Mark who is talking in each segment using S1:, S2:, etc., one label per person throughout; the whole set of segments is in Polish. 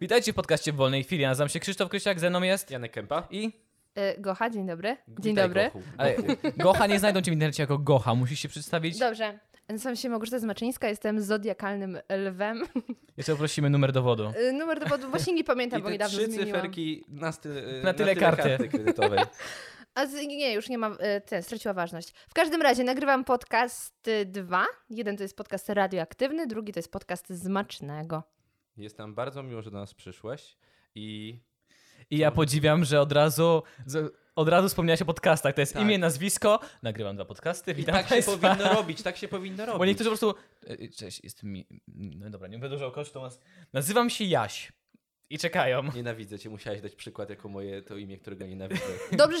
S1: Witajcie w podcaście w Wolnej Chwili. Ja Nazywam się Krzysztof Krysiak, ze mną jest...
S2: Janek Kępa.
S1: I...
S3: Y, Gocha, dzień dobry. Dzień
S2: Witaj,
S3: dobry.
S2: Gochu.
S1: Ale Gocha nie znajdą cię w internecie jako Gocha, musisz się przedstawić.
S3: Dobrze. Nazywam się Małgorzata Zmaczyńska, jestem zodiakalnym lwem.
S1: Jeszcze poprosimy numer dowodu.
S3: Y, Numer dowodu właśnie nie pamiętam,
S2: I
S3: bo
S2: te
S3: niedawno
S2: trzy
S3: zmieniłam.
S2: cyferki na, sty,
S1: Na tyle karty.
S2: kredytowej.
S3: A z, nie, już nie ma, y, ten, straciła ważność. W każdym razie nagrywam podcast y, dwa. Jeden to jest podcast radioaktywny, drugi to jest podcast zmacznego.
S2: Jest nam bardzo miło, że do nas przyszłeś i
S1: I ja podziwiam, że od razu... Z... Od razu wspomniałaś o podcastach. To jest
S2: Tak.
S1: imię, nazwisko. Nagrywam dwa podcasty.
S2: I
S1: Witam
S2: tak się
S1: państwa.
S2: powinno robić, tak się powinno robić.
S1: Bo niektórzy po prostu... e, Cześć, jest mi... No dobra, nie będę dużo kosztu. Nazywam się Jaś. I czekają.
S2: Nienawidzę cię, musiałeś dać przykład jako moje to imię, którego nienawidzę.
S3: Dobrze,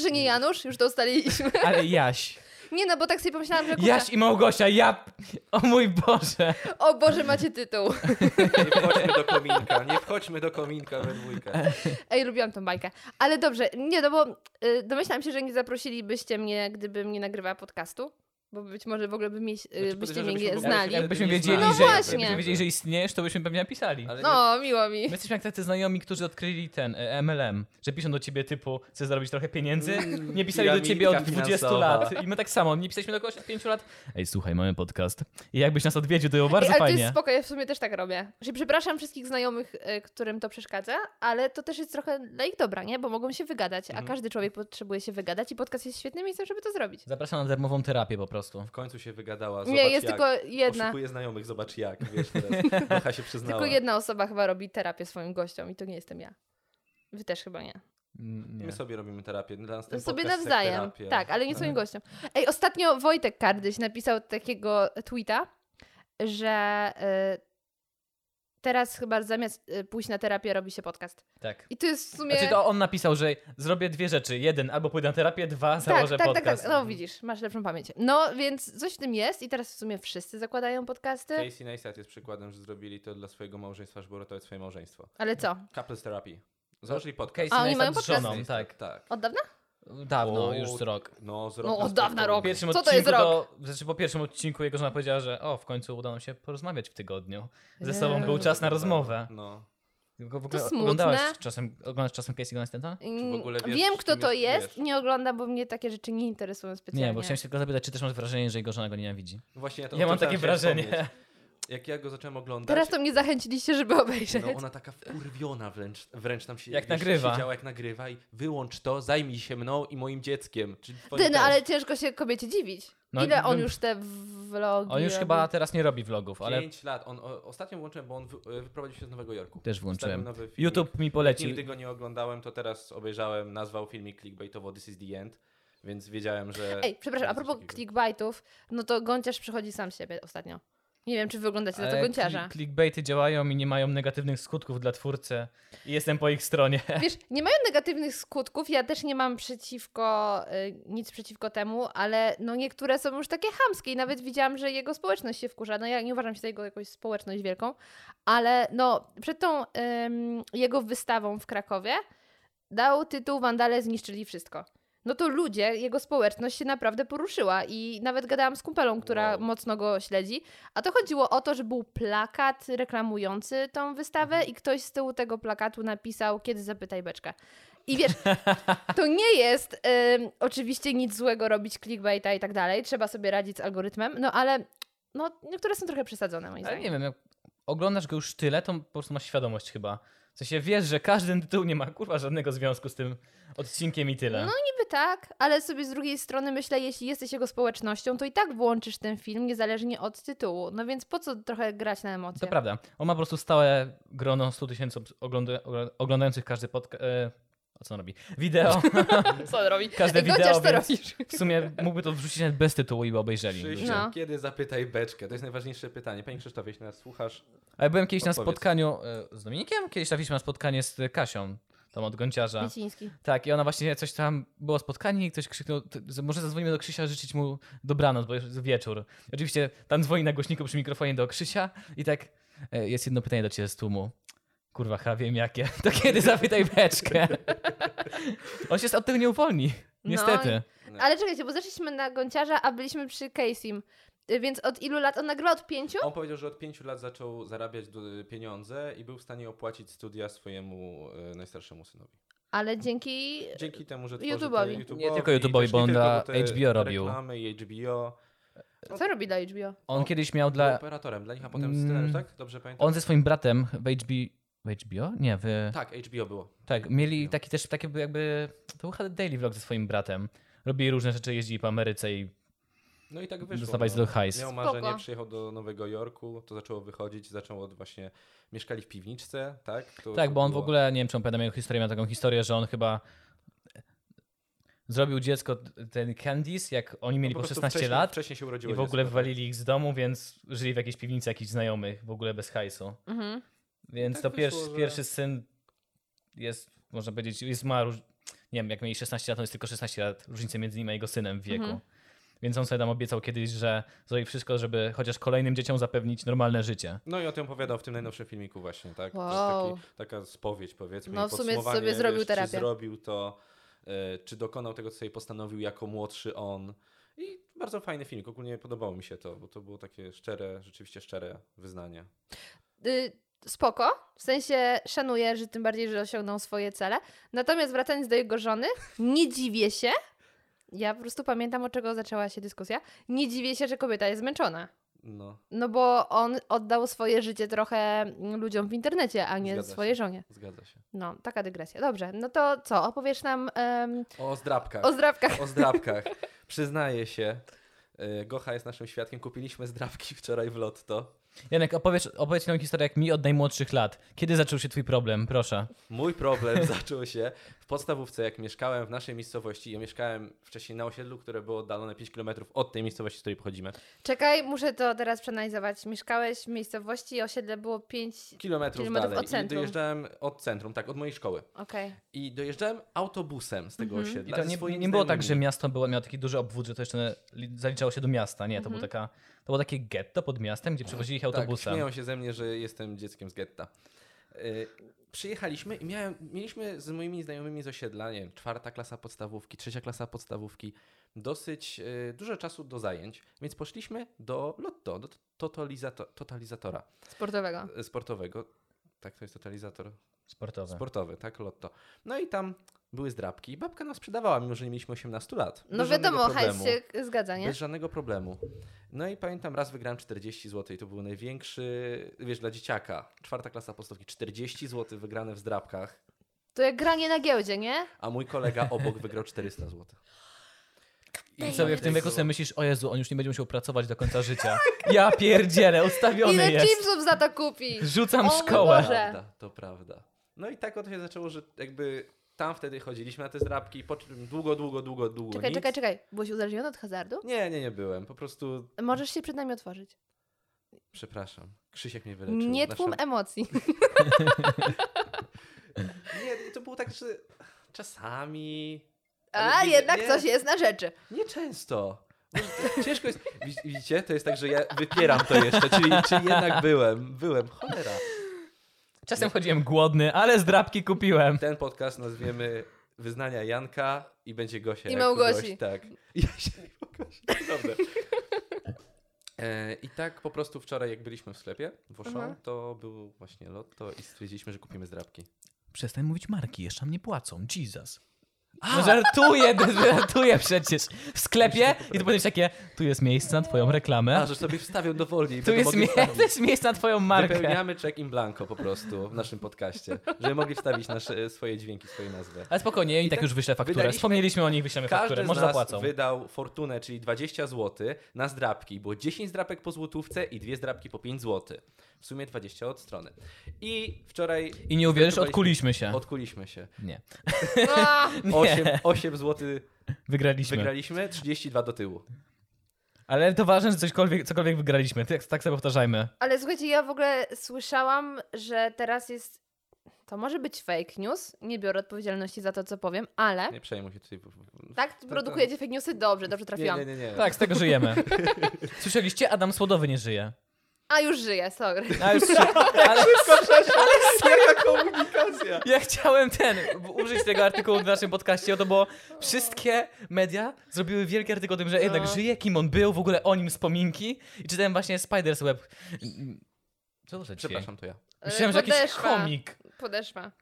S3: że nie Janusz, już to ustaliliśmy.
S1: Ale Jaś.
S3: Nie no, bo tak sobie pomyślałam, że kurczę,
S1: Jaś i Małgosia, ja... O mój Boże.
S3: o Boże, macie tytuł.
S2: Nie wchodźmy do kominka, nie wchodźmy do kominka we dwójkę.
S3: Ej, lubiłam tą bajkę. Ale dobrze, nie, no bo y, domyślam się, że nie zaprosilibyście mnie, gdybym nie nagrywała podcastu, bo być może w ogóle by mnie, y, byście mnie nie znali.
S1: jakby- Jakbyśmy wiedzieli,
S3: No
S1: że-
S3: właśnie.
S1: Gdybyśmy wiedzieli, że istniejesz, to byśmy pewnie napisali.
S2: Ale nie,
S3: No, miło mi.
S1: My jesteśmy jak tacy znajomi, którzy odkryli ten e, MLM, że piszą do ciebie typu, chcę zarobić trochę pieniędzy,
S2: Mm,
S1: nie pisali do ciebie od
S2: piramidka
S1: 20
S2: finansowa.
S1: lat i my tak samo, nie pisaliśmy do kogoś od 5 lat, ej słuchaj, mamy podcast i jakbyś nas odwiedził, to było
S3: Ej,
S1: bardzo
S3: ale to
S1: fajnie.
S3: jest spoko, ja w sumie też tak robię. Znaczy, przepraszam wszystkich znajomych, y, którym to przeszkadza, ale to też jest trochę dla ich dobra, nie? Bo mogą się wygadać, a
S2: Mhm.
S3: każdy człowiek potrzebuje się wygadać i podcast jest świetnym miejscem, żeby to zrobić.
S1: Zapraszam na darmową terapię po prostu.
S2: w końcu się wygadała, zobacz
S3: Nie, jest
S2: jak.
S3: tylko jedna.
S2: Oszukuje znajomych, zobacz jak, wiesz teraz. Macha się przyznała.
S3: Tylko jedna osoba chyba robi terapię swoim gościom i to nie jestem ja. Wy też chyba nie.
S1: Mm, Nie.
S2: My sobie robimy terapię. Dla nas ten
S3: sobie
S2: podcast jest
S3: nawzajem.
S2: terapia. Mhm.
S3: Tak, ale nie swoim gościom. Ej, ostatnio Wojtek Kardyś napisał takiego tweeta, że y, teraz chyba zamiast y, pójść na terapię robi się podcast.
S1: Tak.
S3: I to jest w sumie.
S1: Znaczy to on napisał, że zrobię dwie rzeczy. Jeden, albo pójdę na terapię, dwa,
S3: tak,
S1: założę
S3: tak, tak,
S1: podcast.
S3: tak. No widzisz, masz lepszą pamięć. No więc coś w tym jest i teraz w sumie wszyscy zakładają podcasty.
S2: Casey Neistat jest przykładem, że zrobili to dla swojego małżeństwa, żeby uratować swoje małżeństwo.
S3: Ale co?
S2: Couple therapy. Założyli podcast.
S1: Casey
S3: A, oni
S1: Neistat
S3: mają
S1: z żoną,
S3: podcasty?
S1: tak.
S2: tak.
S3: Od dawna?
S1: Dawno,
S2: O,
S1: już z rok.
S2: No, z
S3: No,
S2: rok na
S3: od dawna
S2: spoko.
S1: Po
S3: rok.
S1: pierwszym
S3: Co to
S1: odcinku
S3: jest rok?
S1: do- znaczy po pierwszym odcinku jego żona powiedziała, że o, w końcu udało nam się porozmawiać w tygodniu. Ze sobą
S2: Tak,
S1: był
S3: Eee.
S1: czas na rozmowę.
S2: No.
S1: Tylko w
S3: To
S1: ogóle
S3: smutne.
S1: oglądałeś czasem, oglądasz czasem Casey Neistata?
S2: w ogóle wiesz,
S3: Wiem,
S2: z
S3: kto
S2: kim
S3: to
S2: jest-
S3: jest.
S2: wiesz?
S3: Nie oglądam, bo mnie takie rzeczy nie interesują specjalnie.
S1: Nie, bo chciałem się tylko zapytać, czy też masz wrażenie, że jego żona go nienawidzi?
S2: No Właśnie ja to
S1: Ja
S2: o
S1: mam
S2: tym
S1: takie
S2: chciałem wspomnieć.
S1: wrażenie.
S2: Jak ja go zacząłem oglądać,
S3: Teraz to mnie zachęciliście, żeby obejrzeć.
S2: no ona taka wkurwiona wręcz, wręcz tam się
S1: Jak
S2: wiesz,
S1: nagrywa.
S2: siedziała, jak nagrywa i wyłącz to, zajmij się mną i moim dzieckiem. Czy twoim
S3: Ty, no
S2: też.
S3: ale ciężko się kobiecie dziwić.
S1: No,
S3: Ile on
S1: bym-
S3: już te w- vlogi
S1: On już
S3: robi?
S1: chyba teraz nie robi vlogów, ale
S2: Pięć lat. On, o, ostatnio włączyłem, bo on wy, wyprowadził się z Nowego Jorku.
S1: też
S2: Wstawił
S1: włączyłem.
S2: nowy filmik.
S1: YouTube mi polecił.
S2: Nigdy go nie oglądałem, to teraz obejrzałem, nazwał filmik clickbaitowo This is the end, więc wiedziałem, że...
S3: Ej, przepraszam, a propos
S2: clickbait.
S3: clickbaitów, no to Gąciarz przychodzi sam z siebie ostatnio. Nie wiem, czy wy oglądacie za to
S1: Ale
S3: Gąciarza.
S1: E, kli- Clickbaity działają i nie mają negatywnych skutków dla twórcy. I jestem po ich stronie.
S3: Wiesz, nie mają negatywnych skutków, ja też nie mam przeciwko, y, nic przeciwko temu, ale no niektóre są już takie chamskie i nawet widziałam, że jego społeczność się wkurza. No ja nie uważam się za jego jakąś społeczność wielką, ale no przed tą ym, jego wystawą w Krakowie dał tytuł Wandale zniszczyli wszystko. No to ludzie, jego społeczność się naprawdę poruszyła i nawet gadałam z kumpelą, która
S2: Wow.
S3: mocno go śledzi, a to chodziło o to, że był plakat reklamujący tą wystawę i ktoś z tyłu tego plakatu napisał, kiedy zapytaj beczkę. I wiesz, to nie jest em, oczywiście nic złego robić clickbaita i tak dalej, trzeba sobie radzić z algorytmem, no ale no, niektóre są trochę przesadzone
S1: Ale
S3: moim zdaniem.
S1: nie wiem, jak oglądasz go już tyle, to po prostu masz świadomość chyba. W sensie wiesz, że każdy tytuł nie ma kurwa żadnego związku z tym odcinkiem i tyle.
S3: No Niby tak, ale sobie z drugiej strony myślę, jeśli jesteś jego społecznością, to i tak włączysz ten film niezależnie od tytułu, no więc po co trochę grać na emocje?
S1: To prawda. On ma po prostu stałe grono 100 tysięcy obs- ogląda- ogl- oglądających każdy podcast. E, o co on robi? Wideo.
S3: Co on robi?
S1: Każde
S3: Ej,
S1: wideo,
S3: Gąciarz, co
S1: więc-
S3: robisz?
S1: W sumie mógłby to wrzucić nawet bez tytułu i by obejrzeli.
S2: Krzysiu,
S1: ludzie.
S3: No.
S2: kiedy zapytaj beczkę? To jest najważniejsze pytanie. Panie Krzysztofie, jeśli nas słuchasz,
S1: Ale byłem kiedyś na
S2: Odpowiedz.
S1: spotkaniu e, z Dominikiem, kiedyś trafiliśmy na spotkanie z e, Kasią, tą od Gąciarza.
S3: Liciński.
S1: Tak, i ona właśnie coś tam, było spotkanie i ktoś krzyknął, "Ty- z- może zadzwonimy do Krzysia, życzyć mu dobranoc, bo jest wieczór. I oczywiście tam dzwoni na głośniku przy mikrofonie do Krzysia i tak, e, jest jedno pytanie do ciebie z tłumu. Kurwa, chyba wiem jakie. To kiedy zapytaj beczkę? On się od tego nie uwolni,
S3: No
S1: niestety.
S3: Ale czekajcie, bo zeszliśmy na gąciarza, a byliśmy przy Casey'm. Y, Więc od ilu lat on nagrywa? Od pięciu?
S2: On powiedział, że od pięciu lat zaczął zarabiać du- pieniądze i był w stanie opłacić studia swojemu e, najstarszemu synowi.
S3: Ale dzięki...
S2: Dzięki temu, że tworzy
S3: YouTube'owi.
S2: te
S1: Nie tylko YouTube'owi,
S2: też
S1: bo
S2: nie
S1: on
S2: tylko,
S1: dla
S2: te
S1: HBO robił.
S2: Reklamy i HBO.
S3: Co robi dla HBO?
S1: On
S2: No,
S1: kiedyś miał
S2: Dla... Był
S1: dla...
S2: operatorem dla nich, a potem
S1: Mm.
S2: scenariusz, tak? Dobrze pamiętam?
S1: On ze swoim bratem w HBO... W HBO? Nie, w...
S2: Tak, HBO było.
S1: Tak, mieli taki też, takie jakby... To był chyba Daily Vlog ze swoim bratem. Robili różne rzeczy, jeździli po Ameryce i
S2: No i tak wyszło.
S1: Dostawałeś
S2: no.
S1: do hajs.
S2: Miał marzenie,
S3: Spoko.
S2: przyjechał do Nowego Jorku, to zaczęło wychodzić, zaczęło od właśnie, mieszkali w piwniczce, tak? To,
S1: Tak,
S2: to
S1: bo on w
S2: było-
S1: ogóle, nie wiem czy on pamiętam jego historię, miał taką historię, że on chyba zrobił dziecko, ten Candice, jak oni mieli po,
S2: No prostu
S1: 16
S2: wcześniej,
S1: lat
S2: Wcześniej się urodziło
S1: i w ogóle
S2: dziecko, tak.
S1: wywalili ich z domu, więc żyli w jakiejś piwnicy jakichś znajomych, w ogóle bez hajsu.
S3: Mhm.
S1: Więc
S2: Tak
S1: to
S2: wyszło,
S1: pierwszy,
S2: że-
S1: pierwszy syn jest, można powiedzieć, jest ma, róż- nie wiem, jak mieli 16 lat, to jest tylko 16 lat, różnica między nim a jego synem w wieku.
S3: Mhm.
S1: Więc on sobie tam obiecał kiedyś, że zrobi wszystko, żeby chociaż kolejnym dzieciom zapewnić normalne życie.
S2: No i o tym opowiadał w tym najnowszym filmiku właśnie, tak? To
S3: Wow.
S2: Taki, taka spowiedź powiedzmy.
S3: No,
S2: i
S3: w sumie
S2: podsumowanie,
S3: sobie zrobił
S2: wiesz,
S3: terapię.
S2: Czy zrobił to, e, czy dokonał tego, co sobie postanowił jako młodszy on. I bardzo fajny filmik, ogólnie podobało mi się to, bo to było takie szczere, rzeczywiście szczere wyznanie.
S3: Y, spoko, w sensie szanuję, że tym bardziej, że osiągnął swoje cele. Natomiast wracając do jego żony, nie dziwię się, ja po prostu pamiętam, od czego zaczęła się dyskusja, nie dziwię się, że kobieta jest zmęczona.
S2: No,
S3: No bo on oddał swoje życie trochę mm, ludziom w internecie, a nie
S2: Zgadza
S3: swojej
S2: się.
S3: żonie.
S2: zgadza się.
S3: No, taka dygresja. Dobrze, no to co, opowiesz nam em,
S2: O zdrabkach.
S3: o zdrabkach.
S2: O zdrabkach. Przyznaję się, e, Gocha jest naszym świadkiem, kupiliśmy zdrabki wczoraj w Lotto.
S1: Janek, opowiedz, opowiedz nam historię jak mi od najmłodszych lat. Kiedy zaczął się twój problem, proszę?
S2: Mój problem zaczął się w podstawówce, jak mieszkałem w naszej miejscowości. Ja mieszkałem wcześniej na osiedlu, które było oddalone 5 km od tej miejscowości, z której pochodzimy.
S3: Czekaj, muszę to teraz przeanalizować. Mieszkałeś w miejscowości, osiedle było pięć...
S2: Kilometrów,
S3: Kilometrów
S2: dalej.
S3: od centrum.
S2: I dojeżdżałem od centrum, tak, od mojej szkoły.
S3: Okej.
S2: I dojeżdżałem autobusem z tego
S3: Mhm.
S1: I
S2: osiedla.
S1: to
S2: ze
S1: nie,
S2: swoimi
S1: nie było tak, że
S2: znajomymi.
S1: miasto było, miało taki duży obwód, że to jeszcze li- zaliczało się do miasta. Nie, to,
S3: Mhm.
S1: był taka, to było takie getto pod miastem, gdzie przewozili ich autobusem.
S2: Tak, śmieją się ze mnie, że jestem dzieckiem z getta. Y, Przyjechaliśmy i miałem, mieliśmy z moimi znajomymi z osiedla, nie wiem, czwarta klasa podstawówki, trzecia klasa podstawówki, dosyć y, dużo czasu do zajęć, więc poszliśmy do lotto, do t- totalizato, totalizatora
S3: Sportowego. No
S2: y, sportowego. Tak, to jest totalizator
S1: Sportowe.
S2: sportowy, tak, lotto. No i tam były zdrabki. Babka nam sprzedawała, mimo że nie mieliśmy 18 lat.
S3: No
S2: Bez żadnego
S3: wiadomo, hajs
S2: problemu.
S3: się zgadza, nie?
S2: Bez żadnego problemu. No i pamiętam, raz wygrałem 40 zł i to był największy, wiesz, dla dzieciaka, czwarta klasa podstawki, 40 zł wygrane w zdrabkach,
S3: To jak granie na giełdzie, nie?
S2: a mój kolega obok wygrał 400 zł.
S1: I sobie w tym wieku sobie myślisz, o Jezu, on już nie będzie musiał pracować do końca życia. Ja pierdzielę, ustawiony
S3: Tak. Ile
S1: jest.
S3: chipsów za to kupisz?
S1: Rzucam
S3: O mój
S2: To
S1: szkołę.
S3: Boże.
S2: prawda, to prawda. No i tak oto się zaczęło, że jakby tam wtedy chodziliśmy na te zdrabki, po czym długo, długo, długo, długo
S3: Czekaj,
S2: nic.
S3: czekaj, czekaj. Byłeś uzależniony od hazardu?
S2: Nie, nie, nie byłem. Po prostu,
S3: Możesz się przed nami otworzyć.
S2: przepraszam, Krzysiek mnie wyleczył. Znaczy,
S3: Nie
S2: Nasza-
S3: tłum emocji.
S2: Nie, to było tak, że czasami... ale
S3: A
S2: widzę-
S3: jednak
S2: nie.
S3: coś jest na rzeczy.
S2: Nieczęsto. No, Ciężko jest. Wi- Widzicie? To jest tak, że ja wypieram to jeszcze, czyli, czyli jednak byłem. Byłem. Cholera.
S1: Czasem chodziłem głodny, ale zdrabki kupiłem.
S2: Ten podcast nazwiemy Wyznania Janka i będzie Gosia.
S3: I
S2: jako
S3: Małgosi.
S2: gość, tak. I Jasia i Małgosi. no Dobrze. E, I tak po prostu wczoraj, jak byliśmy w sklepie w Auchan,
S3: Mhm.
S2: to był właśnie lotto i stwierdziliśmy, że kupimy zdrabki.
S1: Przestań mówić marki, jeszcze mnie płacą. Jesus. No żartuję, żartuję przecież. W sklepie i to będziesz takie, tu jest miejsce na twoją
S2: A,
S1: reklamę.
S2: że sobie wstawią dowolnie. i
S1: Tak? Tu
S2: będą
S1: jest,
S2: mogli
S1: mie-
S2: wstawić.
S1: to jest miejsce na twoją markę.
S2: Wypełniamy check in blanco po prostu w naszym podcaście, żeby mogli wstawić nasze, swoje dźwięki, swoje nazwy.
S1: Ale spokojnie, i tak
S2: tak
S1: już wyślę fakturę.
S2: wydaliśmy-
S1: Wspomnieliśmy o nich, wyślemy
S2: Każdy
S1: fakturę.
S2: z
S1: Może
S2: nas
S1: zapłacą.
S2: wydał fortunę, czyli 20 zł na zdrabki. Było 10 zdrabek po złotówce i dwie zdrabki po 5 zł. W sumie 20 od strony. I wczoraj
S1: I nie uwierzysz,
S2: Wydawaliśmy-
S1: odkuliśmy się.
S2: odkuliśmy się.
S1: Nie.
S3: A,
S2: 8, 8 zł
S1: Wygraliśmy.
S2: wygraliśmy, 32 do tyłu.
S1: Ale to ważne, że cośkolwiek, cokolwiek wygraliśmy. Tak, tak sobie powtarzajmy.
S3: Ale słuchajcie, ja w ogóle słyszałam, że teraz jest... To może być fake news, nie biorę odpowiedzialności za to, co powiem, ale...
S2: Nie przejmuj się tutaj.
S3: Tak? Produkujecie fake newsy? Dobrze, dobrze trafiłam.
S2: Nie, nie, nie. nie.
S1: Tak, z tego żyjemy. Słyszeliście? Adam Słodowy nie żyje.
S3: A już żyję, sorry.
S1: A już się, ale
S2: Jaka komunikacja?
S1: ja chciałem ten, użyć tego artykułu w naszym podcaście, o to bo wszystkie media zrobiły wielki artykuł o tym, że jednak
S3: No.
S1: żyje, kim on był, w ogóle o nim wspominki. I czytałem właśnie Spider's Web. Co to za dźwięk?
S2: Przepraszam, to ja.
S1: Myślałem, że jakiś komik.
S3: Podeszwa.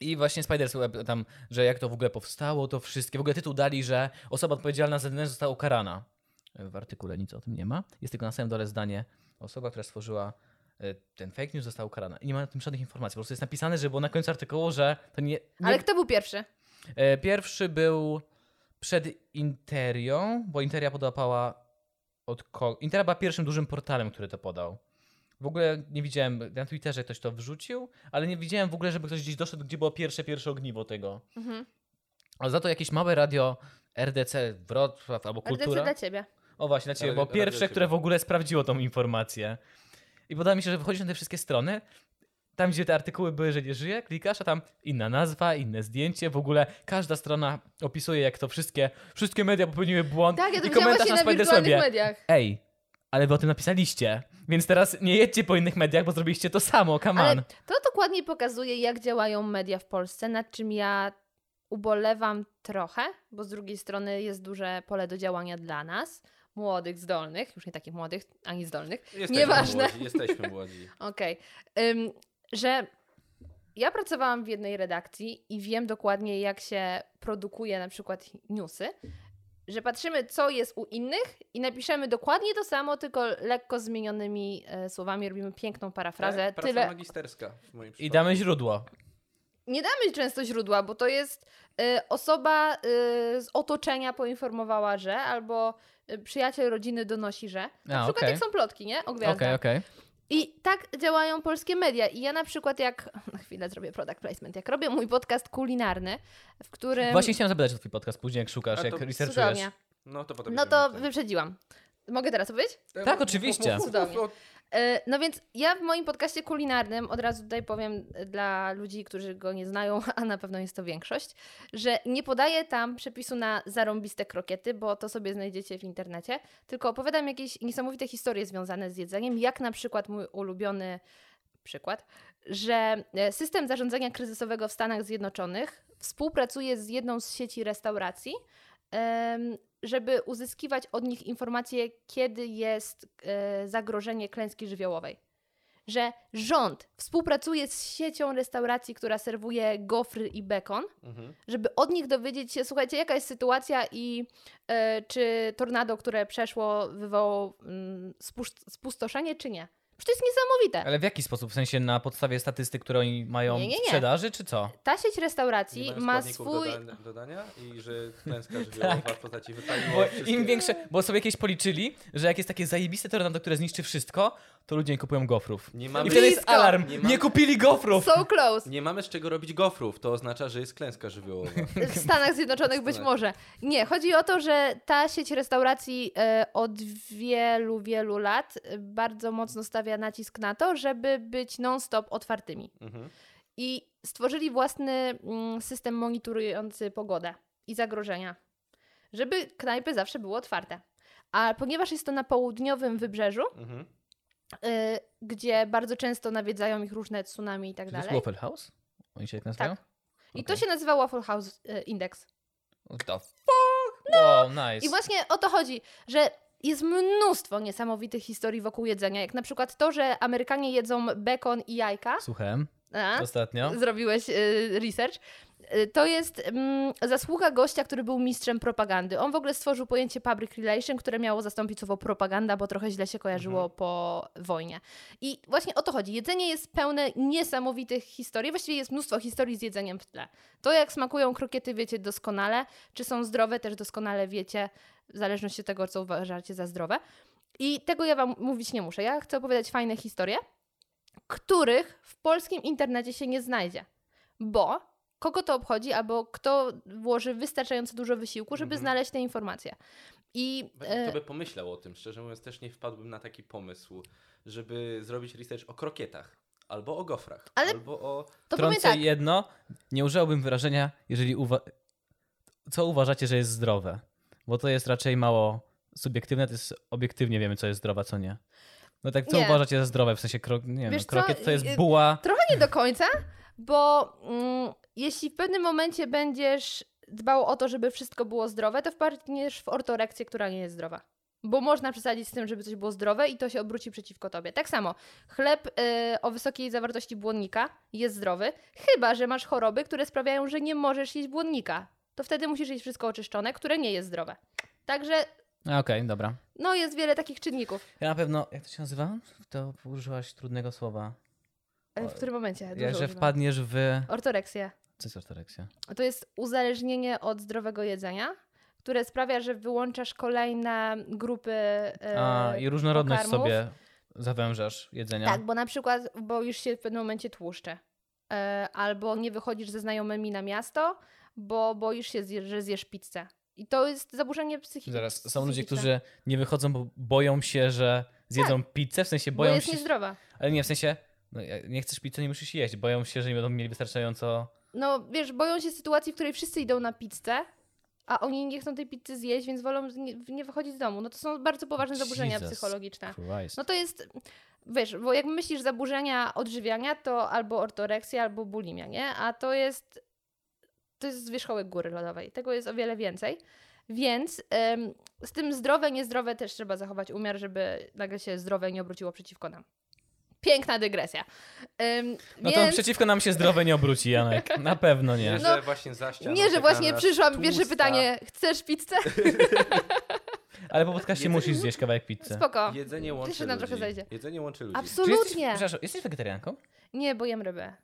S1: I właśnie Spider's Web tam, że jak to w ogóle powstało, to wszystkie. W ogóle tytuł dali, że osoba odpowiedzialna za ten została ukarana. W artykule nic o tym nie ma. Jest tylko na samym dole zdanie. Osoba, która stworzyła e, ten fake news została ukarana. I nie ma na tym żadnych informacji. Po prostu jest napisane, że było na końcu artykułu, że to nie... nie
S3: Ale kto był pierwszy?
S1: E, Pierwszy był przed Interią, bo Interia podłapała od kogo? Interia była pierwszym dużym portalem, który to podał. W ogóle nie widziałem, na Twitterze ktoś to wrzucił, ale nie widziałem w ogóle, żeby ktoś gdzieś doszedł, gdzie było pierwsze, pierwsze ogniwo tego.
S3: Mhm.
S1: A za to jakieś małe radio RDC Wrocław albo
S3: RDC
S1: Kultura.
S3: dla ciebie.
S1: O właśnie, dla ciebie, bo
S2: Radio- radio
S1: pierwsze,
S2: ciebie.
S1: które w ogóle sprawdziło tą informację. I podoba mi się, że wychodzisz na te wszystkie strony, tam gdzie te artykuły były, że nie żyje, klikasz, a tam inna nazwa, inne zdjęcie, w ogóle każda strona opisuje, jak to wszystkie, wszystkie media popełniły błąd
S3: Tak, ja to
S1: i
S3: widziałam
S1: komentarz na
S3: właśnie na wirtualnych
S1: Spidersłabie.
S3: mediach.
S1: Ej, ale wy o tym napisaliście, więc teraz nie jedźcie po innych mediach, bo zrobiliście to samo, come on.
S3: Ale to dokładnie pokazuje, jak działają media w Polsce, nad czym ja ubolewam trochę, bo z drugiej strony jest duże pole do działania dla nas, młodych, zdolnych, już nie takich młodych, ani zdolnych,
S2: Jesteśmy
S3: Nieważne.
S2: Młodzi, jesteśmy młodzi.
S3: Okej. Ym, że ja pracowałam w jednej redakcji i wiem dokładnie, jak się produkuje na przykład newsy, że patrzymy, co jest u innych i napiszemy dokładnie to samo, tylko lekko zmienionymi e, słowami robimy piękną parafrazę.
S2: Tak, praca
S3: Tyle.
S2: magisterska w moim
S1: I
S2: przypadku.
S1: damy źródło.
S3: Nie damy często źródła, bo to jest e, osoba e, z otoczenia poinformowała, że albo e, przyjaciel rodziny donosi, że. Na
S1: A,
S3: przykład
S1: okej.
S3: jak są plotki, nie? O
S1: Okej,
S3: gwiazdach.
S1: okej.
S3: I tak działają polskie media. I ja na przykład jak, na chwilę zrobię product placement, jak robię mój podcast kulinarny, w którym...
S1: Właśnie chciałem zapytać o twój podcast później, jak
S2: A
S1: szukasz,
S2: to
S1: jak researchujesz.
S3: Cudownie.
S2: No to potem
S3: No to
S2: będziemy-
S3: wyprzedziłam. Mogę teraz powiedzieć?
S2: Tak,
S1: Tak,
S2: mów,
S1: oczywiście.
S2: mów, mów, mów, mów, mów.
S3: E, No więc ja w moim podcaście kulinarnym, od razu tutaj powiem e, dla ludzi, którzy go nie znają, a na pewno jest to większość, że nie podaję tam przepisu na zarąbiste krokiety, bo to sobie znajdziecie w internecie, tylko opowiadam jakieś niesamowite historie związane z jedzeniem, jak na przykład mój ulubiony przykład, że e, system zarządzania kryzysowego w Stanach Zjednoczonych współpracuje z jedną z sieci restauracji, em, żeby uzyskiwać od nich informacje, kiedy jest e, zagrożenie klęski żywiołowej. Że rząd współpracuje z siecią restauracji, która serwuje gofry i bekon,
S2: Mhm.
S3: żeby od nich dowiedzieć się, słuchajcie, jaka jest sytuacja i e, czy tornado, które przeszło, wywołało mm, spusz- spustoszenie, czy nie. Przecież to jest niesamowite.
S1: Ale w jaki sposób? W sensie na podstawie statystyk, które oni mają
S3: Tak. Nie, nie, nie.
S1: w sprzedaży, czy co?
S3: Ta sieć
S2: Nie
S3: restauracji
S2: mają
S3: ma
S2: składników
S3: swój. Tak.
S2: doda- dodania i że klęska żywiołowa w postaci wypaliła
S1: Bo
S2: wszystkie-
S1: im większe, bo sobie jakieś policzyli, że jak jest takie zajebiste tornado, które zniszczy wszystko, to ludzie nie kupują gofrów.
S2: Nie
S1: I
S2: mamy,
S1: wtedy jest
S3: Blisko.
S1: alarm.
S2: Nie
S1: Nie,
S2: mamy-
S1: kupili gofrów!
S3: So close.
S2: nie mamy z czego robić gofrów, to oznacza, że jest klęska żywiołowa.
S3: W Stanach Zjednoczonych być
S2: Stanach.
S3: może. Nie, chodzi o to, że ta sieć restauracji e, od wielu, wielu lat e, bardzo mocno stawia nacisk na to, żeby być non-stop otwartymi.
S2: Mhm.
S3: I stworzyli własny mm, system monitorujący pogodę i zagrożenia, żeby knajpy zawsze były otwarte. A ponieważ jest to na południowym wybrzeżu,
S2: Mhm.
S3: e, gdzie bardzo często nawiedzają ich różne tsunami i tak
S1: Czy to jest
S3: dalej.
S1: Waffle House? Oni się tak nazywają?
S3: Tak. I to
S1: Okej.
S3: się nazywa Waffle House e, Index.
S1: What the fuck? Wow, nice.
S3: No. I właśnie o to chodzi, że jest mnóstwo niesamowitych historii wokół jedzenia, jak na przykład to, że Amerykanie jedzą bekon i jajka.
S1: Słuchałem
S3: A,
S1: ostatnio.
S3: zrobiłeś y, research. Y, To jest mm, zasługa gościa, który był mistrzem propagandy. On w ogóle stworzył pojęcie public relation, które miało zastąpić słowo propaganda, bo trochę źle się kojarzyło po wojnie. I właśnie o to chodzi. Jedzenie jest pełne niesamowitych historii. Właściwie jest mnóstwo historii z jedzeniem w tle. To, jak smakują krokiety, wiecie doskonale. Czy są zdrowe, też doskonale wiecie, w zależności od tego, co uważacie za zdrowe. I tego ja wam mówić nie muszę. Ja chcę opowiadać fajne historie, których w polskim internecie się nie znajdzie. Bo kogo to obchodzi, albo kto włoży wystarczająco dużo wysiłku, żeby
S2: Mhm.
S3: znaleźć te informacje. I
S2: Kto
S3: e,
S2: by pomyślał o tym? Szczerze mówiąc, też nie wpadłbym na taki pomysł, żeby zrobić research o krokietach, albo o gofrach,
S3: Ale-
S2: albo o...
S3: to powiem
S1: Trącę
S3: tak,
S1: jedno, nie użyłbym wyrażenia, jeżeli uwa... co uważacie, że jest zdrowe. Bo to jest raczej mało subiektywne, to jest obiektywnie wiemy, co jest zdrowe, a co nie. No tak, co
S3: Nie.
S1: uważacie za zdrowe? W sensie, kro... nie
S3: Wiesz
S1: wiem,
S3: co,
S1: krokiet to jest
S3: y-
S1: buła.
S3: Trochę nie do końca, bo mm, jeśli w pewnym momencie będziesz dbał o to, żeby wszystko było zdrowe, to wpadniesz w ortorekcję, która nie jest zdrowa. Bo można przesadzić z tym, żeby coś było zdrowe i to się obróci przeciwko tobie. Tak samo chleb y, o wysokiej zawartości błonnika jest zdrowy, chyba że masz choroby, które sprawiają, że nie możesz jeść błonnika. To wtedy musisz jeść wszystko oczyszczone, które nie jest zdrowe. Także
S1: A, Okej, dobra.
S3: no jest wiele takich czynników.
S1: Ja na pewno, jak to się nazywa? To użyłaś trudnego słowa.
S3: E, W którym momencie? Dużo
S1: Jak, że
S3: używam.
S1: wpadniesz w...
S3: Ortoreksja.
S1: Co jest ortoreksja?
S3: To jest uzależnienie od zdrowego jedzenia, które sprawia, że wyłączasz kolejne grupy. e,
S1: A, i różnorodność
S3: pokarmów.
S1: sobie zawężasz jedzenia.
S3: Tak, bo na przykład boisz się w pewnym momencie tłuszcze, E, albo nie wychodzisz ze znajomymi na miasto, bo boisz się, zje- że zjesz pizzę. I to jest zaburzenie psychiczne.
S1: Zaraz, są ludzie, którzy nie wychodzą, bo boją się, że zjedzą pizzę, w sensie
S3: Tak. Bo
S1: boją
S3: jest
S1: się...
S3: niezdrowa.
S1: Ale nie, w sensie, no, jak nie chcesz pizzy, nie musisz jeść. Boją się, że nie będą mieli wystarczająco...
S3: No wiesz, boją się sytuacji, w której wszyscy idą na pizzę, a oni nie chcą tej pizzy zjeść, więc wolą z- nie, nie wychodzić z domu. No to są bardzo poważne zaburzenia
S1: Jesus
S3: psychologiczne.
S1: Christ.
S3: No to jest, wiesz, bo jak myślisz zaburzenia odżywiania, to albo ortoreksja, albo bulimia, nie? A to jest, to jest zwierzchołek góry lodowej. Tego jest o wiele więcej. Więc em, z tym zdrowe, niezdrowe też trzeba zachować umiar, żeby nagle się zdrowe nie obróciło przeciwko nam. Piękna dygresja. Em,
S1: No to
S3: więc...
S1: przeciwko nam się zdrowe nie obróci, Janek. Na pewno nie.
S2: Nie,
S3: No,
S2: że właśnie za ścianą
S3: Nie, że
S2: czeka
S3: właśnie
S2: nas
S3: przyszłam, pierwsze
S2: tłusta-
S3: pytanie, chcesz pizzę?
S1: Ale po podcaście
S2: Jedzenie-
S1: musisz zjeść kawałek pizzy.
S3: Spoko.
S2: Jedzenie łączy
S3: się nam
S2: ludzi.
S3: trochę zajdzie.
S2: Jedzenie łączy ludzi.
S1: Czy jesteś,
S3: Absolutnie.
S1: przepraszam, jesteś wegetarianką?
S3: Nie, bo jem rybę.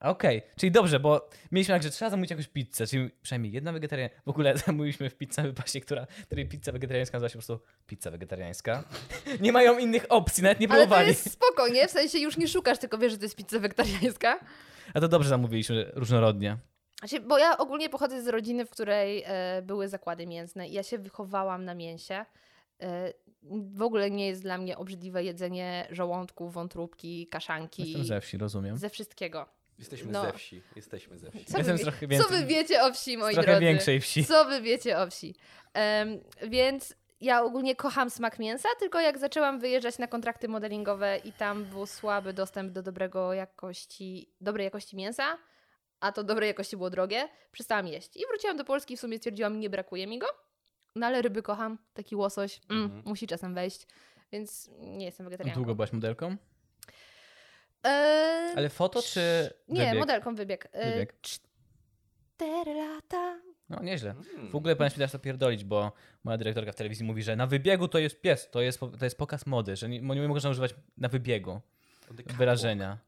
S1: A, Okej, czyli dobrze, bo mieliśmy tak, że trzeba zamówić jakąś pizzę, czyli przynajmniej jedna wegetarianka. W ogóle zamówiliśmy w pizzę wypasie, która, której pizza wegetariańska nazywa się po prostu pizza wegetariańska. Nie mają innych opcji, nawet nie
S3: Ale to
S1: próbowali.
S3: jest spoko, nie? W sensie już nie szukasz, tylko wiesz, że to jest pizza wegetariańska.
S1: A to dobrze zamówiliśmy różnorodnie.
S3: Znaczy, bo ja ogólnie pochodzę z rodziny, w której e, były zakłady mięsne i ja się wychowałam na mięsie. E, w ogóle nie jest dla mnie obrzydliwe jedzenie żołądków, wątróbki,
S1: Jestem
S3: kaszanki,
S1: ze wsi, rozumiem.
S3: ze wszystkiego.
S2: Jesteśmy
S3: No.
S2: ze wsi. Jesteśmy ze wsi.
S3: Co
S1: Jestem
S3: wy,
S1: z
S3: wie-
S1: trochę
S3: co wy
S1: więcej,
S3: wiecie o wsi, moi
S1: z trochę
S3: drodzy?
S1: większej wsi.
S3: Co wy wiecie o wsi? Em, więc ja ogólnie kocham smak mięsa, tylko jak zaczęłam wyjeżdżać na kontrakty modelingowe i tam był słaby dostęp do dobrego jakości, dobrej jakości mięsa, a to dobrej jakości było drogie, przestałam jeść. I wróciłam do Polski i w sumie stwierdziłam, nie brakuje mi go, no ale ryby kocham, taki łosoś, mm,
S2: Mhm.
S3: musi czasem wejść, więc nie jestem wegetarianką.
S1: Długo byłaś modelką?
S3: Eee,
S1: Ale foto czy
S3: Nie,
S1: wybieg?
S3: modelką wybieg. Eee,
S1: Wybieg.
S3: Cztery lata.
S1: No, nieźle.
S2: Mm.
S1: W ogóle powinieneś mi dać to pierdolić, bo moja dyrektorka w telewizji mówi, że na wybiegu to jest pies, to jest, to jest pokaz mody, że nie, nie można używać na wybiegu
S2: On the
S1: wyrażenia.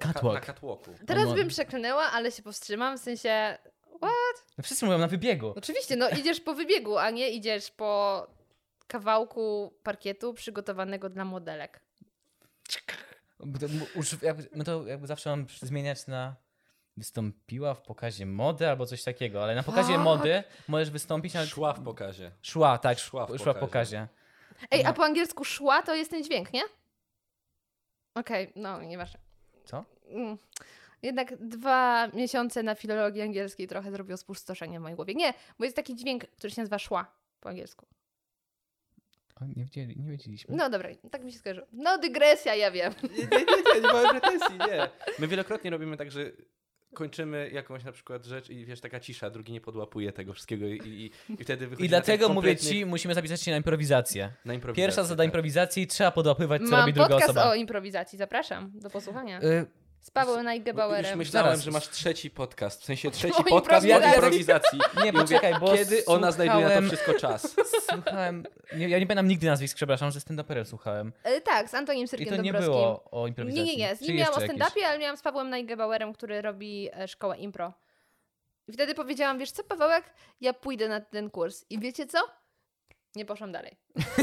S1: Catwalk.
S2: Catwalk. Ka- na catwalku.
S3: Teraz
S1: mod-
S3: bym przeklnęła, ale się powstrzymam, w sensie
S1: No wszyscy mówią na wybiegu.
S3: Oczywiście, no idziesz po wybiegu, a nie idziesz po kawałku parkietu przygotowanego dla modelek.
S1: Bo to mu- uż- jakby- My to jakby zawsze mam zmieniać na wystąpiła w pokazie mody albo coś takiego, ale na pokazie
S3: Fuck.
S1: mody możesz wystąpić na...
S2: Szła w pokazie.
S1: Szła, tak,
S2: Szła
S1: szła
S2: w
S1: w,
S2: pokazie.
S1: pokazie.
S3: Ej, a
S1: No.
S3: po angielsku szła to jest ten dźwięk, nie? Okej, no nieważne.
S1: Co?
S3: Mm. Jednak dwa miesiące na filologii angielskiej trochę zrobiło spustoszenie w mojej głowie. Nie, bo jest taki dźwięk, który się nazywa szła po angielsku.
S1: O, nie, wiedzieli, nie wiedzieliśmy.
S3: No dobra, tak mi się skojarzyło. No dygresja, ja wiem.
S2: Nie, nie, nie, nie, nie mamy pretensji, nie. My wielokrotnie robimy tak, że kończymy jakąś na przykład rzecz i wiesz, taka cisza, drugi nie podłapuje tego wszystkiego i, i, i wtedy wychodzi
S1: I dlatego mówię ci, musimy zapisać się na improwizację.
S2: na improwizację, tak.
S1: Pierwsza zasada improwizacji, trzeba podłapywać, co
S3: Mam
S1: robi druga
S3: podcast
S1: osoba.
S3: o improwizacji, zapraszam do posłuchania.
S2: Tak?
S1: Y,
S3: Z Pawełem
S2: Bo Już
S3: Najgebauerem.
S2: myślałem,
S1: Zaraz.
S2: że masz trzeci podcast, w sensie
S3: O
S2: trzeci podcast o
S1: No, improwizacji.
S2: improwizacji.
S1: nie,
S2: I mówię,
S1: poczekaj, bo
S2: Kiedy ona znajduje na to
S1: słuchałem-
S2: wszystko czas?
S1: Słuchałem, nie, ja nie pamiętam nigdy nazwisk, przepraszam, ze stand-uperem słuchałem.
S3: E, Tak, z Antoniem
S1: I
S3: Syrkiem
S1: to nie
S3: Dąbrowskim.
S1: było o
S3: Nie,
S1: improwizacji.
S3: nie, nie. Z
S1: Czy
S3: nim miałam o
S1: jeszcze jakieś?
S3: stand-upie, ale miałam z Pawłem Najgebauerem, który robi e, szkołę impro. I wtedy powiedziałam, wiesz co, Pawełek, ja pójdę na ten kurs. I wiecie co? Nie poszłam dalej.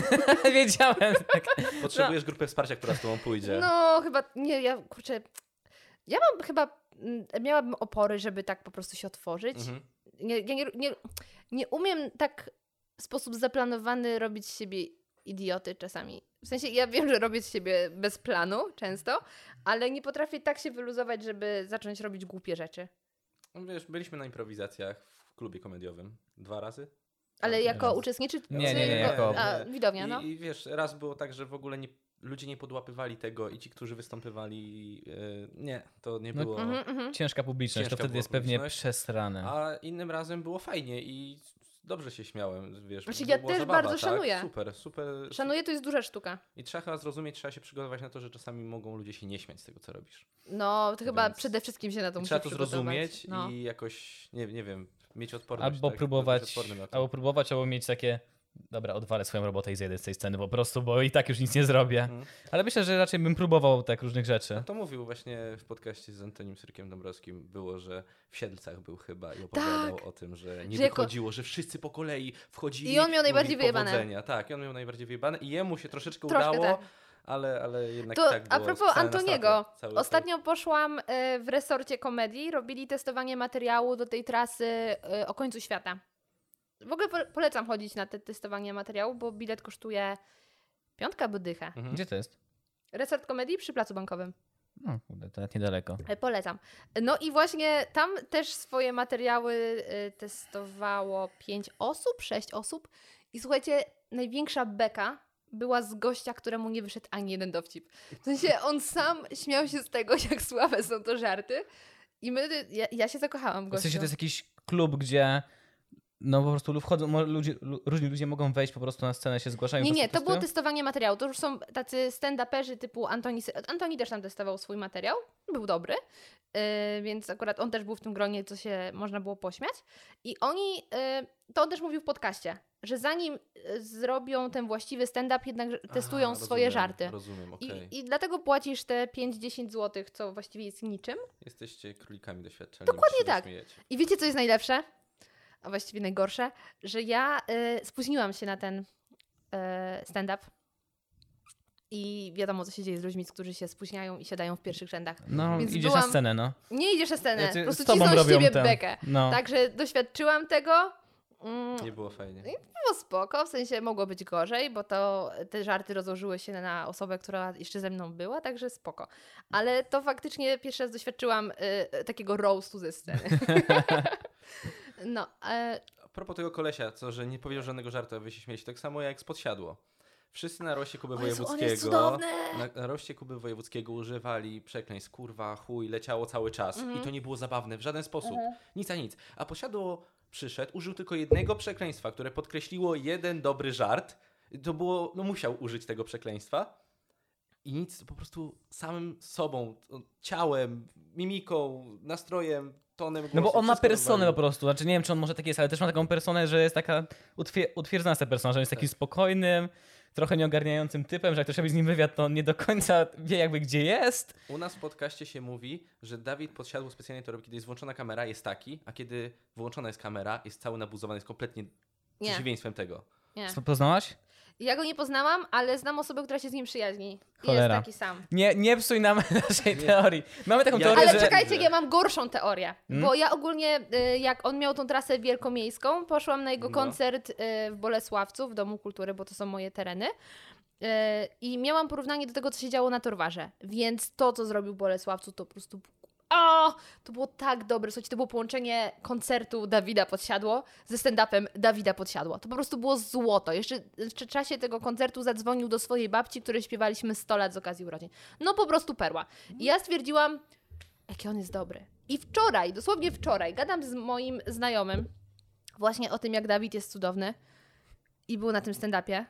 S1: Wiedziałem. Tak.
S2: Potrzebujesz grupę wsparcia, która z tobą pójdzie.
S3: No, chyba, nie, ja, kurczę, ja mam chyba, mm, miałabym opory, żeby tak po prostu się otworzyć.
S2: Mhm.
S3: Nie, ja nie, nie, nie umiem tak w sposób zaplanowany robić z siebie idioty czasami. W sensie ja wiem, że robię z siebie bez planu często, ale nie potrafię tak się wyluzować, żeby zacząć robić głupie rzeczy.
S2: No Wiesz, byliśmy na improwizacjach w klubie komediowym dwa razy.
S3: Ale
S2: Tak,
S3: jako
S1: raz.
S3: uczestniczy?
S1: Nie,
S3: czy
S1: nie, nie, jako-
S3: A, widownia,
S2: I,
S3: no.
S2: I wiesz, raz było tak, że w ogóle nie ludzie nie podłapywali tego i ci, którzy występowali, yy, nie, to nie
S1: No,
S2: było.
S3: Mhm, mhm.
S1: Ciężka publiczność,
S2: Ciężka
S1: to wtedy
S2: była
S1: jest pewnie
S2: publiczność.
S1: przesrane.
S2: A innym razem było fajnie i dobrze się śmiałem, wiesz.
S3: Znaczy,
S2: bo
S3: ja
S2: była
S3: też
S2: zabawa,
S3: bardzo
S2: tak?
S3: szanuję.
S2: Super, super.
S3: Szanuję, to jest duża sztuka.
S2: I trzeba chyba zrozumieć, trzeba się przygotować na to, że czasami mogą ludzie się nie śmiać z tego, co robisz.
S3: No, to chyba
S2: Więc
S3: przede wszystkim się na
S2: I
S3: to musi
S2: trzeba to
S3: przygotować.
S2: zrozumieć
S3: No.
S2: i jakoś, nie, nie wiem, mieć odporność.
S1: Albo
S2: tak? Być
S1: próbować,
S2: odpornym na to.
S1: albo próbować, albo mieć takie dobra, odwalę swoją robotę i zejdę z tej sceny po prostu, bo i tak już nic nie zrobię.
S2: Mhm.
S1: Ale myślę, że raczej bym próbował tak różnych rzeczy.
S2: No to mówił właśnie w podcaście z Antonim Syrkiem Dąbrowskim, było, że w Siedlcach był chyba i opowiadał o tym, że nie
S3: Tak. Że jako-
S2: wychodziło, że wszyscy po kolei wchodzili.
S3: I on miał
S2: mówili
S3: najbardziej wyjebane.
S2: powodzenia. Tak, i on miał najbardziej wyjebane i jemu się troszeczkę
S3: Troszkę
S2: udało,
S3: tak.
S2: ale, ale jednak
S3: To
S2: tak było.
S3: a propos
S2: Wcale na
S3: Antoniego.
S2: stapie. Cały- tak-
S3: Ostatnio poszłam e, w resorcie komedii, robili testowanie materiału do tej trasy e, o końcu świata. W ogóle po- polecam chodzić na te testowanie materiału, bo bilet kosztuje piątka albo dychę.
S2: Mhm.
S1: Gdzie to jest?
S3: Resort komedii przy placu bankowym.
S1: No, kurde, to nawet niedaleko.
S3: E, Polecam. No i właśnie tam też swoje materiały e, testowało pięć osób, sześć osób. I słuchajcie, największa beka była z gościa, któremu nie wyszedł ani jeden dowcip. W sensie on sam śmiał się z tego, jak słabe są to żarty. I my, ja, ja się zakochałam w
S1: W
S3: gościu.
S1: sensie to jest jakiś klub, gdzie no po prostu lu- wchodzą, mo- ludzie, lu- różni ludzie mogą wejść po prostu na scenę, się zgłaszają.
S3: Nie,
S1: po
S3: nie,
S1: prostu
S3: to było
S1: testują?
S3: testowanie materiału. To już są tacy stand-uperzy typu Antoni. Sy- Antoni też tam testował swój materiał. Był dobry. Yy, więc akurat on też był w tym gronie, co się można było pośmiać. I oni, yy, to on też mówił w podcaście, że zanim yy, zrobią ten właściwy stand-up, jednak że-
S2: Aha,
S3: testują
S2: rozumiem,
S3: swoje żarty.
S2: Rozumiem, okej.
S3: I, I dlatego płacisz te 5-10 zł, co właściwie jest niczym.
S2: Jesteście królikami doświadczalnymi.
S3: Dokładnie
S2: się
S3: tak.
S2: Śmiejecie.
S3: I wiecie, co jest najlepsze? A właściwie najgorsze, że ja y, spóźniłam się na ten y, stand-up. I wiadomo, co się dzieje z ludźmi, którzy się spóźniają i siadają w pierwszych rzędach.
S1: No,
S3: Więc
S1: idziesz na
S3: byłam-
S1: scenę, no.
S3: Nie idziesz na scenę,
S1: Znaczy,
S3: po prostu
S1: z tobą
S3: cisną z
S1: robią
S3: ciebie
S1: ten-
S3: bekę. Tak,
S1: no.
S3: Także doświadczyłam tego. Mm,
S2: Nie było fajnie.
S3: było spoko, w sensie mogło być gorzej, bo to te żarty rozłożyły się na osobę, która jeszcze ze mną była, także spoko. Ale to faktycznie pierwszy raz doświadczyłam y, takiego roastu ze sceny. no, e,
S2: A propos tego kolesia, co, że nie powiedział żadnego żartu, a wy się śmieliście, tak samo jak z podsiadło. Wszyscy na roście Kuby
S3: O Jezu, on
S2: Wojewódzkiego.
S3: jest cudowny!
S2: Na, na roście Kuby Wojewódzkiego używali przekleństw, kurwa, chuj, leciało cały czas. I to nie było zabawne w żaden sposób. Nic a nic. A posiadło przyszedł, użył tylko jednego przekleństwa, które podkreśliło jeden dobry żart. To było, no musiał użyć tego przekleństwa. I nic, po prostu samym sobą, ciałem, mimiką, nastrojem, tonem głosu.
S1: No bo on ma
S2: wszystko
S1: personę po
S2: rozwalił.
S1: prostu, znaczy nie wiem czy on może taki jest, ale też ma taką personę, że jest taka utwier- utwierdzona ta persona, że jest takim spokojnym, trochę nieogarniającym typem, że jak ktoś robi z nim wywiad, to on nie do końca wie jakby gdzie jest.
S2: U nas w podcaście się mówi, że Dawid podsiadł specjalnie to robi, kiedy jest włączona kamera, jest taki, a kiedy wyłączona jest kamera, jest cały nabuzowany, jest kompletnie
S3: nie.
S2: przeciwieństwem tego.
S3: Nie.
S1: Co, Poznałaś?
S3: Ja go nie poznałam, ale znam osobę, która się z nim przyjaźni. I
S1: Cholera.
S3: jest taki sam.
S1: Nie, nie psuj nam naszej teorii. Mamy taką
S2: Ja-
S1: teorię,
S3: Ale
S1: że...
S3: czekajcie,
S2: że-
S3: ja mam gorszą teorię.
S1: Hmm?
S3: Bo ja ogólnie, y, jak on miał tą trasę wielkomiejską, poszłam na jego
S2: No.
S3: koncert y, w Bolesławcu, w Domu Kultury, bo to są moje tereny. Y, I miałam porównanie do tego, co się działo na Torwarze. Więc to, co zrobił w Bolesławcu, to po prostu... O, to było tak dobre. Słuchajcie, to było połączenie koncertu Dawida Podsiadło ze stand-upem Dawida Podsiadło. To po prostu było złoto. Jeszcze w czasie tego koncertu zadzwonił do swojej babci, której śpiewaliśmy 100 lat z okazji urodzin. No po prostu perła. I ja stwierdziłam, jaki on jest dobry. I wczoraj, dosłownie wczoraj, gadam z moim znajomym właśnie o tym, jak Dawid jest cudowny i był na tym stand-upie.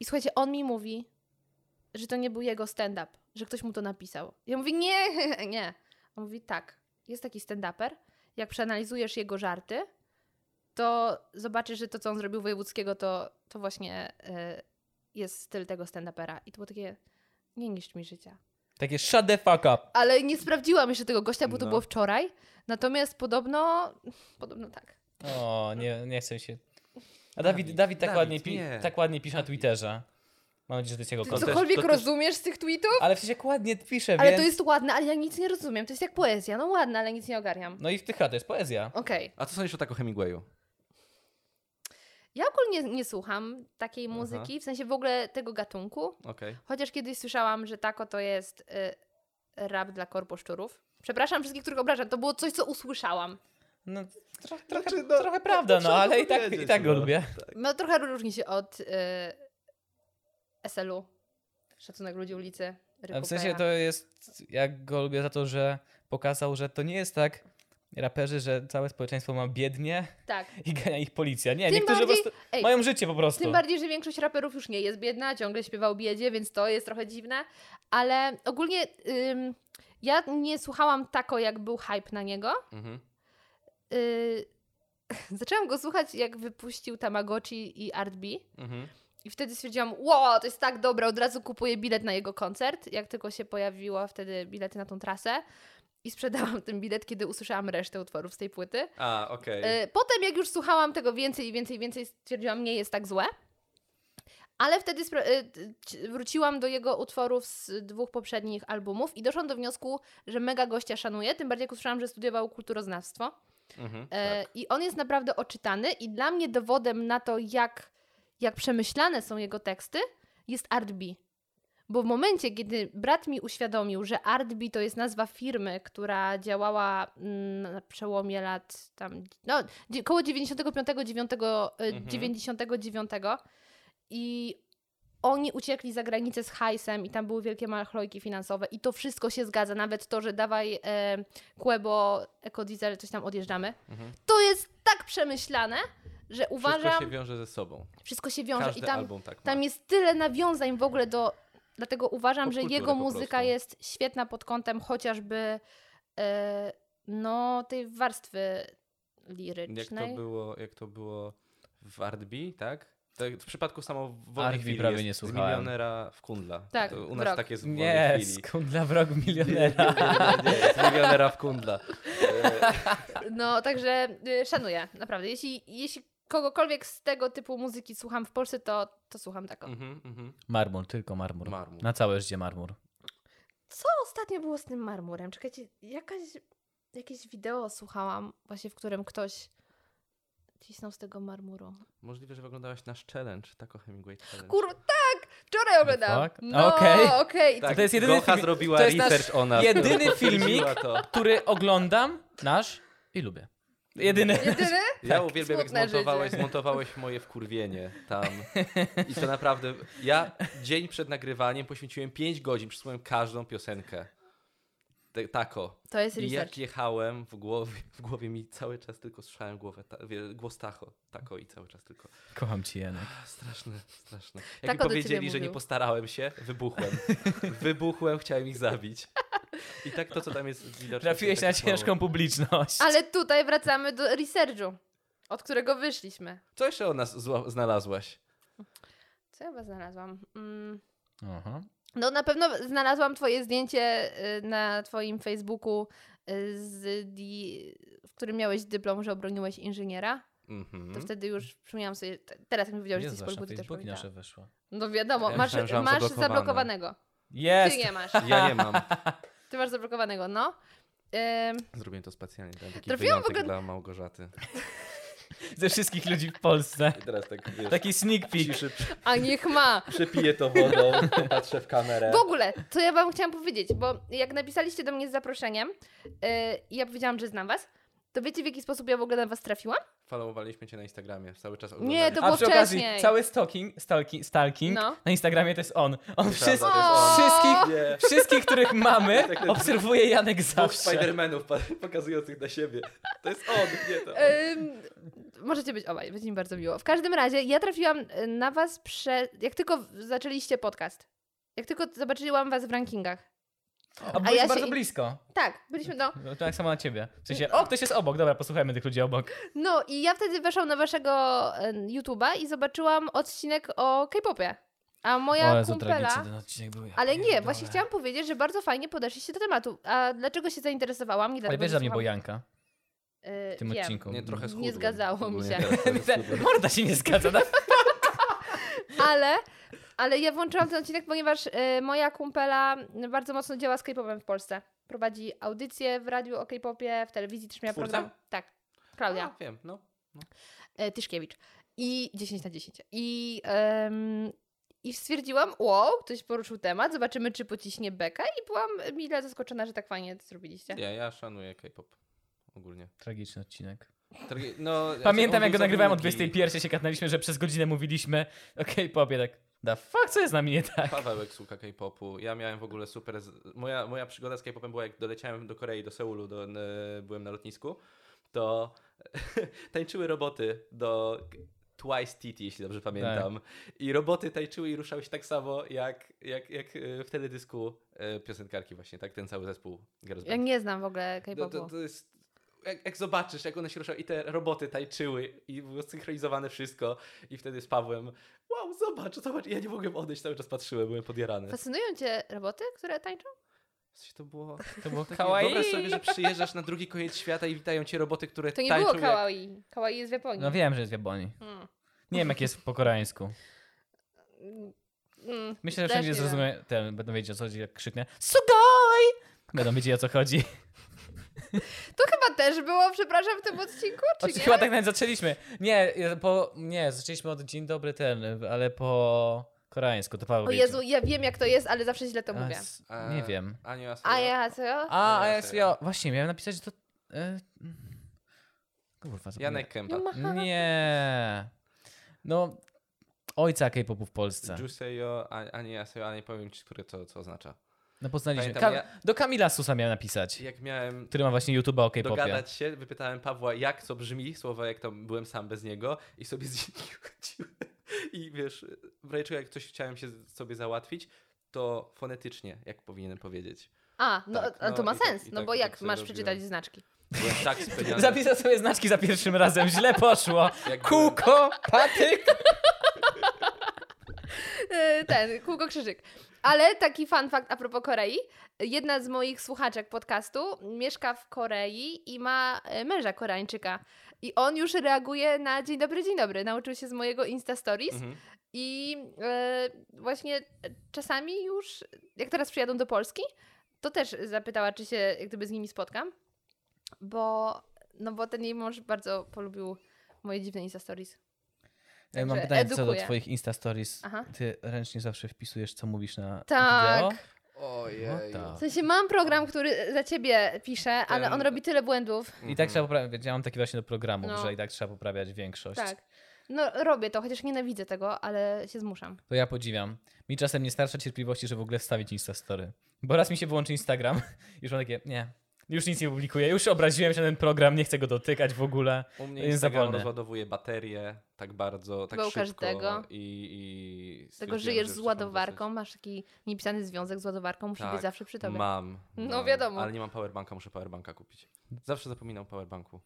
S3: I słuchajcie, on mi mówi, że to nie był jego stand-up, że ktoś mu to napisał. Ja mówię, nie, nie. On mówi, tak, jest taki stand-uper, jak przeanalizujesz jego żarty, to zobaczysz, że to, co on zrobił wojewódzkiego, to, to właśnie y, jest styl tego stand-upera. I to było takie, nie niszcz mi życia.
S1: Takie shut the fuck up.
S3: Ale nie sprawdziłam jeszcze tego gościa, bo to
S2: No.
S3: było wczoraj. Natomiast podobno, podobno tak.
S1: O, nie, nie chcę się... A Dawid, Dawid,
S2: Dawid,
S1: tak,
S2: Dawid,
S1: ładnie pi-
S2: nie.
S1: tak ładnie pisze na Twitterze. Mam nadzieję, że to jest jego
S3: Ty
S1: kontent.
S2: też-
S3: cokolwiek
S2: to też-
S3: rozumiesz z tych tweetów?
S1: Ale w sensie ładnie pisze,
S3: Ale
S1: więc...
S3: to jest ładne, ale ja nic nie rozumiem. To jest jak poezja. No ładne, ale nic nie ogarniam.
S1: No i w tych to jest poezja.
S3: Okej.
S2: A co sądzisz o tak o Hemingwayu?
S3: Ja ogólnie nie słucham takiej muzyki, w sensie w ogóle tego gatunku.
S2: Okej.
S3: Chociaż kiedyś słyszałam, że tako to jest y, rap dla korposzczurów. Przepraszam wszystkich, których obrażam. To było coś, co usłyszałam.
S1: No, tro- trochę,
S2: Znaczy, no,
S1: trochę
S2: to-
S1: prawda,
S2: to
S1: no
S2: trzeba
S1: ale i tak,
S2: powiedzieć,
S1: i tak go
S2: no.
S1: lubię.
S3: No trochę różni się od y, SL-u. Szacunek ludzi ulicy.
S1: A
S3: Ryku
S1: w sensie
S3: Pera.
S1: to jest, ja go lubię za to, że pokazał, że to nie jest tak, raperzy, że całe społeczeństwo ma biednie
S3: Tak.
S1: i gania ich policja. Nie,
S3: Tym
S1: niektórzy
S3: bardziej-
S1: po prostu
S3: ej,
S1: mają życie po prostu.
S3: Tym bardziej, że większość raperów już nie jest biedna, ciągle śpiewa o biedzie, więc to jest trochę dziwne. Ale ogólnie ym, ja nie słuchałam tako, jak był hype na niego.
S2: Mhm.
S3: Yy, zaczęłam go słuchać, jak wypuścił Tamagotchi i Art B.
S2: Mhm.
S3: I wtedy stwierdziłam, wow, to jest tak dobre, od razu kupuję bilet na jego koncert. Jak tylko się pojawiło wtedy bilety na tą trasę. I sprzedałam ten bilet, kiedy usłyszałam resztę utworów z tej płyty.
S2: A, okej.
S3: E, Potem, jak już słuchałam tego więcej i więcej i więcej, stwierdziłam, nie jest tak złe. Ale wtedy spro- e, t- c- wróciłam do jego utworów z dwóch poprzednich albumów i doszłam do wniosku, że mega gościa szanuję, tym bardziej jak usłyszałam, że studiował kulturoznawstwo.
S2: Mhm,
S3: E,
S2: tak.
S3: I on jest naprawdę oczytany i dla mnie dowodem na to, jak, jak przemyślane są jego teksty, jest Art B. Bo w momencie, kiedy brat mi uświadomił, że Art B to jest nazwa firmy, która działała mm, na przełomie lat tam, no, dzie- koło 95, 9,
S2: Mhm.
S3: 99 e, i oni uciekli za granicę z hajsem i tam były wielkie machlojki finansowe i to wszystko się zgadza, nawet to, że dawaj e, Quebo, Ecodiesel, coś tam odjeżdżamy.
S2: Mhm.
S3: To jest tak przemyślane, że uważam,
S2: Wszystko się wiąże ze sobą.
S3: wiąże
S2: Każdy
S3: i tam,
S2: album tak ma.
S3: tam jest tyle nawiązań w ogóle do... Dlatego uważam, że
S2: Popkulturę
S3: jego
S2: po
S3: muzyka
S2: prostu.
S3: jest świetna pod kątem chociażby e, no, tej warstwy
S2: Jak
S3: lirycznej.
S2: to było, jak to było w Artbi, tak? tak? W przypadku
S1: Art
S2: samowolnej
S1: B
S2: chwili
S1: prawie
S2: jest
S1: nie
S2: z
S1: słuchałem.
S2: milionera w kundla.
S3: Tak,
S2: to u
S3: w
S2: nas
S3: rok.
S2: tak jest w wolnej
S1: Nie,
S2: chwili.
S1: skąd dla wrog milionera.
S2: Nie, nie, z milionera w kundla. E,
S3: No, także y, szanuję, naprawdę. Jeśli, jeśli kogokolwiek z tego typu muzyki słucham w Polsce, to, to słucham taką.
S2: mhm, mhm.
S1: Marmur, tylko marmur.
S2: Marmur.
S1: Na całe życie marmur.
S3: Co ostatnio było z tym marmurem? Czekajcie, jakaś, jakieś wideo słuchałam właśnie, w którym ktoś cisnął z tego marmuru.
S2: Możliwe, że wyglądałaś nasz challenge, tako Hemingway challenge.
S3: Kurwa, tak! Wczoraj oglądałam.
S1: fuck?
S3: No,
S1: Okej.
S3: okej. Tak. Okay.
S1: to jest jedyny
S2: Tak, Gocha
S1: filmik-
S2: zrobiła
S1: to jest nasz
S2: research o nas.
S1: jedyny
S2: który potwierdziła
S1: filmik.
S2: To.
S1: Który oglądam, nasz i lubię. Jedyny.
S3: Jedyny?
S2: Ja uwielbiam, jak
S3: Tak, Smutne życie.
S2: zmontowałeś, zmontowałeś moje wkurwienie tam. I to naprawdę. Ja dzień przed nagrywaniem poświęciłem 5 godzin, przysłałem każdą piosenkę. Te- Tako.
S3: To jest
S2: I
S3: research.
S2: jak jechałem w głowie, w głowie mi cały czas tylko słyszałem głowę, ta, wie- głos Tacho. Tako i cały czas tylko.
S1: Kocham cię, Janek.
S2: A, straszne, straszne. Jak
S3: Tako
S2: mi
S3: do
S2: powiedzieli,
S3: ciebie
S2: że nie
S3: mówił.
S2: postarałem się, wybuchłem. wybuchłem, chciałem ich zabić. I tak to, co tam jest widoczne.
S1: Trafiłeś
S2: to
S1: na
S2: jest tak mało.
S1: ciężką publiczność.
S3: Ale tutaj wracamy do researchu, od którego wyszliśmy.
S2: Co jeszcze o nas zła- znalazłaś?
S3: Co ja chyba znalazłam? Mm.
S1: Aha.
S3: No na pewno znalazłam twoje zdjęcie y, na twoim Facebooku y, z di... w którym miałeś dyplom, że obroniłeś inżyniera.
S2: Mhm.
S3: To wtedy już przypomniałam sobie, te- teraz jak mi powiedziałeś, że
S1: Jezu,
S3: jesteś
S1: aż na
S3: polbuty, też
S1: Facebooki nasze
S3: pamiętałam.
S1: wyszło.
S3: No wiadomo,
S2: znaczy- Ja
S3: masz,
S2: myślałem, że mam
S3: masz
S2: zablokowane.
S3: zablokowanego. Ty
S1: Jest!
S3: nie masz.
S2: Ja nie mam.
S3: Ty masz zablokowanego, no. Ym,
S2: Zrobiłem to specjalnie. Dałem taki
S3: Trafiłam w
S2: wyjątek
S3: ogóle-
S2: dla Małgorzaty.
S1: Ze wszystkich ludzi w Polsce.
S2: I teraz tak, wiesz,
S1: Taki sneak peek.
S2: ciszy, przy-
S3: a niech ma.
S2: przypiję to wodą, patrzę w kamerę.
S3: W ogóle, to ja wam chciałam powiedzieć, bo jak napisaliście do mnie z zaproszeniem y, i ja powiedziałam, że znam was, to wiecie w jaki sposób ja w ogóle na was trafiłam?
S2: Followowaliśmy cię na Instagramie, cały czas
S3: Nie, to
S1: A
S3: było
S1: przy okazji,
S3: wcześniej.
S1: cały stalking, stalking, stalking
S3: No.
S1: na Instagramie to jest on. On wszys-
S2: to jest on.
S1: wszystkich,
S2: Nie.
S1: wszystkich, których mamy,
S2: Tak, tak.
S1: obserwuje Janek
S2: Dwóch
S1: zawsze.
S2: Spidermanów pa- pokazujących na siebie. To jest on, nie to. on.
S3: Ym, możecie być obaj, będzie mi bardzo miło. W każdym razie ja trafiłam y, na was prze... jak tylko w- zaczęliście podcast. Jak tylko zobaczyłam was w rankingach.
S1: A byłeś
S3: ja się
S1: bardzo
S3: i-
S1: blisko.
S3: Tak, byliśmy, no.
S1: No, Tak samo na ciebie. W sensie, o, ktoś jest obok, dobra, posłuchajmy tych ludzi obok.
S3: No i ja wtedy weszłam na waszego y, YouTube'a i zobaczyłam odcinek o K-popie. A moja kumpela...
S1: ten odcinek był.
S3: Ale nie, właśnie chciałam powiedzieć, że bardzo fajnie podeszliście do tematu. A dlaczego się zainteresowałam?
S1: Ale
S3: Nie dlatego,
S1: wiesz,
S3: że
S1: że mnie
S3: słucham-
S1: była Janka
S3: Y,
S1: w tym
S3: wiem.
S1: odcinku.
S2: Nie, trochę
S3: Nie
S2: schudłem.
S3: zgadzało mi się.
S2: Ogólnie teraz trochę schudłem.
S1: Morda się nie zgadza. No.
S3: Ale, ale ja włączyłam ten odcinek, ponieważ y, moja kumpela bardzo mocno działa z K-popem w Polsce. Prowadzi audycje w radiu o K-popie, w telewizji też miała
S2: Twórca?
S3: program. Tak, Klaudia
S2: A, wiem, no.
S3: e, Tyszkiewicz. I 10 na 10. I, em, I stwierdziłam, wow, ktoś poruszył temat, zobaczymy czy pociśnie beka i byłam mile zaskoczona, że tak fajnie to zrobiliście.
S2: Nie, ja szanuję K-pop. Ogólnie.
S1: Tragiczny odcinek.
S2: Tragi- No,
S1: Pamiętam,
S2: on
S1: jak go
S2: był za
S1: nagrywałem o
S2: długi.
S1: 21 się katnaliśmy, że przez godzinę mówiliśmy o K-popie, tak. The fuck, co jest z nami nie tak?
S2: Pawełek słucha K-popu. Ja miałem w ogóle super. Z... Moja, moja przygoda z K-popem była, jak doleciałem do Korei, do Seulu, do, n- byłem na lotnisku, to tańczyły roboty do Twice TT, jeśli dobrze pamiętam. I roboty tańczyły i ruszały się tak samo jak, jak, jak e, w teledysku e, piosenkarki, właśnie, tak? Ten cały zespół. Girls
S3: Ja
S2: Band.
S3: nie znam w ogóle
S2: To,
S3: K-popu.
S2: tak. No to, to jest. Jak, jak zobaczysz, jak one się ruszały i te roboty tańczyły i było synchronizowane wszystko i wtedy z Pawłem wow, zobacz, zobacz, ja nie mogłem odejść, cały czas patrzyłem, byłem podjarany.
S3: Fascynują cię roboty, które tańczą?
S2: Coś to było...
S1: To było
S2: Kawaii.
S1: kawaii.
S2: Wyobraź sobie, że przyjeżdżasz na drugi koniec świata i witają cię roboty, które
S3: To nie
S2: tańczą
S3: było
S2: jak-
S3: kawaii. Kawaii jest w Japonii.
S1: No wiem, że jest w Japonii.
S3: Mm.
S1: Nie wiem, jak jest po koreańsku.
S3: Mm.
S1: Myślę, że
S3: Też
S1: wszędzie
S3: nie wiem.
S1: zrozumie, ten, będą wiedzieć o co chodzi, jak krzyknę Sugoi! Będą wiedzieć o co chodzi.
S3: To chyba też było, przepraszam, w tym odcinku, czy
S1: Oczy,
S3: nie?
S1: chyba tak nawet zaczęliśmy. Nie, ja- po, nie, zaczęliśmy od dzień dobry ten, ale po koreańsku, to Paweł
S3: O
S1: wiedział.
S3: Jezu, ja wiem jak to jest, ale zawsze źle to
S1: A,
S3: mówię.
S1: s-
S2: A,
S1: Nie wiem.
S2: Aniu Asura.
S3: A ja, co?
S1: A, a
S2: ja
S1: ja,
S2: sobie-
S1: ja, właśnie, miałem napisać, że to... E, kurwa,
S2: Janek Kępa.
S1: zapomniałem. Nie. No, ojca K-popu w Polsce.
S2: Juseyo, a- Ani Asura, ale nie powiem ci, które to co oznacza.
S1: No poznaliśmy.
S2: Pamiętam,
S1: Ka-
S2: ja-
S1: Do Kamila Susa miałem napisać,
S2: Jak miałem
S1: który ma właśnie YouTube'a o K-popie.
S2: dogadać się, wypytałem Pawła, jak co brzmi, słowo jak to byłem sam bez niego i sobie z nimi chodziłem. I wiesz, w rajczu jak coś chciałem się z- sobie załatwić, to fonetycznie, jak powinienem powiedzieć.
S3: A, no,
S2: Tak,
S3: a
S2: no
S3: to ma
S2: i tak-
S3: sens,
S2: i
S3: no
S2: tak-
S3: bo
S2: i
S3: jak
S2: tak sobie
S3: masz
S2: robiłem.
S3: przeczytać znaczki?
S2: Byłem tak spędziony.
S1: Zapisał sobie znaczki za pierwszym razem, źle poszło. Kuko, patyk.
S3: E, Ten, kółko krzyżyk. Ale taki fun fact a propos Korei. Jedna z moich słuchaczek podcastu mieszka w Korei i ma e, męża Koreańczyka. I on już reaguje na dzień dobry, dzień dobry. Nauczył się z mojego Insta Stories.
S2: Mhm.
S3: I e, właśnie czasami już, jak teraz przyjadą do Polski, to też zapytała, czy się jak gdyby z nimi spotkam, bo, no bo ten jej mąż bardzo polubił moje dziwne Insta Stories.
S1: Ja mam
S3: Także
S1: pytanie co do
S3: edukuję.
S1: twoich Insta Stories.
S3: Aha.
S1: Ty ręcznie zawsze wpisujesz, co mówisz na
S3: Tak.
S1: wideo?
S2: Ojej.
S1: No tak.
S3: W sensie mam program, który za ciebie pisze, ale
S2: Ten-
S3: on robi tyle błędów.
S1: I
S2: Mhm.
S1: tak trzeba poprawiać. Ja mam taki właśnie do programów,
S3: No.
S1: że i tak trzeba poprawiać większość.
S3: Tak. No robię to, chociaż nienawidzę tego, ale się zmuszam.
S1: To ja podziwiam. Mi czasem nie starcza cierpliwości, żeby w ogóle wstawić Insta Story. Bo raz mi się wyłączy Instagram, już mam takie, nie. Już nic nie publikuję, już obraziłem się na ten program, nie chcę go dotykać w ogóle.
S2: U mnie
S1: Jest
S2: Instagram
S1: zapalny.
S2: rozładowuje baterię tak bardzo, tak
S3: Chyba u
S2: szybko.
S3: każdego.
S2: I, i
S3: Tego
S2: stwierdziłem,
S3: żyjesz
S2: że
S3: z
S2: już zapomnę
S3: ładowarką, masz taki niepisany związek z ładowarką, musi
S2: Tak,
S3: być zawsze przy
S2: dosyć.
S3: tobie.
S2: Mam.
S3: No
S2: mam,
S3: wiadomo.
S2: Ale nie mam powerbanka, muszę powerbanka kupić. Zawsze zapominam o powerbanku.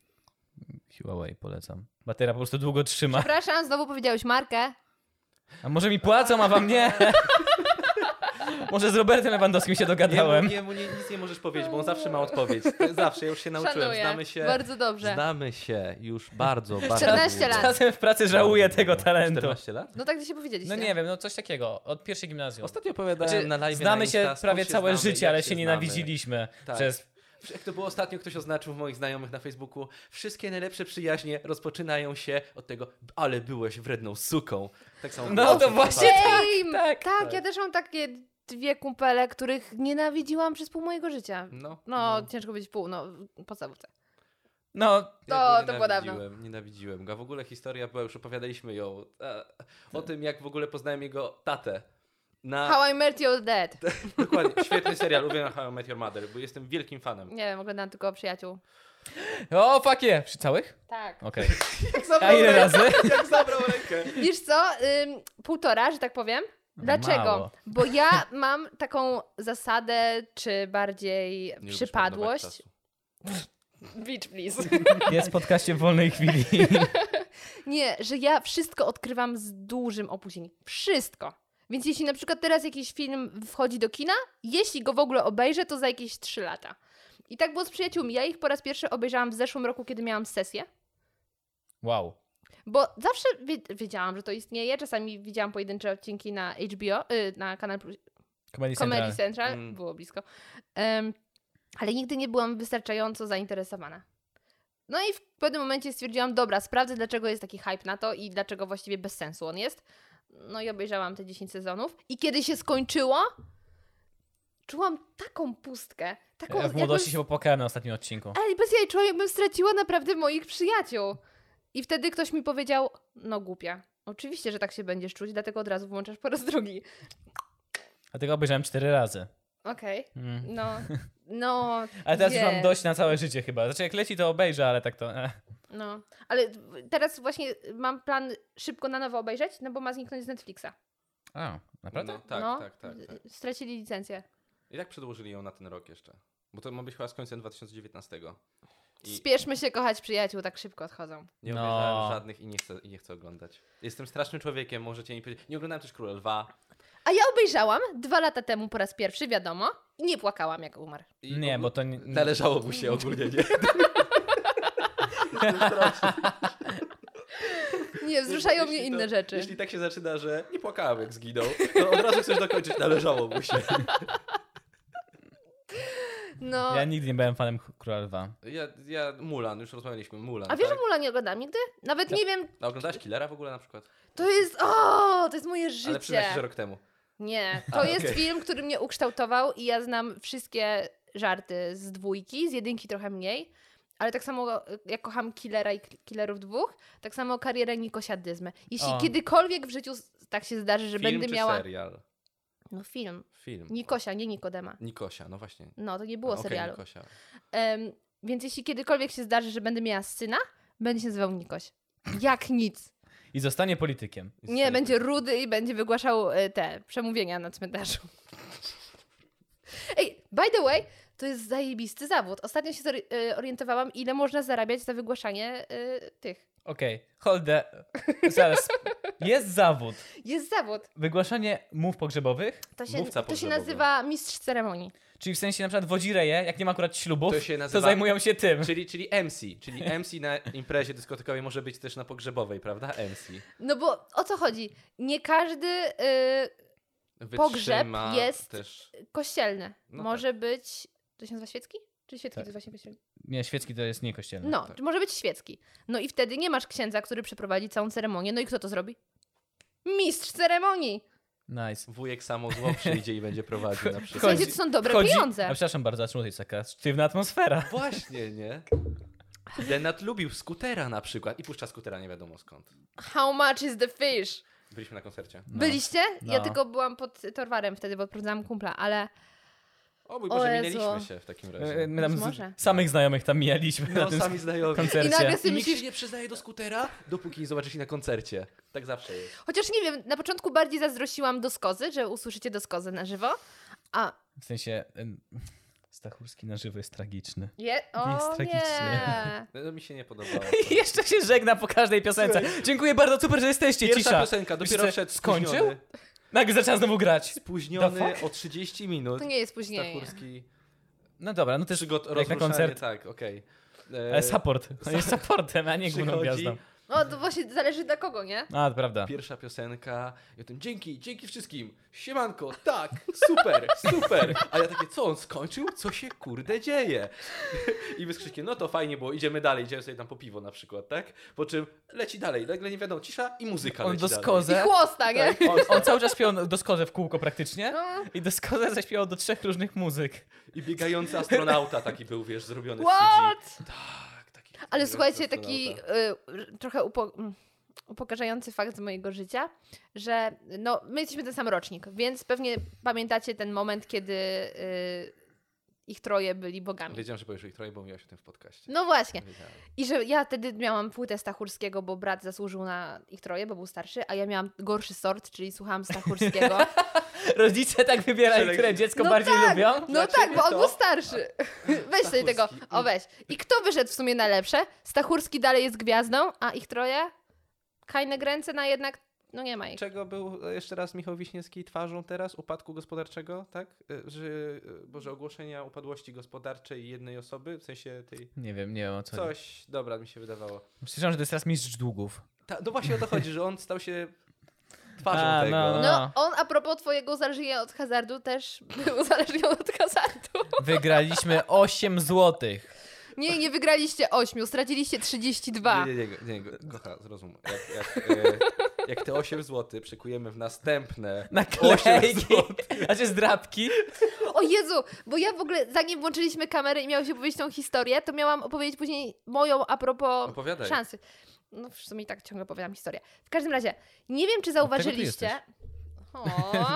S1: Huawei polecam. Batera po prostu długo trzyma.
S3: Przepraszam, znowu powiedziałeś markę.
S1: A może mi płacą, a wam nie? może z Robertem Lewandowskim się
S2: Nie,
S1: dogadałem.
S2: nie, mu nie, nic nie możesz powiedzieć, bo on zawsze ma odpowiedź. To- Zawsze, ja już się nauczyłem,
S3: Szanuję.
S2: znamy się.
S3: Bardzo dobrze.
S2: Znamy się już bardzo, bardzo
S3: 14
S2: długo.
S3: lat.
S1: Czasem w pracy żałuję
S2: Bardzo
S1: tego
S2: długo.
S1: talentu.
S2: 14 lat?
S3: No tak gdzie się powiedzieliście.
S1: No nie wiem, no coś takiego. Od pierwszej gimnazjum.
S2: Ostatnio opowiadałem
S1: Znaczy,
S2: na live
S1: znamy
S2: na
S1: się
S2: Insta, skąd
S1: prawie
S2: się
S1: całe
S2: znamy,
S1: życie,
S2: jak
S1: ale się,
S2: się znamy.
S1: nienawidzieliśmy.
S2: Tak.
S1: Przez...
S2: Jak to było ostatnio, ktoś oznaczył moich znajomych na Facebooku, wszystkie najlepsze przyjaźnie rozpoczynają się od tego, ale byłeś wredną suką. Tak samo
S1: No
S2: było
S1: to
S2: w
S1: właśnie
S2: przypadku.
S1: tak,
S3: Same!
S1: tak.
S3: Tak, ja też mam takie dwie kumpele, których nienawidziłam przez pół mojego życia.
S2: No,
S3: No, ciężko być pół, no, w podstawówce.
S1: No,
S2: Ja go
S3: to było dawno.
S2: Nienawidziłem, nienawidziłem go. A W ogóle historia była, już opowiadaliśmy ją, e, o tym jak w ogóle poznałem jego tatę. Na,
S3: Tak. How I Met Your Dad.
S2: dokładnie, świetny serial, uwielbiam How I Met Your Mother, bo jestem wielkim fanem.
S3: Nie wiem, oglądam tylko przyjaciół.
S1: o fuck yeah. Przy całych?
S2: No
S3: Tak.
S1: Okej.
S2: Jak
S1: A
S2: zabrał
S1: ile
S2: rękę,
S1: razy?
S2: jak zabrał rękę.
S3: Wiesz co, ym, półtora, że tak powiem. Dlaczego?
S1: No Mało.
S3: Bo ja mam taką zasadę, czy bardziej
S2: Nie lubisz marnować
S3: przypadłość.
S2: czasu.
S3: Bitch, please.
S1: Jest w podcaście w wolnej chwili.
S3: Nie, że ja wszystko odkrywam z dużym opóźnieniem. Wszystko. Więc jeśli na przykład teraz jakiś film wchodzi do kina, jeśli go w ogóle obejrzę, to za jakieś 3 lata. I tak było z przyjaciółmi. Ja ich po raz pierwszy obejrzałam w zeszłym roku, kiedy miałam sesję,
S1: Wow.
S3: bo zawsze wie- wiedziałam, że to istnieje. Czasami widziałam pojedyncze odcinki na HBO, y, na kanal Plus,
S1: Comedy Central.
S3: Comedy Central,
S2: Mm.
S3: było blisko. Em, ale nigdy nie byłam wystarczająco zainteresowana. No i w pewnym momencie stwierdziłam, dobra, sprawdzę dlaczego jest taki hype na to i dlaczego właściwie bez sensu on jest. No i obejrzałam te 10 sezonów i kiedy się skończyło, czułam taką pustkę. Taką,
S1: Ja w
S3: jakbym-
S1: młodości się popłakałem na ostatnim odcinku.
S3: Ale bez jaj, czułam jakbym straciła naprawdę moich przyjaciół. I wtedy ktoś mi powiedział, no głupia, Oczywiście, że tak się będziesz czuć, dlatego od razu włączasz po raz drugi.
S1: Dlatego obejrzałem cztery razy.
S3: Okej.
S1: Mm.
S3: No, no.
S1: Ale teraz już
S3: wiem.
S1: mam dość na całe życie chyba. Znaczy jak leci to obejrzę, ale tak to... Eh.
S3: No, ale w- teraz właśnie mam plan szybko na nowo obejrzeć, no bo ma zniknąć z Netflixa.
S1: A,
S2: No,
S1: naprawdę?
S2: tak,
S3: no,
S2: tak, tak, tak.
S3: Stracili licencję.
S2: I tak przedłużyli ją na ten rok jeszcze. Bo to ma być chyba z końcem 2019. I
S3: Spieszmy się kochać przyjaciół, tak szybko odchodzą.
S2: nie
S1: No.
S2: obejrzałem żadnych i nie, chcę, i nie chcę oglądać. Jestem strasznym człowiekiem, możecie mi powiedzieć. Nie oglądałem też Króla Lwa.
S3: A ja obejrzałam dwa lata temu po raz pierwszy, wiadomo, i nie płakałam jak umarł.
S2: I
S1: No. Nie,
S2: ogl-
S1: bo to nie...
S2: Należało mu się ogólnie, nie?
S3: Nie, wzruszają
S2: Jeśli
S3: mnie
S2: to-
S3: inne rzeczy.
S2: Jeśli tak się zaczyna, że nie płakałem jak zginął, to od razu chcesz dokończyć, należało mu się.
S3: No.
S1: Ja nigdy nie byłem fanem Króla Lwa.
S2: Ja, ja Mulan, już rozmawialiśmy, Mulan.
S3: A wiesz, że
S2: tak?
S3: Mula nie oglądam nigdy? Nawet nie wiem,
S2: A oglądasz Killera w ogóle na przykład?
S3: to jest. O, to jest moje
S2: Ale przyznaj się, że
S3: życie.
S2: rok temu.
S3: Nie,
S2: A,
S3: to jest
S2: okej.
S3: film, który mnie ukształtował i ja znam wszystkie żarty z dwójki, z jedynki trochę mniej. Ale tak samo e, jak kocham Killera i K- Killerów dwóch, tak samo karierę Nikosia Dyzmę. Jeśli
S1: O.
S3: kiedykolwiek w życiu s- tak się zdarzy, że
S2: Film
S3: będę
S2: czy
S3: miała.
S2: serial?
S3: No film.
S2: Film.
S3: Nikosia, nie Nikodema.
S2: Nikosia, no właśnie.
S3: No, to nie
S2: A,
S3: było
S2: okej,
S3: serialu.
S2: Nikosia.
S3: Em, więc jeśli kiedykolwiek się zdarzy, że będę miała syna, będzie się nazywał Nikoś. Jak nic.
S1: I zostanie politykiem.
S2: Jest
S3: Nie,
S2: serial.
S3: będzie rudy i będzie wygłaszał e, te przemówienia na cmentarzu. Ej, by the way, to jest zajebisty zawód. Ostatnio się zori- e, orientowałam, ile można zarabiać za wygłaszanie e, tych.
S1: Okej, hold the... Zaraz. Jest zawód.
S3: Jest zawód.
S1: Wygłaszanie mów pogrzebowych,
S3: To się,
S2: Mówca
S3: to się
S2: pogrzebowy.
S3: nazywa mistrz ceremonii.
S1: czyli w sensie na przykład wodzi reje, jak nie ma akurat ślubów,
S2: To
S1: to,
S2: się nazywa-
S1: zajmują się tym.
S2: Czyli, czyli MC, czyli MC na imprezie dyskotekowej może być też na pogrzebowej, prawda? MC.
S3: No bo o co chodzi? Nie każdy e, Pogrzeb
S2: Wytrzyma
S3: jest-
S2: Też...
S3: kościelny
S2: No
S3: może być. To się nazywa świecki? Czy świecki
S1: Tak.
S3: to jest właśnie kościelny?
S1: Nie, świecki to jest niekościelny.
S3: No,
S2: tak.
S3: czy może być świecki. No i wtedy nie masz księdza, który przeprowadzi całą ceremonię. No i kto to zrobi? Mistrz ceremonii!
S1: Nice.
S2: Wujek samo zło przyjdzie i będzie prowadził na
S3: W
S2: przykład.
S3: sensie to są dobre
S1: Wchodzi-
S3: pieniądze.
S1: A przepraszam bardzo, a czemu to jest taka sztywna atmosfera?
S2: Właśnie, nie? Denat lubił skutera na przykład i puszcza skutera nie wiadomo skąd.
S3: How much is the fish?
S2: Byliśmy na koncercie.
S1: No.
S3: Byliście? Ja
S1: No.
S3: tylko byłam pod torwarem wtedy, bo odprowadzałam kumpla, ale
S2: O mój
S3: O
S2: Boże,
S3: Jezu.
S2: minęliśmy się w takim
S1: My,
S2: razie.
S1: my tam
S3: Być może.
S1: z, samych znajomych tam mijaliśmy E, na
S2: No,
S1: tym
S2: sami znajomi.
S1: koncercie.
S3: I nagle-
S2: I
S3: sobie
S2: nikt się
S3: myślisz-
S2: nie przyznaje do skutera, dopóki nie zobaczysz ich na koncercie. Tak zawsze jest.
S3: chociaż nie wiem, na początku bardziej zazdrościłam doskozy, że usłyszycie doskozy na żywo. A,
S1: W sensie em, Stachurski na żywo jest tragiczny.
S3: je, o
S1: Jest
S3: nie.
S1: tragicznie.
S2: No mi się nie podobało.
S1: I Jeszcze się żegna po każdej piosence. Dziękuję bardzo, super, że jesteście.
S2: Pierwsza
S1: Cisza.
S2: piosenka,
S1: Wiesz
S2: dopiero
S1: co,
S2: wszedł
S1: skończył.
S2: spóźniony.
S1: Nagle zaczyna znowu grać. The
S2: Spóźniony
S1: fuck?
S2: o 30 minut.
S3: To nie jest później.
S2: Stachurski.
S1: No dobra, no też
S2: Przygot,
S1: jak na koncert.
S2: tak, okej. E,
S1: Ale support. On jest supportem, a nie główną
S2: przychodzi,
S1: gwiazdą.
S3: No to właśnie zależy dla kogo, nie?
S1: A, to
S3: Tak.
S1: prawda.
S2: Pierwsza piosenka. Ja tym dzięki, dzięki wszystkim. Siemanko, tak, super, super. A ja takie, co on skończył? Co się kurde dzieje? I my z Krzyśkiem, no to fajnie było, idziemy dalej, idziemy sobie tam po piwo na przykład, tak? Po czym leci dalej, nagle nie wiadomo, cisza i muzyka
S1: On
S2: leci
S1: do
S2: dalej.
S3: I
S1: skozę.
S3: chłosta, nie?
S2: Tak, on-
S1: On cały czas śpiewał doskozę w kółko praktycznie.
S3: No.
S1: I doskozę zaśpiewał do trzech różnych muzyk.
S2: I biegający astronauta taki był, wiesz, zrobiony
S3: What?
S2: w CG. Tak, taki.
S3: Ale
S2: biegający
S3: słuchajcie, taki
S2: astronauta.
S3: y, trochę upo- mm, upokarzający fakt z mojego życia, że no, my jesteśmy ten sam rocznik, więc pewnie pamiętacie ten moment, kiedy y, ich troje byli bogami.
S2: Wiedziałem, że powiesz, że ich troje, bo mówiłaś o tym w podcaście.
S3: No właśnie.
S2: Wiedziałem.
S3: I że ja wtedy miałam płytę Stachurskiego, bo brat zasłużył na ich troje, bo był starszy, a ja miałam gorszy sort, czyli słuchałam Stachurskiego.
S1: Rodzice tak wybierają,
S2: Przeleci-
S1: które dziecko
S3: No
S1: bardziej
S3: tak!
S1: lubią.
S3: No
S2: Dla
S3: tak,
S2: ciebie
S3: bo on
S2: to- Tak.
S3: był starszy. Weź sobie tego,
S2: Stachurski.
S3: o weź. I kto wyszedł w sumie na lepsze? Stachurski dalej jest gwiazdą, a ich troje? Kajne Gręce na jednak, no nie ma ich.
S2: Czego był e, jeszcze raz Michał Wiśniewski twarzą teraz? Upadku gospodarczego, tak? E, Że, e, Boże, ogłoszenia upadłości gospodarczej jednej osoby, w sensie tej...
S1: Nie wiem, nie wiem o co. chodzi.
S2: Coś, dobra, mi się wydawało.
S1: Słyszałem, że to jest teraz mistrz długów.
S2: Ta, no właśnie o to chodzi, że on stał się twarzą
S1: A,
S2: tego.
S1: no,
S3: No, on a propos twojego uzależnienia od hazardu też był uzależniony od hazardu.
S1: Wygraliśmy 8 złotych.
S3: Nie, nie wygraliście 8, straciliście 32.
S2: Nie, nie, nie, nie, nie, kocha, zrozum. Jak, jak, e, jak te 8 zł przykujemy w następne
S1: Na
S2: 8
S1: klejki,
S2: zł.
S1: a czy z drapki?
S3: O Jezu, bo ja w ogóle, zanim włączyliśmy kamerę i miałam się powiedzieć tą historię, to miałam opowiedzieć później moją a propos
S2: Opowiadaj.
S3: szansy. No w sumie i tak ciągle opowiadam historię. W każdym razie, nie wiem czy
S1: tu
S3: zauważyliście... O,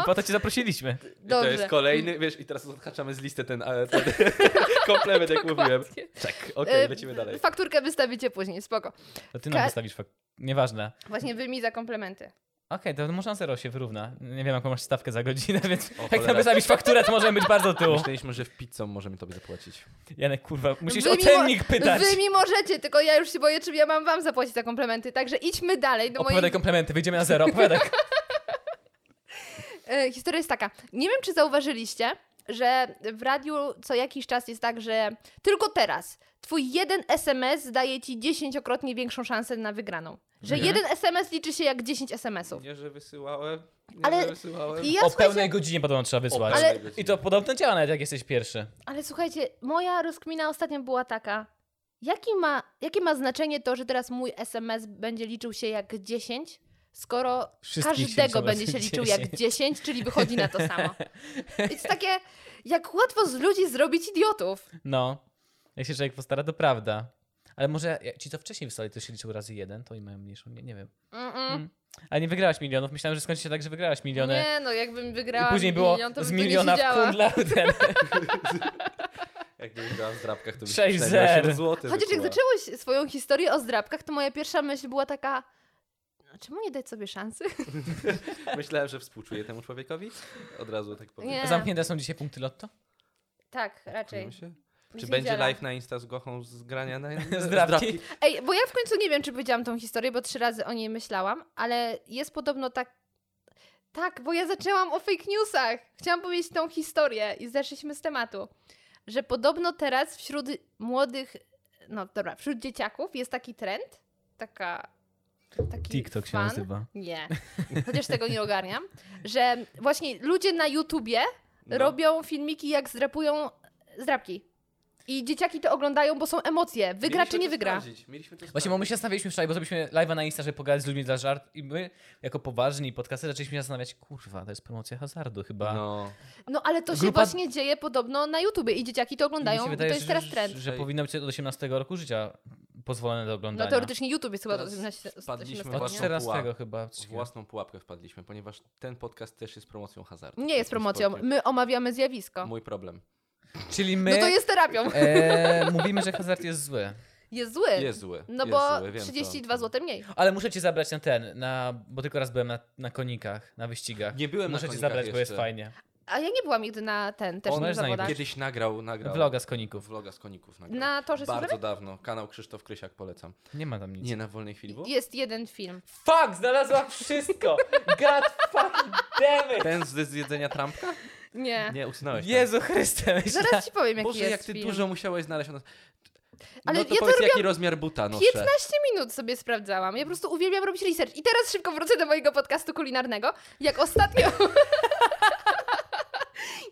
S1: Po to cię zaprosiliśmy.
S2: I
S3: Dobrze.
S2: To jest kolejny, wiesz, i teraz odhaczamy z listy ten, ale ten komplement, jak
S3: dokładnie.
S2: mówiłem. Czek, okej,
S3: E,
S2: lecimy dalej.
S3: Fakturkę wystawicie później, spoko.
S1: To ty nam
S3: Ka-
S1: wystawisz fakt. Nieważne.
S3: Właśnie wy mi za komplementy.
S1: Okej, to może zero się wyrówna. Nie wiem, jaką masz stawkę za godzinę, więc jak
S2: cholera.
S1: tam wystawisz fakturę, to możemy być bardzo tyłu.
S2: Myśleliśmy, że w pizzą możemy tobie zapłacić.
S1: Janek, kurwa, musisz
S3: Wy
S1: o
S3: mi
S1: cennik
S3: mo-
S1: pytać.
S3: Wy mi możecie, tylko ja już się boję, czy ja mam wam zapłacić za komplementy. Także idźmy dalej do mojej
S1: Opowiadaj komplementy, wyjdziemy na zero, opowiadaj.
S3: E, historia jest taka. Nie wiem, czy zauważyliście, że w radiu co jakiś czas jest tak, że tylko teraz twój jeden SMS daje ci dziesięciokrotnie większą szansę na wygraną. Że
S1: Mhm.
S3: jeden SMS liczy się jak 10 SMS-ów.
S2: Nie, że wysyłałem. Nie,
S3: Ale-
S2: że wysyłałem.
S3: I ja,
S1: o
S3: słuchajcie,
S1: pełnej godzinie podobno trzeba wysłać.
S2: O pełnej
S3: Ale-
S2: godzinie.
S1: I to podobno działa nawet jak jesteś pierwszy.
S3: ale słuchajcie, moja rozkmina ostatnio była taka. Jaki ma, jakie ma znaczenie to, że teraz mój SMS będzie liczył się jak 10, skoro
S1: Wszystkich się
S3: każdego
S1: liczą
S3: będzie się
S1: razem
S3: liczył jak 10, czyli wychodzi na to samo. Więc takie, jak łatwo z ludzi zrobić idiotów.
S1: No. Jak się człowiek postara, to prawda. Ale może ja- ci, co wcześniej wysłali, to się liczył razy jeden, to i mają mniejszą, nie, nie wiem.
S3: Mm-mm.
S1: Ale nie wygrałaś milionów, myślałem, że skończy się tak, że wygrałaś miliony.
S3: Nie, no jakbym wygrała
S1: I później było
S3: milion, to
S1: z
S3: bym tu nie
S1: miliona w
S3: siedziała.
S1: kundla ten
S2: Jak nie wygrałam w drapkach, to byś
S1: 6-0.
S2: 48 zł.
S3: Chociaż jak
S2: wykuła.
S3: zaczęłaś swoją historię o zdrabkach, to moja pierwsza myśl była taka, no, czemu nie dać sobie szansy?
S2: Myślałem, że współczuję temu człowiekowi. Od razu tak powiem.
S3: Nie,
S1: Zamknięte są dzisiaj punkty lotto?
S3: Tak,
S2: Czujemy
S3: raczej.
S2: się?
S3: w
S2: Czy będzie
S3: niedzielę.
S2: live na Insta z Gochą z grania na
S1: Z drapki?
S3: Ej, bo ja w końcu nie wiem, czy powiedziałam tą historię, bo trzy razy o niej myślałam, ale jest podobno tak... Tak, bo ja zaczęłam o fake newsach. Chciałam powiedzieć tą historię i zeszliśmy z tematu, że podobno teraz wśród młodych, no dobra, wśród dzieciaków jest taki trend, taka... Taki
S1: TikTok się
S3: fan,
S1: nazywa.
S3: Nie. Chociaż tego nie ogarniam. Że właśnie ludzie na YouTubie
S2: No.
S3: robią filmiki, jak zdrapują zdrapki. I dzieciaki to oglądają, bo są emocje. Wygra
S2: Mieliśmy
S3: czy nie
S2: to
S3: wygra.
S2: sprawdzić, Mieliśmy to
S1: Właśnie, bo my się zastanawialiśmy wczoraj, bo zrobiliśmy live'a na Insta, żeby pogadać z ludźmi dla żart i my, jako poważni podcasty, zaczęliśmy się zastanawiać, kurwa, to jest promocja hazardu chyba.
S2: No.
S3: No ale to się
S1: Grupa-
S3: właśnie dzieje podobno na YouTubie i dzieciaki to
S1: I mi
S3: oglądają.
S1: się
S3: i
S1: wydaje,
S3: to jest
S1: że-
S3: teraz
S1: że-
S3: trend.
S1: Że powinno być od 18 roku życia pozwolone do
S3: No
S1: oglądania.
S3: teoretycznie YouTube jest chyba do
S2: Teraz
S3: 18
S2: wpadliśmy
S3: 18
S1: Od
S2: Własną
S1: 14
S2: pułapkę.
S1: chyba.
S2: W własną pułapkę wpadliśmy, ponieważ ten podcast też jest promocją hazardu.
S3: Nie jest promocją.
S2: sportem.
S3: My omawiamy zjawisko.
S2: Mój problem.
S1: Czyli my
S3: No to jest terapią.
S1: e, mówimy, że hazard jest zły.
S3: Jest zły.
S2: Jest zły.
S3: No
S2: jest
S3: bo
S2: zły, wiem, co-
S3: 32 zł mniej.
S1: Ale muszę cię zabrać na ten, na, bo tylko raz byłem na, na konikach, na wyścigach.
S2: Nie byłem na
S1: Muszę cię
S2: konikach
S1: zabrać, bo jest
S2: jeszcze.
S1: fajnie.
S3: A ja nie byłam nigdy na ten też
S1: On
S3: na
S1: jest
S3: zawodach.
S1: najbliższy.
S2: Kiedyś nagrał, nagrał.
S1: Vloga z koników.
S2: Vloga z koników nagrał.
S3: Na torze
S2: Bardzo
S3: służbowym?
S2: dawno. Kanał Krzysztof Krysiak polecam.
S1: Nie ma tam nic.
S2: Nie na wolnej chwili, bo...
S3: Jest jeden film.
S1: Fuck, znalazłam wszystko! God fucking damn it!
S2: Ten z z jedzenia Trumpka?
S3: Nie.
S2: Nie, usunąłeś. tam.
S1: Jezu Chryste, myślałem-
S3: Zaraz ci powiem, Tak. jaki
S2: Boże,
S3: jest
S2: jak ty
S3: film.
S2: dużo musiałeś znaleźć. No
S3: Ale
S2: to
S3: ja to
S2: powiedz, jaki rozmiar buta noszę.
S3: 15 minut sobie sprawdzałam. Ja po prostu uwielbiam robić research. I teraz szybko wrócę do mojego podcastu kulinarnego. Jak ostatnio.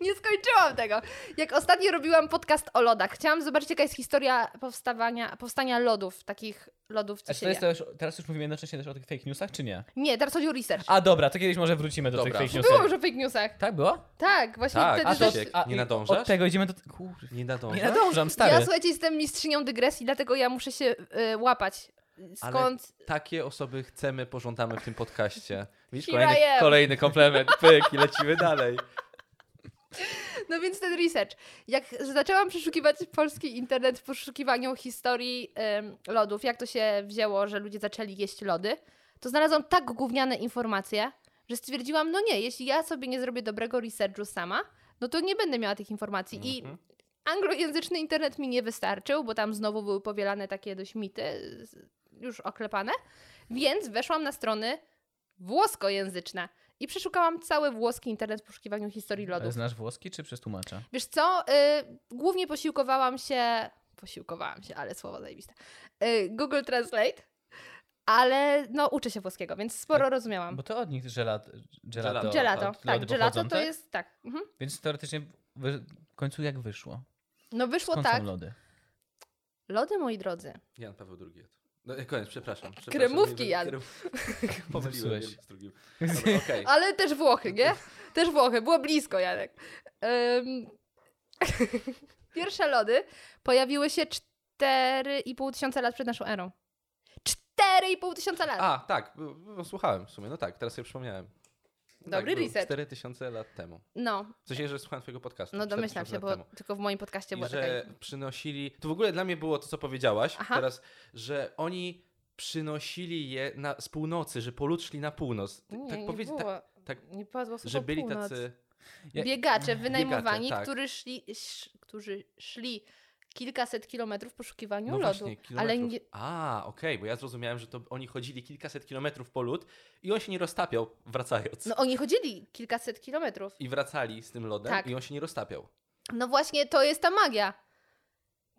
S3: Nie skończyłam tego. Jak ostatnio robiłam podcast o lodach, chciałam zobaczyć, jaka jest historia powstawania, powstania lodów, takich lodów, co
S1: A czy
S3: się
S1: to jest
S3: je.
S1: to już, teraz już mówimy jednocześnie też o tych fake newsach, czy nie?
S3: Nie, teraz chodzi o research.
S1: A dobra, to kiedyś może wrócimy do
S2: Dobra.
S1: tych fake
S3: Było
S1: newsów.
S3: już o fake newsach.
S1: Tak było?
S3: Tak, właśnie
S2: Tak,
S3: wtedy
S2: a to-
S3: też...
S2: Krzysiek, nie
S1: i
S2: nadążasz?
S1: Od tego idziemy do... Kurwa,
S2: Nie
S1: nie
S2: nadążasz?
S1: nadążam,
S3: Ja
S1: stary.
S3: słuchajcie, jestem mistrzynią dygresji, dlatego ja muszę się y, łapać.
S2: Ale-
S3: Skąd
S2: Takie osoby chcemy, pożądamy w tym podcaście. Widzisz,
S3: Here I
S2: kolejny,
S3: am.
S2: kolejny komplement, pyk i lecimy dalej.
S3: No więc ten research. Jak zaczęłam przeszukiwać polski internet w poszukiwaniu historii em, lodów, jak to się wzięło, że ludzie zaczęli jeść lody, to znalazłam tak gówniane informacje, że stwierdziłam, no nie, jeśli ja sobie nie zrobię dobrego researchu sama, no to nie będę miała tych informacji. I
S2: Mhm.
S3: anglojęzyczny internet mi nie wystarczył, bo tam znowu były powielane takie dość mity, z- już oklepane, więc weszłam na strony włoskojęzyczne. I przeszukałam cały włoski internet w poszukiwaniu historii lodów.
S1: Ale znasz włoski czy przez tłumacza?
S3: Wiesz co, y, głównie posiłkowałam się, posiłkowałam się, ale słowo zajebiste, y, Google Translate, ale no uczę się włoskiego, więc sporo rozumiałam.
S1: Bo to od nich gelat, gelato.
S2: Gelato.
S3: Gelato,
S1: od
S3: tak,
S1: lody
S3: gelato
S1: pochodzą,
S3: to
S1: tak?
S3: jest, tak. Mhm.
S1: Więc teoretycznie wy... w końcu jak wyszło?
S3: No wyszło
S1: Skąd
S3: tak,
S1: są lody?
S3: lody moi drodzy,
S2: Jan Paweł II. No, e, koniec, przepraszam. przepraszam
S3: Kremówki
S2: nie-
S3: jadł.
S2: krem- Pomyliłem
S1: Zepsułeś.
S2: się z drugim. Dobra, okej.
S3: Ale też Włochy, nie? Też Włochy, było blisko, Janek. Ym... Pierwsze lody pojawiły się 4,5 tysiąca lat przed naszą erą. 4,5 tysiąca lat!
S2: A, tak, bo- bo słuchałem w sumie. No tak, teraz sobie przypomniałem.
S3: Dobry
S2: tak,
S3: reset.
S2: 4000 lat temu.
S3: No,
S2: W sensie, że słuchałem twojego podcastu.
S3: no domyślam
S2: 4000
S3: się,
S2: lat
S3: bo
S2: temu.
S3: tylko w moim podcaście tak,
S2: I
S3: była
S2: że
S3: taka...
S2: przynosili. To w ogóle dla mnie było to, co powiedziałaś
S3: Aha.
S2: teraz, że oni przynosili je na, z północy, że polut szli na północ. T-
S3: Nie,
S2: tak
S3: nie
S2: powiedz,
S3: było.
S2: tak, tak,
S3: nie padło słowo
S2: że byli
S3: północ.
S2: tacy.
S1: Ja-
S3: Biegacze wynajmowani,
S2: tak.
S3: którzy, szli, sz, którzy szli kilkaset kilometrów w poszukiwaniu
S2: No
S3: lodu.
S2: właśnie,
S3: ale
S2: kilometrów.
S3: nie,
S2: A, okej, bo ja zrozumiałem, że to oni chodzili kilkaset kilometrów po lód i on się nie roztapiał wracając.
S3: no oni chodzili kilkaset kilometrów.
S2: I wracali z tym lodem
S3: Tak.
S2: i on się nie roztapiał.
S3: No właśnie, to jest ta magia.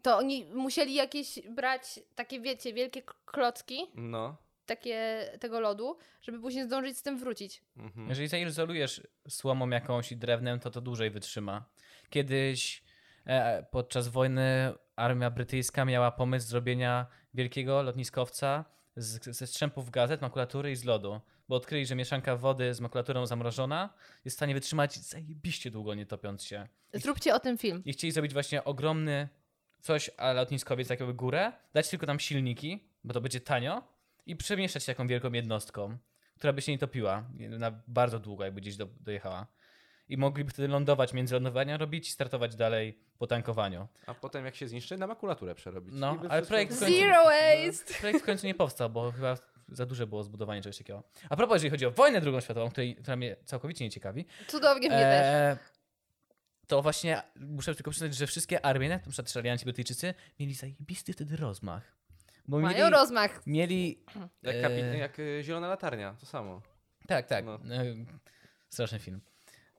S3: To oni musieli jakieś brać takie, wiecie, wielkie k- klocki
S2: No.
S3: takie, tego lodu, żeby później zdążyć z tym wrócić.
S2: Mhm.
S1: Jeżeli zaizolujesz słomą jakąś i drewnem, to to dłużej wytrzyma. Kiedyś e, podczas wojny armia brytyjska miała pomysł zrobienia wielkiego lotniskowca z, ze strzępów gazet, makulatury i z lodu, bo odkryli, że mieszanka wody z makulaturą zamrożona jest w stanie wytrzymać zajebiście długo, nie topiąc się.
S3: Zróbcie o tym film.
S1: I chcieli zrobić właśnie ogromny coś, a lotniskowiec, tak jakby górę, dać tylko tam silniki, bo to będzie tanio, i przemieszczać się taką wielką jednostką, która by się nie topiła na bardzo długo, jakby gdzieś do, dojechała. I mogliby wtedy lądować, między lądowania robić i startować dalej po tankowaniu.
S2: A potem jak się zniszczy, na makulaturę przerobić.
S1: No,
S2: I by
S1: ale
S2: wszystko-
S1: projekt w końcu-
S3: Zero waste!
S1: Projekt w końcu nie powstał, bo chyba za duże było zbudowanie czegoś takiego. A propos, jeżeli chodzi o wojnę drugą światową, której, która mnie całkowicie nie ciekawi,
S3: Cudownie mnie
S2: E,
S3: też.
S1: Eee, To właśnie muszę tylko przyznać, że wszystkie armie, na przykład Szarianci Brytyjczycy, mieli zajebisty wtedy rozmach. Bo
S3: Mają
S1: mieli,
S3: rozmach.
S1: mieli.
S2: Jak, kapi-
S1: eee,
S2: jak y, zielona latarnia, to samo.
S1: tak, tak.
S2: no.
S1: eee, straszny film.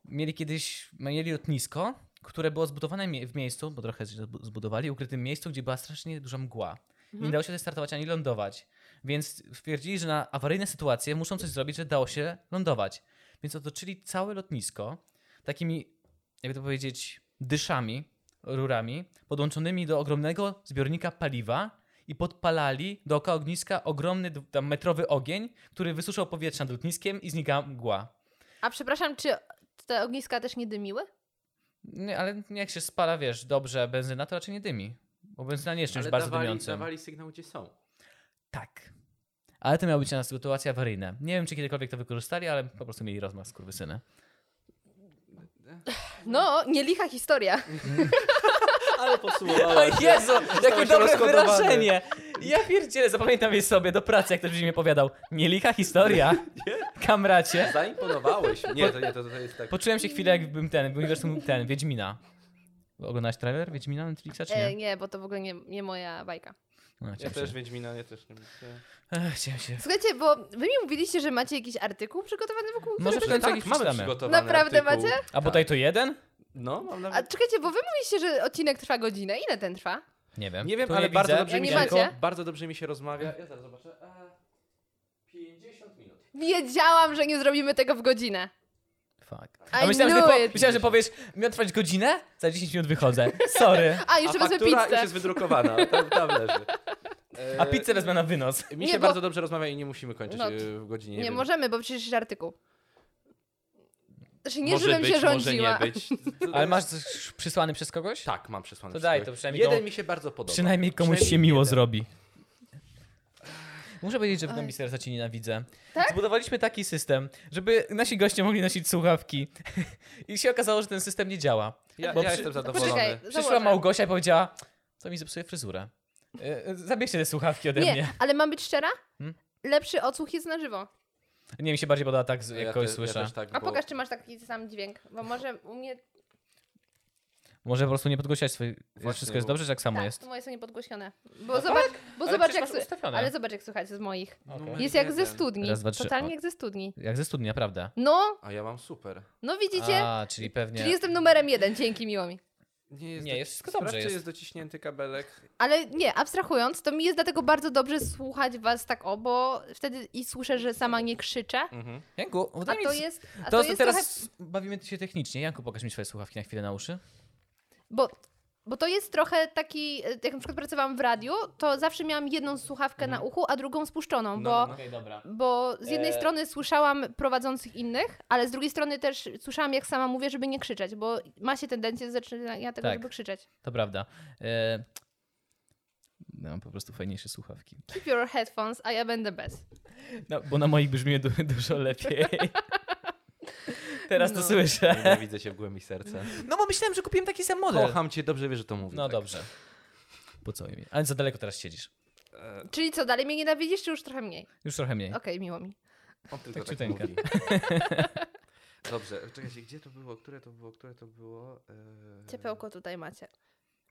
S1: Mieli kiedyś mieli lotnisko, które było zbudowane mie- w miejscu, bo trochę zbu- zbudowali, ukrytym miejscu, gdzie była strasznie duża mgła. I Nie
S3: Mhm.
S1: dało się tutaj startować ani lądować. Więc stwierdzili, że na awaryjne sytuacje muszą coś zrobić, że dało się lądować. Więc otoczyli całe lotnisko takimi, jakby to powiedzieć, dyszami, rurami, podłączonymi do ogromnego zbiornika paliwa i podpalali dookoła ogniska ogromny, d- tam metrowy ogień, który wysuszał powietrze nad lotniskiem i znika mgła.
S3: A przepraszam, czy te ogniska też nie dymiły?
S1: Nie, ale jak się spala, wiesz, dobrze benzyna, to raczej nie dymi. Bo benzyna nie jest czymś
S2: Ale
S1: bardzo
S2: dawali,
S1: dymiącym.
S2: dawali sygnał, gdzie są.
S1: Tak. Ale to miała być na sytuacja awaryjna. Nie wiem, czy kiedykolwiek to wykorzystali, ale po prostu mieli rozmach z kurwysyny.
S3: No, nie licha historia.
S2: Ale podsumowałaś.
S1: Jezu,
S2: jakie dobre wyrażenie!
S1: Ja pierdzielę, zapamiętam je sobie do pracy, jak ktoś będzie mi opowiadał. Nielicha historia, kamracie.
S2: Zaimponowałeś. Nie, to nie, to, to jest tak.
S1: Poczułem się chwilę, jakbym ten, w uniwersum ten, Wiedźmina. Oglądasz trailer Wiedźmina Netflixa, czy
S3: E,
S1: nie?
S3: nie, bo to w ogóle nie, nie moja bajka.
S1: No,
S2: Ja
S1: chciałem
S2: też
S1: się.
S2: Wiedźmina, ja też nie chcę.
S1: Ech, chciałem się.
S3: Słuchajcie, bo wy mi mówiliście, że macie jakiś artykuł przygotowany wokół
S1: Może
S3: którego-
S1: w końcu jakiś
S2: tak, mamy
S1: przeczytamy.
S2: przygotowany
S3: Naprawdę
S2: artykuł.
S3: macie?
S1: A bodaj to jeden?
S2: No, mam
S3: A
S2: nawet...
S3: czekajcie, bo wy mówiliście, że odcinek trwa godzinę. Ile ten trwa?
S1: Nie wiem.
S2: Nie wiem,
S1: Tu
S2: ale bardzo
S1: widzę.
S2: dobrze,
S3: Ja
S2: mi
S3: nie
S2: się,
S3: macie?
S2: bardzo dobrze mi się rozmawia. Ja zaraz zobaczę. E, 50 minut.
S3: Wiedziałam, że nie zrobimy tego w godzinę.
S1: Fuck.
S3: I
S1: A myślałem, że,
S3: knew
S1: po,
S3: it.
S1: myślałem, że powiesz, miał trwać godzinę? Za 10 minut wychodzę. Sorry.
S3: A, jeszcze
S2: A
S3: wezmę
S2: faktura już
S3: pizzę.
S2: jest wydrukowana, tam, tam leży. E,
S1: A pizzę wezmę na wynos.
S2: Mi
S3: Nie,
S2: się
S3: bo-
S2: bardzo dobrze rozmawia i nie musimy kończyć
S3: No,
S2: e, w godzinie.
S3: Nie,
S2: wiem.
S3: możemy, bo przecież jest artykuł. Znaczy nie,
S2: może
S3: żebym
S2: być,
S3: się
S2: Może
S3: rządziła.
S2: nie być. To- to
S1: Ale masz
S2: jest-
S1: coś przysłany przez kogoś?
S2: Tak, mam przesłane.
S1: To
S2: wszystko.
S1: daj, to przynajmniej
S2: Jeden
S1: komu-
S2: mi się bardzo podoba.
S1: Przynajmniej komuś się
S2: Przynajmniej
S1: miło
S2: jeden.
S1: zrobi. Muszę powiedzieć, że w
S3: Oj.
S1: głębi serca cię nienawidzę.
S3: Tak?
S1: Zbudowaliśmy taki system, żeby nasi goście mogli nosić słuchawki. I się okazało, że ten system nie działa.
S2: Ja,
S1: Bo
S2: ja
S1: przy-
S2: jestem zadowolony.
S3: Poczekaj,
S1: Przyszła
S3: założę.
S1: Małgosia i powiedziała, co mi zepsuje fryzurę. Y, y, Zabierzcie te słuchawki ode mnie.
S3: Nie, ale mam być szczera?
S1: Hmm?
S3: Lepszy odsłuch jest na żywo.
S1: Nie, mi się bardziej podoba tak, z-
S2: Ja
S1: jak
S2: te-
S1: kogoś
S2: ja
S1: słyszę.
S2: też tak,
S3: A
S2: bo-
S3: pokaż, czy masz taki sam dźwięk. Bo może u mnie...
S1: Może po prostu nie podgłosiać swoich...
S2: Właśnie,
S1: Wszystko jest
S2: bo-
S1: dobrze, że tak samo
S3: Tak,
S1: jest.
S3: moje są niepodgłośnione. Bo zobacz,
S1: No tak,
S3: bo
S1: Ale
S3: zobacz
S1: przecież
S3: jak...
S1: masz
S3: sły-
S1: ustawione.
S3: Ale zobacz, jak słuchajcie z moich.
S1: Okej.
S3: Jest jak ze
S2: Jeden.
S3: studni.
S1: Raz, dwa, trzy,
S3: Totalnie
S1: o.
S3: jak ze studni.
S1: No Jak ze studni, naprawdę.
S3: No,
S2: A ja mam super.
S3: no widzicie?
S1: A, czyli pewnie...
S3: Czyli jestem numerem jeden, dzięki miło mi.
S2: Nie, jest,
S1: Nie,
S2: doci-
S1: jest wszystko dobrze,
S2: Sprawdź, czy
S1: jest.
S2: jest dociśnięty kabelek.
S3: Ale nie, abstrahując, to mi jest dlatego bardzo dobrze słuchać was tak o, bo wtedy i słyszę, że sama nie krzyczę.
S2: Mhm.
S1: Janku,
S3: A
S1: wydaje mi
S3: to
S1: się-
S3: jest, a
S1: No To,
S3: to
S1: to
S3: jest
S1: teraz
S3: trochę...
S1: bawimy się technicznie. Janku, pokaż mi swoje słuchawki na chwilę na uszy.
S3: Bo Bo to jest trochę taki, e, jak na przykład pracowałam w radiu, to zawsze miałam jedną
S1: Mhm.
S3: słuchawkę na uchu, a drugą spuszczoną, bo
S2: No.
S1: Okej, dobra.
S3: Bo z jednej
S1: E.
S3: strony słyszałam prowadzących innych, ale z drugiej strony też słyszałam, jak sama mówię, żeby nie krzyczeć, bo ma się tendencję do zaczynania tego,
S1: Tak.
S3: żeby krzyczeć.
S1: To prawda. E... No, mam po prostu fajniejsze słuchawki.
S3: Keep your headphones, a ja będę bez.
S1: No, bo na moich brzmi du- dużo lepiej. Teraz to
S3: No.
S1: słyszę.
S2: Nienawidzę się w głębi serca.
S1: No bo myślałem, że kupiłem taki sam model.
S2: Kocham cię, dobrze wiesz, że to mówię.
S1: No
S2: tak.
S1: dobrze. Po co mi? Ale za daleko teraz siedzisz. Tak.
S2: E,
S3: Czyli co, dalej mnie nienawidzisz, czy już trochę mniej?
S1: Już trochę mniej.
S3: Okej, miło mi.
S2: on tylko
S1: Tak
S2: tak,
S1: ciuteńka.
S2: mówi. Dobrze, czekajcie, gdzie to było, które to było, które to było? E,
S3: Ciepełko tutaj macie.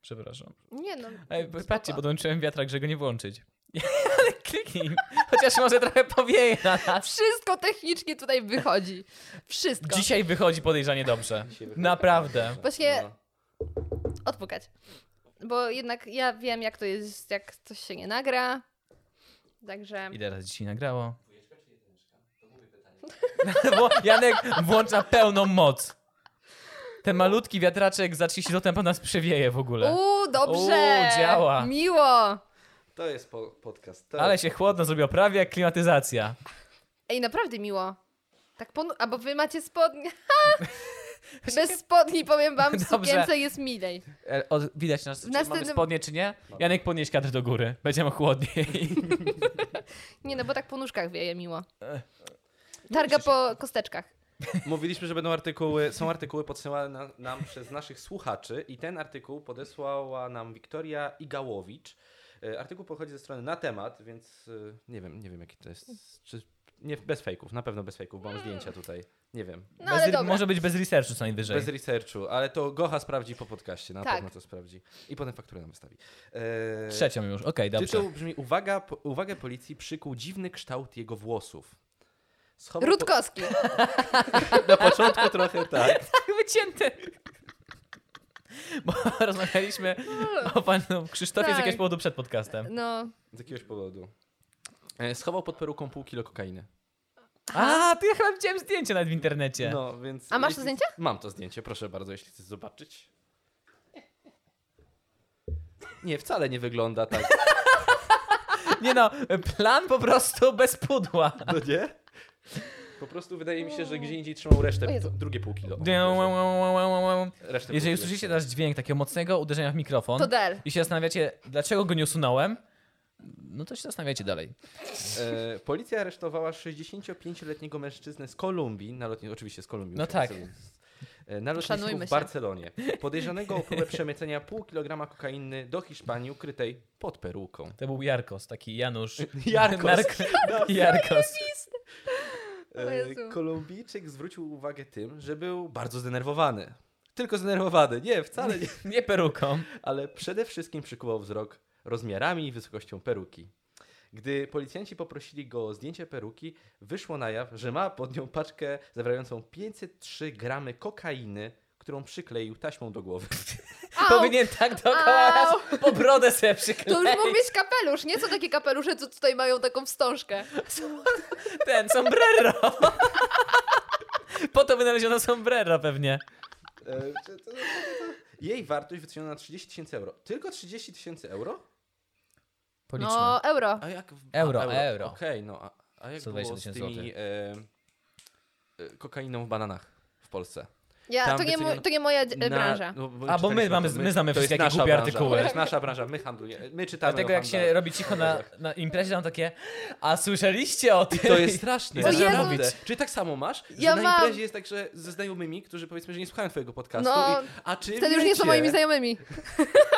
S1: Przepraszam.
S3: Nie no,
S1: Ej,
S3: spoko.
S1: patrzcie, bo dołączyłem wiatrak, żeby go nie włączyć. Ale kliknij. Chociaż może trochę powieje na nas.
S3: Wszystko technicznie tutaj wychodzi. Wszystko.
S1: Dzisiaj wychodzi podejrzanie dobrze.
S2: Dzisiaj wychodzi.
S1: Naprawdę.
S3: Właśnie-
S2: No.
S3: Odpukać. Bo jednak ja wiem, jak to jest, jak coś się nie nagra. Także...
S1: Ile razy dzisiaj nagrało? Bo Janek włącza pełną moc. Ten malutki wiatraczek za 30 lat po nas przewieje w ogóle.
S3: Uuu, dobrze!
S1: Uuu, działa.
S3: Miło!
S2: To jest po, podcast. To
S1: Ale się chłodno zrobiło, prawie jak klimatyzacja.
S3: Ej, naprawdę miło. Tak ponu- A bo wy macie spodnie. Bez spodni powiem wam, w
S1: Dobrze.
S3: sukience jest milej.
S1: E, o, widać nas, czy mamy
S3: następnym-
S1: spodnie, czy nie?
S2: Mamy.
S1: Janek, podnieś kadr do góry. Będziemy chłodniej.
S3: Nie no, bo tak po nóżkach wieje miło.
S1: E,
S3: Targa po kosteczkach.
S2: Mówiliśmy, że będą artykuły, są artykuły podsyłane na, nam przez naszych słuchaczy i ten artykuł podesłała nam Wiktoria Igałowicz. E, Artykuł pochodzi ze strony na temat, więc e, nie wiem, nie wiem jaki to jest, czy, nie, bez fejków, na pewno bez fejków, bo mam zdjęcia tutaj, nie wiem,
S3: No ale dobra.
S1: może być bez researchu co najwyżej.
S2: bez researchu, ale to Gocha sprawdzi po podcaście, na
S3: Tak.
S2: pewno to sprawdzi i potem fakturę nam wystawi. E,
S1: Trzecią już, okej, dobrze.
S2: Tytuł brzmi, uwaga, po, uwagę policji przykuł dziwny kształt jego włosów. Schował
S3: Rutkowski.
S2: Po, na początku trochę tak.
S1: Wycięty. Bo rozmawialiśmy o panu Krzysztofie z
S3: No. Tak.
S1: jakiegoś powodu przed podcastem.
S3: No,
S2: Z jakiegoś powodu. E, Schował pod peruką pół kilo kokainy.
S1: A, to ja chyba widziałem zdjęcie nawet w internecie.
S2: No, więc
S3: A masz to zdjęcie?
S2: Mam to zdjęcie, proszę bardzo, jeśli chcesz zobaczyć. Nie, wcale nie wygląda tak.
S1: Nie no, plan po prostu bez pudła.
S2: No nie? Po prostu wydaje mi się, że gdzie indziej trzymał resztę,
S3: O Jezu.
S2: p- drugie pół kilo. Resztę pół
S1: no, Jeżeli
S2: kilo.
S1: usłyszycie teraz dźwięk takiego mocnego uderzenia w mikrofon
S3: to del.
S1: i się zastanawiacie, dlaczego go nie usunąłem, no to się zastanawiacie dalej.
S2: E, policja aresztowała 65-letniego mężczyznę z Kolumbii, na lotnisku, oczywiście z Kolumbii.
S1: No
S2: musiał
S1: tak.
S2: sobie- e, Na lotnisku
S3: Szanujmy
S2: w
S3: się.
S2: Barcelonie. Podejrzanego o próbę przemycenia pół kilograma kokainy do Hiszpanii ukrytej pod peruką.
S1: To był Jarkos, taki Janusz.
S2: Jarkos.
S1: Narko- Jarkos.
S3: O
S2: E,
S3: Jezu.
S2: Kolumbijczyk zwrócił uwagę tym, że był bardzo zdenerwowany. Tylko zdenerwowany, nie, wcale nie.
S1: Nie peruką.
S2: Ale przede wszystkim przykuwał wzrok rozmiarami i wysokością peruki. Gdy policjanci poprosili go o zdjęcie peruki, wyszło na jaw, że ma pod nią paczkę zawierającą 503 gramy kokainy, którą przykleił taśmą do głowy.
S3: Au,
S1: Powinien tak dookoła
S3: Au.
S1: raz po brodę sobie przykleić.
S3: to już mógł mieć kapelusz, nie? Co takie kapelusze, co tutaj mają taką wstążkę? No,
S1: Ten, sombrero. po to wynaleziono sombrero pewnie.
S2: E, czy to- to- to- to- Jej wartość wyceniono na 30 tysięcy euro. Tylko 30 tysięcy euro?
S1: Policzmy.
S3: No, euro.
S2: A jak w...
S1: Euro,
S2: a,
S1: euro.
S2: Okej, no a, a jak
S1: 120
S2: było z
S1: tysięcy
S2: tymi e, e, kokainą w bananach w Polsce?
S3: Ja,
S2: tam
S3: to, nie, mo-
S2: wyceniono-
S3: to nie moja d-
S2: Na-
S3: branża.
S2: no,
S1: A, bo my
S2: czytaliśmy
S1: mamy-
S2: o tym.
S1: my znamy
S2: to jest
S1: wszystkie jakieś
S2: nasza
S1: głupie
S2: branża.
S1: artykuły.
S2: To jest nasza branża, my handlujemy, my czytamy
S1: Dlatego
S2: o
S1: jak
S2: handlu.
S1: się robi cicho na, na imprezie, tam takie a słyszeliście o tym?
S2: To jest straszne.
S1: O Jezu.
S2: naprawdę. Czyli tak samo masz, że
S3: Ja
S2: na
S3: mam.
S2: imprezie jest tak, że ze znajomymi, którzy powiedzmy, że nie słuchają twojego podcastu
S3: No,
S2: i, a czy
S3: Wtedy już nie są
S2: wiecie?
S3: moimi znajomymi.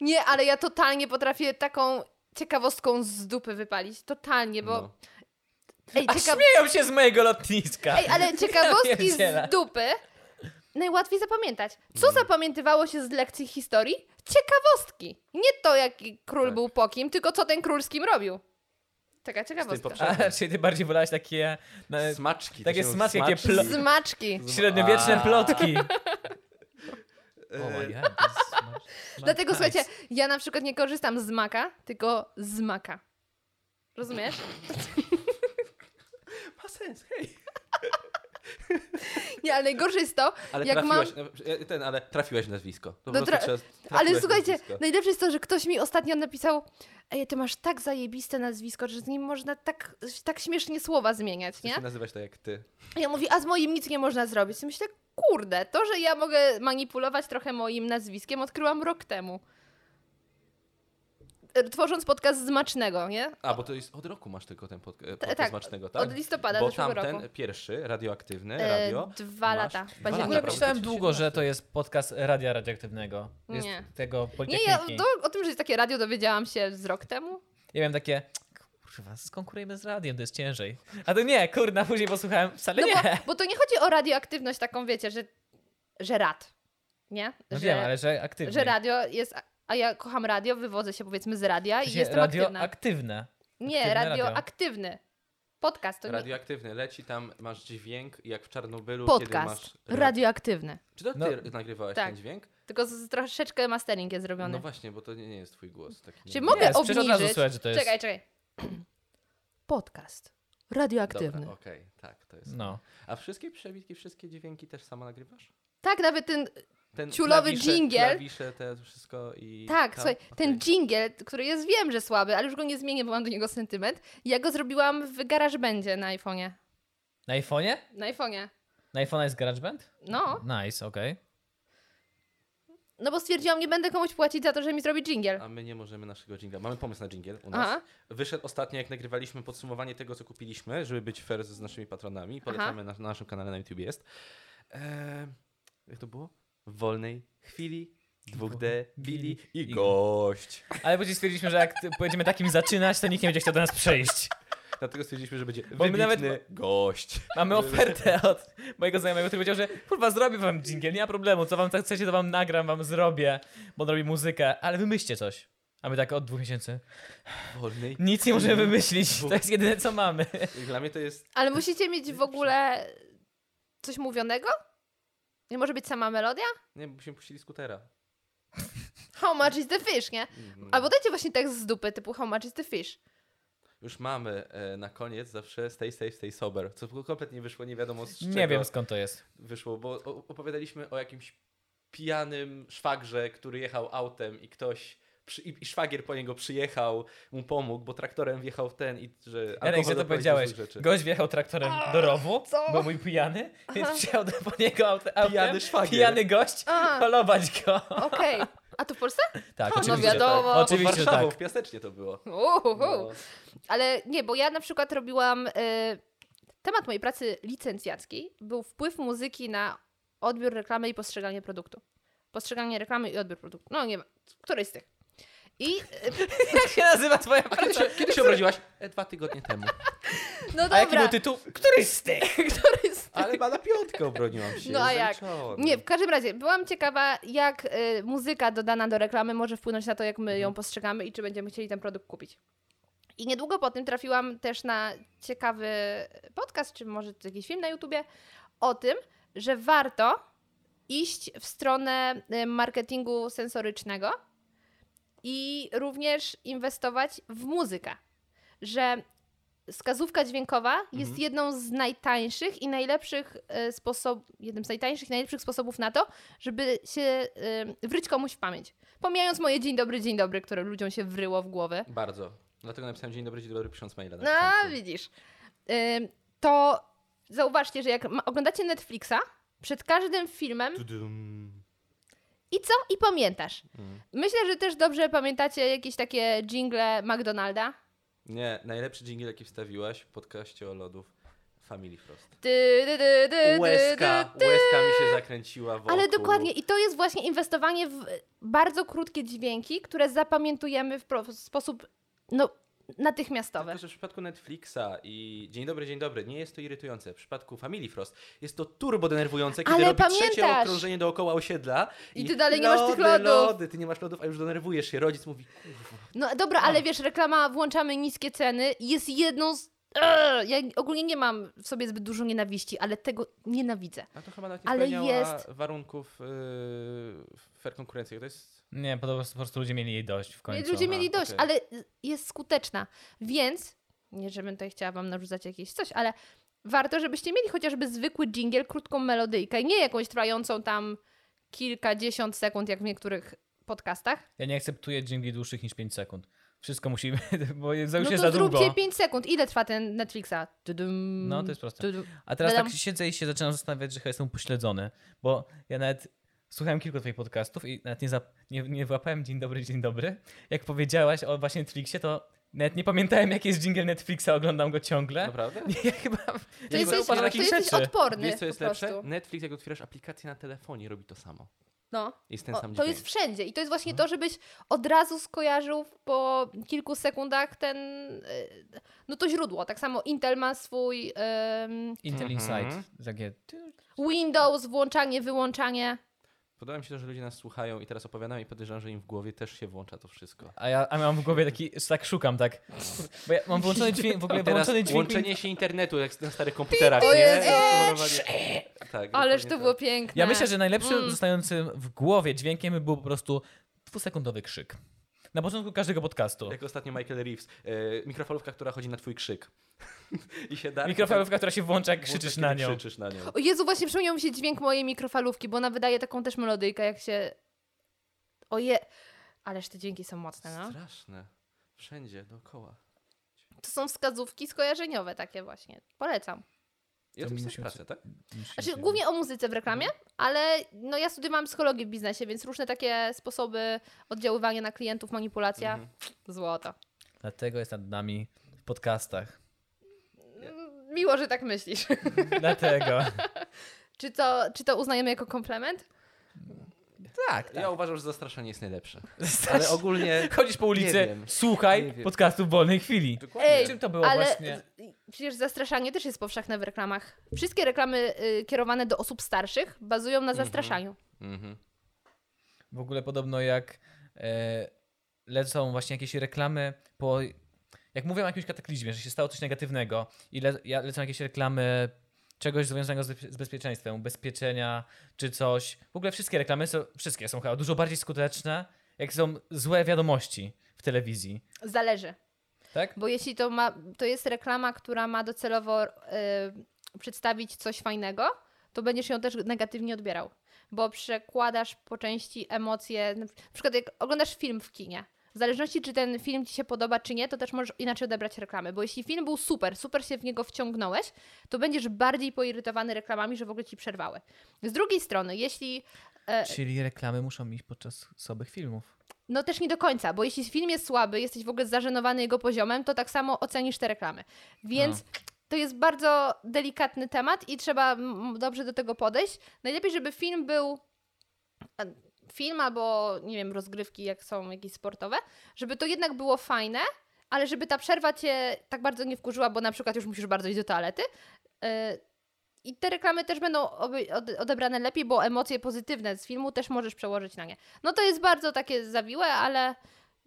S3: nie, ale ja totalnie potrafię taką ciekawostką z dupy wypalić. Totalnie, bo...
S2: No.
S3: Ej,
S1: A
S3: ciekaw...
S1: śmieją się z mojego lotniska.
S3: Ej, ale ciekawostki
S1: pierdzielę.
S3: z dupy najłatwiej zapamiętać. Co
S2: Mm.
S3: zapamiętywało się z lekcji historii? Ciekawostki. Nie to, jaki król
S2: Tak.
S3: był po kim, tylko co ten król z kim robił. Taka ciekawostka.
S2: poprzednim.
S1: A, czyli ty bardziej wolałeś takie na,
S2: Smaczki. to
S1: Takie
S2: się
S1: E, tak smaczki,
S2: mówi,
S1: jakie plo-
S2: smaczki. E,
S3: Zmaczki.
S1: średniowieczne
S2: A.
S1: plotki.
S2: E,
S1: O, ja, to jest smaczne.
S3: Dlatego
S1: Nice.
S3: słuchajcie, ja na przykład nie korzystam z maka, tylko z maka. Rozumiesz?
S2: Ma sens, hej.
S3: Nie, ale najgorsze jest to,
S2: Ale
S3: Jak No
S2: trafiłaś, no, ten, ale trafiłaś w nazwisko. Po prostu
S3: tra-
S2: trzeba, trafiłaś
S3: ale
S2: w
S3: słuchajcie,
S2: nazwisko.
S3: najlepsze jest to, że ktoś mi ostatnio napisał Ej, ty masz tak zajebiste nazwisko, że z nim można tak, tak śmiesznie słowa zmieniać,
S2: Chcę
S3: nie?
S2: się nazywać tak jak ty.
S3: I Ja mówi, a z moim nic nie można zrobić. I Myślę, kurde, to, że ja mogę manipulować trochę moim nazwiskiem, odkryłam rok temu. E, Tworząc podcast z Macznego, nie?
S2: A, bo to jest od roku masz tylko ten pod, podcast
S3: tak,
S2: macznego, tak?
S3: Od listopada
S2: bo
S3: zeszłego
S2: tamten
S3: roku.
S2: pierwszy, radioaktywny,
S3: E,
S2: radio.
S3: dwa
S2: masz
S3: lata.
S1: W
S2: dwa
S3: W
S2: lata
S3: październiku.
S1: ogóle
S2: naprawdę,
S1: myślałem
S2: to się
S1: długo, że
S2: przydaje.
S1: to jest podcast radia radioaktywnego. Jest
S3: Nie.
S1: Tego
S3: Nie, ja
S1: Politechniki.
S3: to, o tym, że jest takie radio, dowiedziałam się z rok temu.
S1: Ja miałem takie, kurwa, skonkurujemy z radiem, to jest ciężej. A to nie, kurna, później posłuchałem, wcale
S3: No bo,
S1: nie.
S3: bo to nie chodzi o radioaktywność taką, wiecie, że, że rad, nie?
S1: No
S3: że,
S1: wiem, ale że aktywnie.
S3: że radio jest... A ja kocham radio, wywodzę się powiedzmy z radia
S1: W
S3: i
S1: sensie
S3: jestem
S1: radio
S3: aktywna.
S1: aktywne.
S3: nie,
S1: aktywne
S3: radio,
S1: radio.
S3: aktywny. Podcast to nie,
S2: Radioaktywny leci, tam masz dźwięk jak w Czarnobylu, kiedy masz...
S3: podcast
S2: rad-
S3: radioaktywny.
S2: Czy to ty
S1: No.
S2: nagrywałeś
S3: Tak.
S2: ten dźwięk?
S3: Tylko z, z troszeczkę mastering jest zrobiony.
S2: No właśnie, bo to nie, nie jest twój głos. Taki
S3: Czy
S2: nie-
S3: mogę
S1: jest, przecież od
S3: obniżyć?
S1: razu słychać, że to jest-
S3: Czekaj, czekaj. Podcast radioaktywny.
S2: Dobra, okej, tak, to jest.
S1: No.
S2: A wszystkie przebitki, wszystkie dźwięki też sama nagrywasz?
S3: Tak, nawet ten,
S2: Ten
S3: Ciulowy
S2: klawisze-
S3: dżingiel.
S2: Klawisze, te wszystko i...
S3: tak,
S2: ta-
S3: słuchaj,
S2: okej.
S3: ten jingle, który jest, wiem, że słaby, ale już go nie zmienię, bo mam do niego sentyment. Ja go zrobiłam w GarageBandzie na iPhone'ie.
S1: Na iPhone'ie?
S3: Na iPhone'ie.
S1: Na iPhone'a jest GarageBand?
S3: No,
S1: Nice, okej.
S3: no bo stwierdziłam, nie będę komuś płacić za to, że mi zrobi jingle.
S2: A my nie możemy naszego dżingla. Mamy pomysł na dżingiel u nas.
S3: Aha,
S2: Wyszedł ostatnio, jak nagrywaliśmy podsumowanie tego, co kupiliśmy, żeby być fair z naszymi patronami. Polecamy na, na naszym kanale na YouTube jest. Eee, jak to było? W wolnej chwili, dwóch debili i
S1: I-
S2: gość.
S1: Ale później stwierdziliśmy, że jak ty- będziemy takim zaczynać, to nikt nie będzie chciał do nas przejść.
S2: Dlatego stwierdziliśmy, że będzie
S1: Bo my
S2: wybitny
S1: nawet-
S2: gość.
S1: Mamy ofertę od mojego znajomego, który powiedział, że kurwa, zrobię wam dżingiel, nie ma problemu, co wam tak chcecie, to wam nagram, wam zrobię, bo on robi muzykę, ale wymyślcie coś. A my tak od dwóch miesięcy.
S2: W Wolnej.
S1: Nic nie możemy wymyślić, to jest jedyne, co mamy.
S2: Dla mnie to jest...
S3: ale musicie mieć w ogóle coś mówionego? Nie może być sama melodia?
S2: Nie, bo byśmy puścili skutera.
S3: How much is the fish, nie?
S2: Mhm.
S3: Albo dajcie właśnie tekst z dupy, typu how much is the fish.
S2: Już mamy e, na koniec zawsze stay safe, stay sober, co kompletnie wyszło, nie wiadomo z czego
S1: Nie wiem skąd to jest.
S2: wyszło, bo o- opowiadaliśmy o jakimś pijanym szwagrze, który jechał autem i ktoś, przy, i, i szwagier po niego przyjechał, mu pomógł, bo traktorem wjechał w ten i że
S1: Jarek,
S2: alkohol
S1: że to
S2: doprowadził
S1: powiedziałeś.
S2: złych Rzeczy.
S1: Gość wjechał traktorem do rowu,
S3: co?
S1: był mój pijany, więc przyjechał do, po niego autem, autem,
S2: Pijany szwagier.
S1: pijany gość,
S3: A.
S1: polować go.
S3: Okej. A tu w Polsce?
S1: Tak,
S3: no
S1: oczywiście.
S3: wiadomo.
S2: Pod
S1: Oczywiście, że
S2: Warszawą,
S1: tak.
S2: w Piasecznie to było.
S3: Uhuhu.
S2: No.
S3: Ale nie, bo ja na przykład robiłam. Y, temat mojej pracy licencjackiej był wpływ muzyki na odbiór reklamy i postrzeganie produktu. Postrzeganie reklamy i odbiór produktu. No nie wiem, któryś z tych. I y,
S1: tak. Jak się nazywa twoja
S2: Kiedy
S1: praca?
S2: się, kiedy się obraziłaś? E, dwa tygodnie temu.
S3: no
S1: A jaki
S3: dobra.
S1: był tytuł? Któryś z tych?
S3: któryś z tych.
S2: Ale bada piątkę obroniłam się.
S3: No a jak?
S2: zaliczone.
S3: Nie, w każdym razie byłam ciekawa, jak y, muzyka dodana do reklamy może wpłynąć na to, jak my ją postrzegamy i czy będziemy chcieli ten produkt kupić. I niedługo po tym trafiłam też na ciekawy podcast, czy może jakiś film na YouTubie, o tym, że warto iść w stronę y, marketingu sensorycznego i również inwestować w muzykę. Że skazówka dźwiękowa jest
S2: Mhm.
S3: jedną z najtańszych i najlepszych y, sposob, jednym z najtańszych i najlepszych sposobów na to, żeby się y, wryć komuś w pamięć. Pomijając moje dzień dobry, dzień dobry, które ludziom się wryło w głowy.
S2: Bardzo. Dlatego napisałem dzień dobry, dzień dobry, pisząc maila. na
S3: No,
S2: początku.
S3: widzisz. Ym, To zauważcie, że jak ma- oglądacie Netflixa, przed każdym filmem
S2: Tudum.
S3: i co? I pamiętasz.
S2: Mm.
S3: Myślę, że też dobrze pamiętacie jakieś takie jingle McDonalda.
S2: Nie, najlepszy dżingiel jaki wstawiłaś w podcaście o lodów Family Frost.
S3: Ty, ty, ty, ty, ty,
S2: Łezka,
S3: ty, ty.
S2: łezka mi się zakręciła wokół.
S3: Ale dokładnie, i to jest właśnie inwestowanie w bardzo krótkie dźwięki, które zapamiętujemy w pro- w sposób no, natychmiastowy.
S2: Tylko, że w przypadku Netflixa i Dzień dobry, dzień dobry, nie jest to irytujące. W przypadku Family Frost jest to turbo denerwujące, kiedy
S3: Ale
S2: robi trzecie
S3: pamiętasz!
S2: okrążenie dookoła osiedla
S3: I ty dalej nie masz tych
S2: lody,
S3: lodów.
S2: lody, ty nie masz lodów, a już denerwujesz się. Rodzic mówi, kurwa,
S3: No dobra, ale wiesz, reklama, włączamy niskie ceny, jest jedną z... Eee, Ja ogólnie nie mam w sobie zbyt dużo nienawiści, ale tego nienawidzę.
S2: a to chyba nawet nie
S3: Ale
S2: spełniała
S3: jest-
S2: warunków yy, fair konkurencji. To jest
S1: Nie, po prostu, po prostu ludzie mieli jej dość w końcu.
S3: Ludzie
S2: aha,
S3: mieli dość,
S2: okej.
S3: ale jest skuteczna. Więc, nie żebym tutaj chciała wam narzucać jakieś coś, ale warto, żebyście mieli chociażby zwykły dżingiel, krótką melodyjkę, nie jakąś trwającą tam kilkadziesiąt sekund, jak w niektórych podcastach.
S1: Ja nie akceptuję dżingli dłuższych niż 5 sekund. Wszystko musimy, bo jest- już
S3: no
S1: jest
S3: to
S1: za długo.
S3: zróbcie 5 sekund. Ile trwa ten Netflixa? Tudum,
S1: No, to jest proste.
S3: tudum.
S1: A teraz tak
S3: Wiadomo.
S1: siedzę i się zaczynam zastanawiać, że chyba jestem upośledzony, bo ja nawet słuchałem kilku twoich podcastów i nawet nie, zap- nie, nie włapałem dzień dobry, dzień dobry. Jak powiedziałaś o właśnie Netflixie, to nawet nie pamiętałem, jaki jest jingle Netflixa, oglądam go ciągle.
S2: Naprawdę?
S1: Ja chyba
S3: E? To
S1: nie
S3: jesteś,
S1: zauważam
S3: to
S1: takich
S3: jesteś
S1: rzeczy.
S3: odporny
S2: Wiesz, co jest
S3: po prostu.
S2: lepsze? Netflix, jak otwierasz aplikację na telefonie, robi to samo.
S3: No.
S2: Jest ten
S3: O,
S2: sam
S3: to
S2: dźwięk. Mhm.
S3: jest wszędzie i to jest właśnie to, żebyś od razu skojarzył po kilku sekundach ten, y, no to źródło. Tak samo Intel ma swój ym,
S1: Intel
S2: Mhm.
S1: Insight. Takie...
S3: Windows, włączanie, wyłączanie.
S2: Podoba mi się to, że ludzie nas słuchają i teraz opowiadają i podejrzewam, że im w głowie też się włącza to wszystko.
S1: A ja a mam w głowie taki, tak szukam, tak. Bo ja mam włączony dźwięk, w ogóle
S2: Teraz
S1: włączony dźwięk.
S2: łączenie się internetu jak na starych komputerach.
S3: O
S2: nie?
S3: Jezu!
S2: Spróbowanie- Tak,
S3: Ależ
S2: dokładnie
S3: to
S2: tak.
S3: było piękne.
S1: Ja myślę, że najlepszym
S3: Mm.
S1: zostającym w głowie dźwiękiem był po prostu dwusekundowy krzyk. Na początku każdego podcastu.
S2: Jak ostatnio Michael Reeves. E, mikrofalówka, która chodzi na twój krzyk. I się da.
S1: Tak, Mikrofalówka, która się włącza, jak
S2: Włącza,
S1: krzyczysz
S2: kiedy
S1: na nią.
S2: Krzyczysz na nią.
S3: O Jezu, właśnie przypomniał mi się dźwięk mojej mikrofalówki, bo ona wydaje taką też melodyjkę, jak się... Oje... Ależ te dźwięki są mocne, no.
S2: Straszne. Wszędzie, dookoła.
S3: To są wskazówki skojarzeniowe takie właśnie. Polecam.
S2: I o
S1: To
S2: tym
S1: musimy
S2: pisać pracę, tak?
S3: Znaczy, głównie o muzyce w reklamie, ale no, ja studiowałam psychologię w biznesie, więc różne takie sposoby oddziaływania na klientów, manipulacja,
S2: Mhm.
S3: złoto.
S1: Dlatego jest nad nami w podcastach.
S3: Mm, Miło, że tak myślisz.
S1: Dlatego.
S3: czy, to, czy to uznajemy jako komplement?
S1: tak,
S2: Ja uważam, że zastraszanie jest najlepsze.
S1: Ale
S2: Ale ogólnie.
S1: Chodzisz po
S2: Nie
S1: ulicy,
S2: wiem. Nie
S1: słuchaj
S2: wiem.
S1: podcastów w wolnej chwili.
S2: Dokładnie.
S3: Ej,
S1: Czym to było
S3: ale
S1: właśnie?
S3: z- przecież zastraszanie też jest powszechne w reklamach. Wszystkie reklamy y, kierowane do osób starszych bazują na zastraszaniu.
S2: Mhm.
S1: W ogóle podobno jak e, lecą właśnie jakieś reklamy po... Jak mówią o jakimś kataklizmie, że się stało coś negatywnego i le, ja lecą jakieś reklamy czegoś związanego z, bezpie- z bezpieczeństwem, ubezpieczenia czy coś. W ogóle wszystkie reklamy, są, wszystkie są chyba dużo bardziej skuteczne, jak są złe wiadomości w telewizji.
S3: Zależy.
S1: Tak?
S3: Bo jeśli to, ma, to jest reklama, która ma docelowo y, przedstawić coś fajnego, to będziesz ją też negatywnie odbierał, bo przekładasz po części emocje. Na przykład, jak oglądasz film w kinie, w zależności czy ten film ci się podoba, czy nie, to też możesz inaczej odebrać reklamy. Bo jeśli film był super, super się w niego wciągnąłeś, to będziesz bardziej poirytowany reklamami, że w ogóle ci przerwały. Z drugiej strony, jeśli. e,
S1: Czyli reklamy muszą iść podczas słabych filmów.
S3: no też nie do końca, bo jeśli film jest słaby, jesteś w ogóle zażenowany jego poziomem, to tak samo ocenisz te reklamy. Więc
S1: No.
S3: to jest bardzo delikatny temat i trzeba mm, dobrze do tego podejść. Najlepiej, żeby film był a, film albo nie wiem, rozgrywki, jak są jakieś sportowe, żeby to jednak było fajne, ale żeby ta przerwa cię tak bardzo nie wkurzyła, bo na przykład już musisz bardzo iść do toalety. Yy, I te reklamy też będą oby- ode- odebrane lepiej, bo emocje pozytywne z filmu też możesz przełożyć na nie. No to jest bardzo takie zawiłe, ale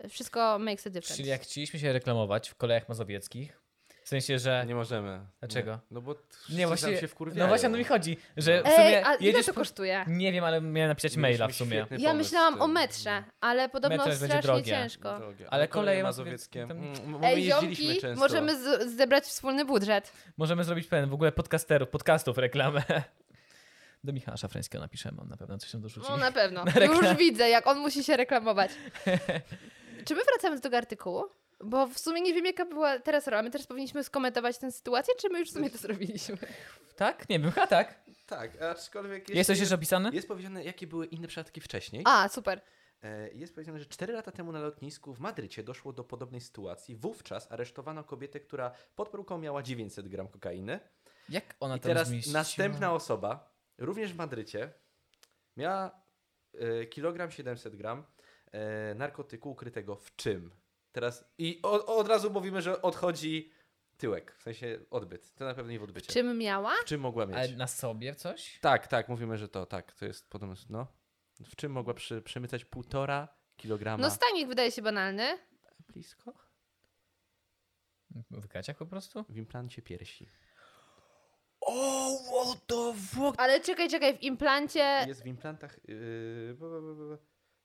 S3: wszystko makes a difference.
S1: Czyli jak chcieliśmy się reklamować w kolejach mazowieckich, w sensie, że...
S2: Nie możemy.
S1: Dlaczego?
S2: Nie. No bo
S1: Nie,
S2: nie,
S1: właśnie,
S2: właśnie, się wkurwiają.
S1: no właśnie o to mi chodzi, że w sumie
S3: Ej, E, a ile
S1: jedziesz...
S3: to
S1: po-
S3: kosztuje?
S1: Nie wiem, ale miałem napisać maila w
S2: Mieliśmy
S1: sumie.
S2: świetny
S3: Ja
S2: pomysł z
S3: myślałam
S2: tym.
S3: o metrze, ale podobno
S1: Metro jest będzie
S3: strasznie
S1: drogie.
S3: ciężko.
S2: Drogie.
S1: Ale koleje
S2: Ale koleje mazowieckie.
S1: mazowieckie, tam-
S2: Mm, my
S3: Ej,
S2: jeździliśmy
S3: ziomki,
S2: często.
S3: możemy z- zebrać wspólny budżet.
S1: Możemy zrobić pewien w ogóle podcasterów, podcastów reklamę. Do Michała Szafrańskiego napiszemy, on na pewno coś tam dorzuci.
S3: No na pewno.
S1: reklam-
S3: Już widzę, jak on musi się reklamować. Czy my wracamy do tego artykułu? Bo w sumie nie wiem, jaka była teraz rola. My też powinniśmy skomentować tę sytuację, czy my już w sumie to zrobiliśmy?
S1: Tak? Nie wiem, chyba tak.
S2: Tak, aczkolwiek.
S1: Jest coś
S2: jeśli-
S1: jeszcze opisane?
S2: Jest powiedziane, jakie były inne przypadki wcześniej.
S3: A, super.
S2: E, Jest powiedziane, że 4 lata temu na lotnisku w Madrycie doszło do podobnej sytuacji. Wówczas aresztowano kobietę, która pod peruką miała 900 gram kokainy.
S1: Jak ona
S2: I
S1: to
S2: teraz
S1: zmieściła?
S2: następna osoba, również w Madrycie, miała e, kilogram 700 gram e, narkotyku ukrytego w czym? Teraz i o, od razu mówimy, że odchodzi tyłek, w sensie odbyt. To na pewno nie w odbycie.
S3: Czym miała?
S2: W czym mogła mieć?
S1: Ale na sobie coś?
S2: Tak, tak, mówimy, że to tak, to jest podobno, no. W czym mogła przy, przemycać półtora kilograma?
S3: No stanik wydaje się banalny.
S2: blisko?
S1: W gaciach po prostu?
S2: W implancie piersi.
S1: O, what the fuck?
S3: Ale czekaj, czekaj, w implancie...
S2: Jest w implantach. Yy, bu- bu- bu- bu-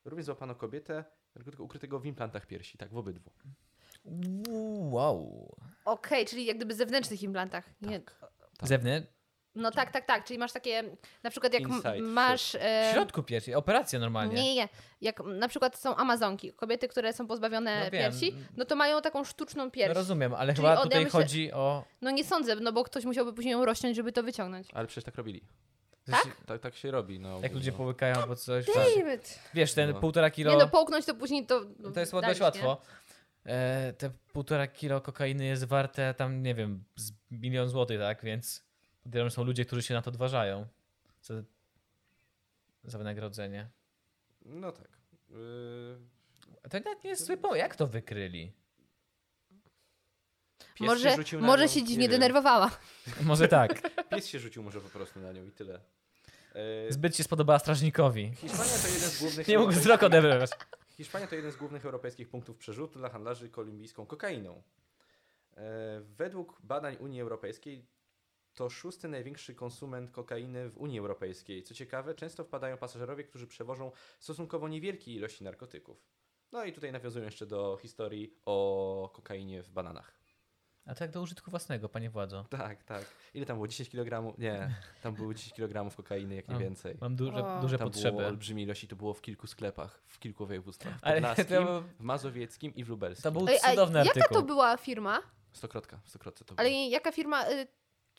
S2: również złapano kobietę narkotyku ukrytego w implantach piersi, tak, w obydwu.
S1: Wow.
S3: Okej, czyli jak gdyby zewnętrznych implantach. Nie,
S2: Tak. Tak.
S1: zewnętrzny.
S3: No tak, tak, tak. Czyli masz takie, na przykład jak m-
S2: Inside, w
S3: masz... e,
S1: W środku piersi, operacja normalnie.
S3: Nie, nie, nie. Jak m, na przykład są amazonki, kobiety, które są pozbawione
S1: No wiem.
S3: piersi, no to mają taką sztuczną pierś.
S1: no
S3: No,
S1: rozumiem, ale
S3: Czyli
S1: chyba
S3: od- ja
S1: tutaj
S3: myślę-
S1: chodzi o...
S3: nie sądzę, no bo ktoś musiałby później ją rościąć, żeby to wyciągnąć.
S2: Ale przecież tak robili.
S3: Tak?
S2: Tak, tak się robi. No,
S1: Jak ludzie
S2: no.
S1: połykają albo coś. tak.
S3: Damn it.
S1: Wiesz, ten
S2: No.
S1: półtora kilo...
S3: Nie no, połknąć to później to... no,
S1: To jest
S3: dajesz,
S1: dość
S3: nie?
S1: łatwo. E, te półtora kilo kokainy jest warte tam, nie wiem, z milion złotych, tak? Więc podejrzewam, że są ludzie, którzy się na to odważają. Za, za wynagrodzenie.
S2: No tak. Yy,
S1: A To nawet nie jest zły pomysł. Jak to wykryli?
S2: pies
S3: Może,
S2: rzucił na
S3: może
S2: nią,
S3: się dziś
S2: nie
S3: nie
S2: wiem.
S3: denerwowała.
S1: Może tak.
S2: Pies się rzucił może po prostu na nią i tyle. Yy,
S1: Zbyt się spodobała strażnikowi.
S2: Hiszpania to jeden z głównych...
S1: Nie mógł
S2: europejskich-
S1: wzrok odebrać.
S2: Hiszpania to jeden z głównych europejskich punktów przerzutu dla handlarzy kolumbijską kokainą. E, Według badań Unii Europejskiej to szósty największy konsument kokainy w Unii Europejskiej. Co ciekawe, często wpadają pasażerowie, którzy przewożą stosunkowo niewielkie ilości narkotyków. No i tutaj nawiązuję jeszcze do historii o kokainie w bananach.
S1: A to jak do użytku własnego, panie władzo.
S2: Tak, tak. Ile tam było? 10 kg? Nie, tam było 10 kg kokainy, jak
S1: O,
S2: nie więcej.
S1: Mam duże,
S3: O.
S1: duże
S2: Tam było
S1: potrzeby.
S2: olbrzymie ilości, to było w kilku sklepach, w kilku województwach. W
S1: Ale to,
S2: Podlaskim,
S1: był-
S2: w Mazowieckim i w Lubelskim.
S1: to był
S3: Ej, a
S1: cudowny
S3: jaka to
S1: artykuł.
S3: była firma?
S2: Stokrotka, w stokrotce to
S3: Ale
S2: było.
S3: jaka firma y,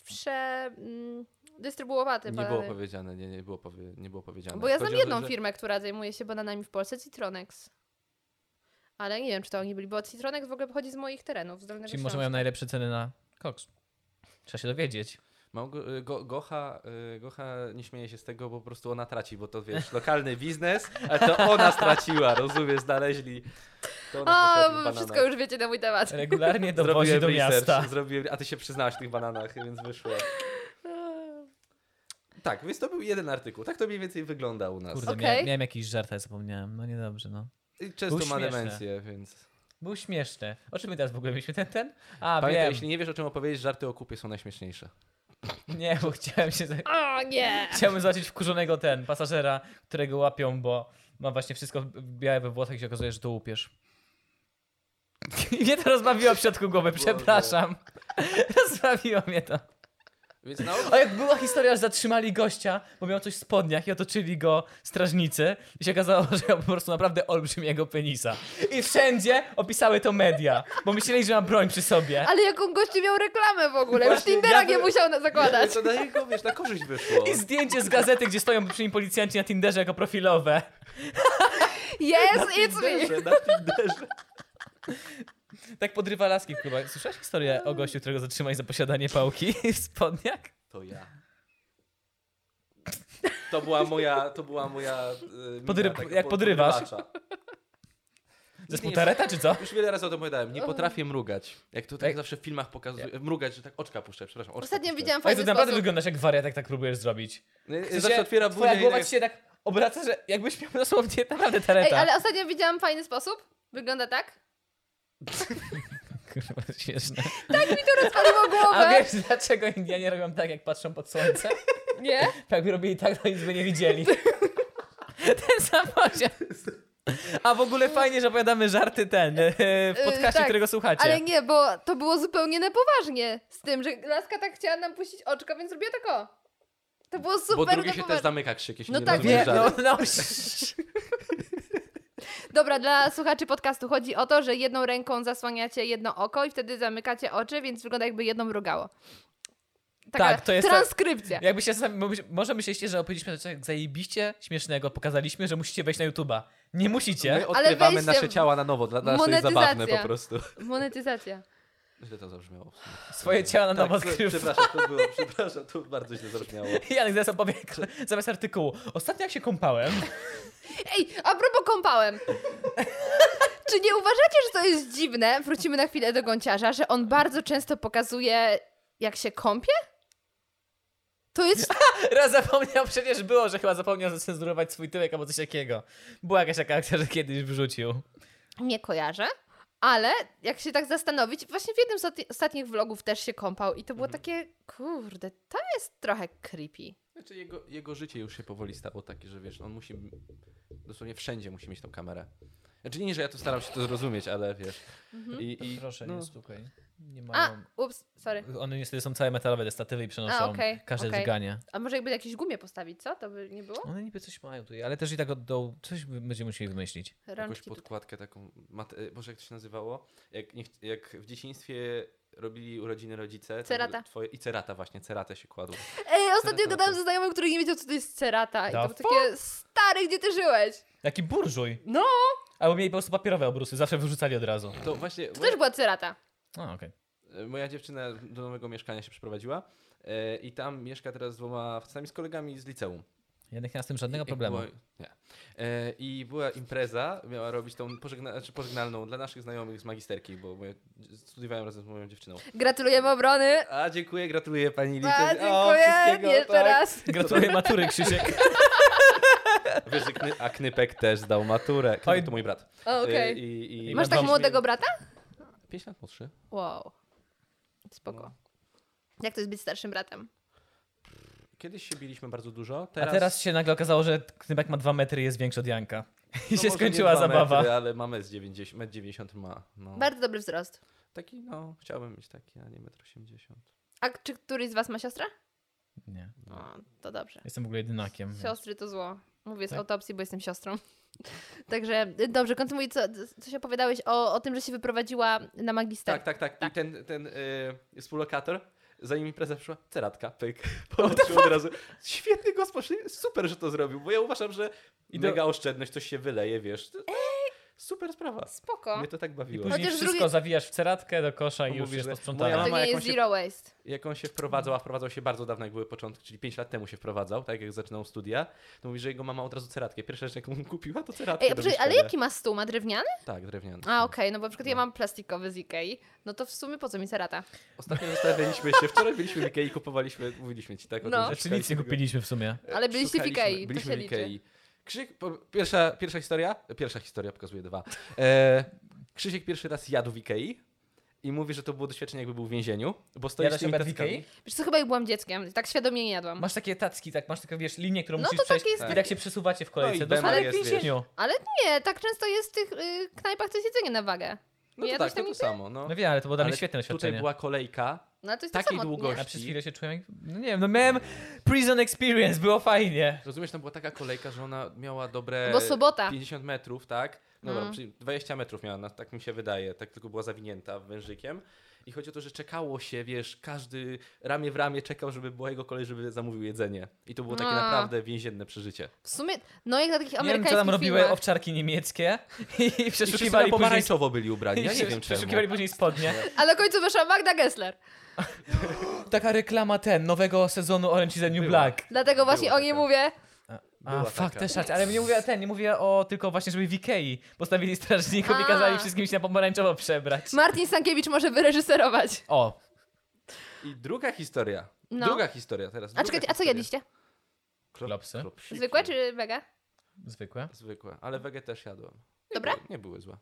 S3: prze... mm, dystrybuowała te
S2: Nie
S3: banany?
S2: było powiedziane, nie, nie, było powie, nie było powiedziane.
S3: Bo ja znam
S2: Chodzi o to,
S3: jedną
S2: że-
S3: firmę, która zajmuje się bananami w Polsce, Citronex. Ale nie wiem, czy to oni byli, bo Citronex w ogóle pochodzi z moich terenów, z Dolnego
S1: Czyli może mają najlepsze ceny na koks. Trzeba się dowiedzieć.
S2: Małgo- go, Gocha, y, Gocha nie śmieje się z tego, bo po prostu ona traci, bo to wiesz, lokalny biznes, ale to ona straciła, rozumiesz, znaleźli. To ona
S3: O,
S2: posiadła
S3: wy
S2: banana.
S3: wszystko już wiecie na mój temat.
S1: Regularnie dowozi
S2: Zrobiłem
S1: do
S2: research,
S1: miasta.
S2: Zrobiłem, a ty się przyznałaś w tych bananach, więc wyszło. Tak, więc to był jeden artykuł. Tak to mniej więcej wygląda u nas.
S1: Kurde,
S3: Okej.
S1: miałem, miałem jakiś żart, ale zapomniałem. No niedobrze, no.
S2: I Często
S1: Był
S2: ma
S1: śmieszny.
S2: demencję, więc.
S1: Był śmieszny. O czym my teraz w ogóle mieliśmy ten, ten? A,
S2: Pamiętaj,
S1: wiem.
S2: jeśli nie wiesz o czym opowiedzieć, żarty o kupie są najśmieszniejsze.
S1: Nie, bo chciałem się... za-
S3: O nie!
S1: Chciałem zobaczyć wkurzonego ten, pasażera, którego łapią, bo ma właśnie wszystko białe we włosach i się okazuje, że to łupież. I mnie to rozbawiło w środku głowy,
S2: Boże.
S1: przepraszam. Rozbawiło mnie to.
S2: Więc na ogół
S1: A jak była historia, że zatrzymali gościa, bo miał coś w spodniach i otoczyli go strażnicy i się okazało, że miał po prostu naprawdę olbrzymiego penisa. I wszędzie opisały to media, bo myśleli, że ma broń przy sobie.
S3: Ale jaką gościu miał reklamę w ogóle? Już
S1: Właśnie,
S3: Tindera
S1: ja
S3: nie
S1: by-
S3: musiał na- zakładać.
S2: To na jego, wiesz, na korzyść wyszło.
S1: I zdjęcie z gazety, gdzie stoją przy nim policjanci na Tinderze jako profilowe.
S3: Yes, it's me!
S2: Tinderze, na Tinderze.
S1: Tak podrywa laski w klubach. Słyszałeś historię o gościu, którego zatrzymali za posiadanie pałki w spodniach?
S2: To ja. To była moja, to była moja y, mina,
S1: Podryw-
S2: taka
S1: jak
S2: po-
S1: podrywasz?
S2: podrywacza.
S1: Zespół Tareta, czy co?
S2: Już wiele razy o tym opowiadałem, nie potrafię mrugać. Jak to tak
S1: Jak-
S2: zawsze w filmach pokazuje, mrugać, że tak oczka puszczę, przepraszam, oczka
S3: Ostatnio
S2: puszczę.
S3: widziałam
S1: Ale to
S3: fajny
S1: naprawdę
S3: sposób.
S1: wyglądasz jak wariat, jak tak próbujesz zrobić.
S2: Y,
S1: W sensie
S2: Zawsze otwiera buzię
S1: Twoja
S2: i
S1: głowa
S2: tak-
S1: ci się tak obraca, że jakbyś miał dosłownie naprawdę
S3: Ej,
S1: Tareta.
S3: ale ostatnio widziałam fajny sposób. Wygląda tak?
S1: Kurwa, to śmieszne.
S3: To rozpaliło
S1: A
S3: głowę.
S1: wiesz, dlaczego Indianie robią tak, jak patrzą pod słońce?
S3: Nie?
S1: Jakby robili tak, to nic by nie widzieli. Ten sam poziom. A w ogóle fajnie, że opowiadamy żarty ten e, w
S3: Yy,
S1: podcaście,
S3: tak,
S1: którego słuchacie.
S3: Ale nie, bo to było zupełnie nepoważnie z tym, że laska tak chciała nam puścić oczka, więc zrobiła tak o. To było super
S2: Bo drugie się
S3: nepoważnie.
S2: też zamyka krzyk, jeśli
S3: No
S2: nie
S3: tak,
S2: rozumiesz
S1: Wie,
S3: nie,
S1: no,
S2: żartu.
S1: no,
S3: Dobra, dla słuchaczy podcastu chodzi o to, że jedną ręką zasłaniacie jedno oko i wtedy zamykacie oczy, więc wygląda jakby jedno mrugało. Taka
S1: Tak, to jest ta-
S3: transkrypcja.
S1: Jakby się zastanawiam, bo myśl- może myśleliście, że opowiedzieliśmy coś tak zajebiście śmiesznego, pokazaliśmy, że musicie wejść na YouTube'a. Nie musicie.
S2: My odkrywamy
S3: wejście
S2: nasze
S3: w-
S2: ciała na nowo, dla dla nas to jest zabawne
S3: Monetyzacja.
S2: po prostu.
S3: Monetyzacja.
S2: Źle to zabrzmiało. w sumie.
S1: Swoje ciała na
S2: Tak,
S1: nowo
S2: prze-
S1: odkrywa.
S2: Przepraszam, to było, przepraszam, to bardzo źle zabrzmiało.
S1: Janek zaraz opowie zamiast artykułu. Ostatnio jak się kąpałem,
S3: Ej, a propos kąpałem. Czy nie uważacie, że to jest dziwne? Wrócimy na chwilę do gąciarza, że on bardzo często pokazuje, jak się kąpie? To jest
S1: raz zapomniał, przecież było, że chyba zapomniał zacenzurować swój tyłek albo coś takiego. Była jakaś taka akcja, że kiedyś wrzucił.
S3: nie kojarzę, ale jak się tak zastanowić, właśnie w jednym z oty- ostatnich vlogów też się kąpał i to
S1: Mhm.
S3: było takie, kurde, to jest trochę creepy.
S2: Znaczy jego, jego życie już się powoli stało takie, że wiesz, on musi, dosłownie wszędzie musi mieć tą kamerę. Znaczy nie, że ja tu staram się to zrozumieć, ale wiesz. I, i,
S1: Proszę,
S2: no,
S1: nie stukaj. nie
S3: A,
S1: mają.
S3: ups, sorry.
S1: One niestety są całe metalowe, te statywy i przenoszą
S3: A, okej,
S1: każde
S3: okej.
S1: dźganie.
S3: A może jakby jakieś gumie postawić, co? To by nie było?
S1: One niby coś mają tutaj, ale też i tak od dołu coś będziemy musieli wymyślić.
S2: Jakąś
S3: Rączki tutaj.
S2: podkładkę taką. Mat- e, Boże, jak to się nazywało? Jak, nie, ch- jak w dzieciństwie robili urodziny rodzice. to
S3: Cerata.
S2: były Twoje, I cerata właśnie, ceratę się kładło.
S3: Ej, ostatnio
S2: Cerata
S3: gadałam
S2: to-
S3: ze znajomym, który nie wiedział, co to jest cerata. I
S1: Da
S3: to było takie, stary, gdzie ty żyłeś?
S1: Taki burżuj!
S3: No!
S1: Albo mieli po prostu papierowe obrusy, zawsze wyrzucali od razu.
S2: To właśnie
S3: To też
S2: moja,
S3: była cerata.
S1: A, okej.
S2: e, moja dziewczyna do nowego mieszkania się przeprowadziła e, i tam mieszka teraz z dwoma facetami, z kolegami z liceum.
S1: Jednak nie ma z tym żadnego
S2: Jak
S1: problemu.
S2: było- nie. E, I była impreza, miała robić tą pożegna, znaczy pożegnalną dla naszych znajomych z magisterki, bo moje, studiowałem razem z moją dziewczyną.
S3: Gratulujemy obrony.
S2: A dziękuję, gratuluję pani Licie.
S3: A,
S2: O,
S3: dziękuję,
S2: wszystkiego,
S3: jeszcze
S2: tak.
S3: raz.
S1: Gratuluję matury, Krzysiek.
S2: Wiesz, że Kny- a Knypek też zdał maturę.
S1: Oj.
S2: Knypek to mój brat.
S3: O, Okej.
S2: E, I, i
S1: I
S3: Masz tak
S1: mam-
S3: młodego brata?
S2: 5 lat młodszy.
S3: Wow. Spoko.
S2: No.
S3: Jak to jest być starszym bratem?
S2: Kiedyś się biliśmy bardzo dużo.
S1: A
S2: Teraz,
S1: teraz się nagle okazało, że Knybek ma dwa metry i jest większy od Janka. I
S2: no, może
S1: się
S2: nie
S1: skończyła
S2: dwa
S1: zabawa.
S2: Metry, ale mamy z 90, metr 90 ma. No.
S3: Bardzo dobry wzrost.
S2: Taki, no, chciałbym mieć taki, a nie metr 80.
S3: A czy któryś z was ma siostrę?
S1: Nie.
S2: No.
S3: O, to dobrze.
S1: Jestem w ogóle jedynakiem.
S2: Mhm.
S1: więc-
S3: Siostry to zło. Mówię z
S1: Tak?
S3: autopsji, bo jestem siostrą. Także y, dobrze, kontynuuj, co, coś opowiadałeś o, o tym, że się wyprowadziła na magister.
S2: Tak, tak, tak. I ten, ten y, współlokator, zanim impreza przyszła, ceratka, pyk. Połączył od razu. Świetny gospodarz, super, że to zrobił, bo ja uważam, że
S1: I do-
S2: mega oszczędność, coś się wyleje, wiesz. To- Super sprawa.
S3: Spoko.
S2: Mnie to tak
S1: I
S2: bawiło.
S1: później
S3: Chociaż z
S1: wszystko
S3: drugiej-
S1: zawijasz w ceratkę do kosza i
S2: Bo
S1: już
S2: mówisz,
S1: jest
S2: że
S1: posprzątane.
S2: moja
S3: To
S2: mama
S3: nie jest
S2: jakąś-
S3: zero waste.
S2: Jak on się wprowadzał, a wprowadzał się bardzo dawno, jak były początki, czyli 5 lat temu się wprowadzał, tak jak zaczynał studia, to mówi, że jego mama od razu ceratkę. Pierwsza rzecz, jaką kupiła, to ceratkę.
S3: Ej, a
S2: do
S3: przecież- ale
S2: mieszkania.
S3: jaki ma stół? Ma drewniany?
S2: Tak, drewniany.
S3: A, okej, no bo na przykład ja
S2: No.
S3: mam plastikowy z Ikei. No to w sumie po co mi cerata?
S2: Ostatnio zastanawialiśmy się, wczoraj byliśmy w Ikei, kupowaliśmy, mówiliśmy ci tak o
S3: No.
S2: tym, że
S1: Znaczy nic nie
S2: szukaliśmy go.
S1: kupiliśmy w
S2: Mm.
S1: sumie.
S3: Ale byliście w
S2: Szukaliśmy-
S3: Ikei, to
S2: Byliśmy
S3: się
S2: w
S3: liczy.
S2: Ikei. Krzysiek, po- pierwsza, pierwsza historia, pierwsza historia, pokazuje dwa. E, Krzysiek pierwszy raz jadł w Ikei i mówi, że to było doświadczenie jakby był w więzieniu, bo stoisz
S1: Jadasz
S2: z tymi
S1: obiad w
S2: tackami.
S1: Ikei?
S3: Wiesz co, chyba jak byłam dzieckiem, tak świadomie nie jadłam.
S1: Masz takie tacki, tak, masz taką, wiesz, linię, którą
S3: No
S1: musisz
S3: to
S1: przejść
S3: tak jest
S1: i tak się przesuwacie w kolejce.
S2: No i
S1: do
S2: bema
S1: samego
S2: jest,
S1: więzieniu.
S3: Nie, tak często jest w tych y, knajpach, to jest jedzenie na wagę.
S2: No to
S3: Jadłeś
S2: tak,
S3: tam
S2: to, to
S3: Ikei?
S2: samo. No.
S1: No wiem, ale to było dla mnie
S2: Ale
S1: świetne
S2: Tutaj
S1: doświadczenie.
S2: była kolejka,
S3: No ale to jest
S2: Takiej
S3: to samo,
S2: długości.
S1: A przez chwilę się czułem, jak- no nie wiem, no miałem prison experience, było fajnie.
S2: rozumiesz, tam była taka kolejka, że ona miała dobre
S3: Nie? Bo sobota.
S2: 50 metrów, tak? Dobra,
S3: Mm.
S2: czyli 20 metrów miała, no, tak mi się wydaje, tak tylko była zawinięta wężykiem. I chodzi o to, że czekało się, wiesz, każdy ramię w ramię czekał, żeby była jego kolej, żeby zamówił jedzenie. I to było takie
S3: A.
S2: naprawdę więzienne przeżycie.
S3: W sumie, no jak na takich
S1: Nie wiem,
S3: amerykańskich
S1: co tam robiły
S3: filmach.
S1: owczarki niemieckie i
S2: Wszyscy na
S1: przeszukiwali później...
S2: pomarańczowo byli ubrani, ja
S1: i
S2: nie
S1: przesz-
S2: wiem czemu.
S1: Przeszukiwali później spodnie.
S3: A na końcu weszła Magda Gessler.
S1: Taka reklama ten, nowego sezonu Orange is the New
S2: Była.
S1: Black.
S3: Dlatego właśnie
S2: Była
S3: o niej
S2: taka.
S3: mówię.
S1: A,
S2: Była
S1: fuck,
S2: taka.
S1: te szacie. Ale nie mówię o ten, nie mówię o tylko właśnie, żeby w Ikei postawili strażników i
S3: A.
S1: kazali wszystkim się na pomarańczowo przebrać.
S3: Martin Stankiewicz może wyreżyserować.
S1: O,
S2: I druga historia.
S3: No.
S2: Druga historia teraz.
S3: A
S2: druga
S3: czekajcie, a co
S2: historia.
S3: jadliście?
S2: Klop-
S1: Klopsy?
S2: klopsiki.
S3: Zwykłe czy mega?
S1: zwykłe.
S2: Zwykłe, ale wege też jadłem. Nie
S3: Dobre?
S2: Były, nie były złe.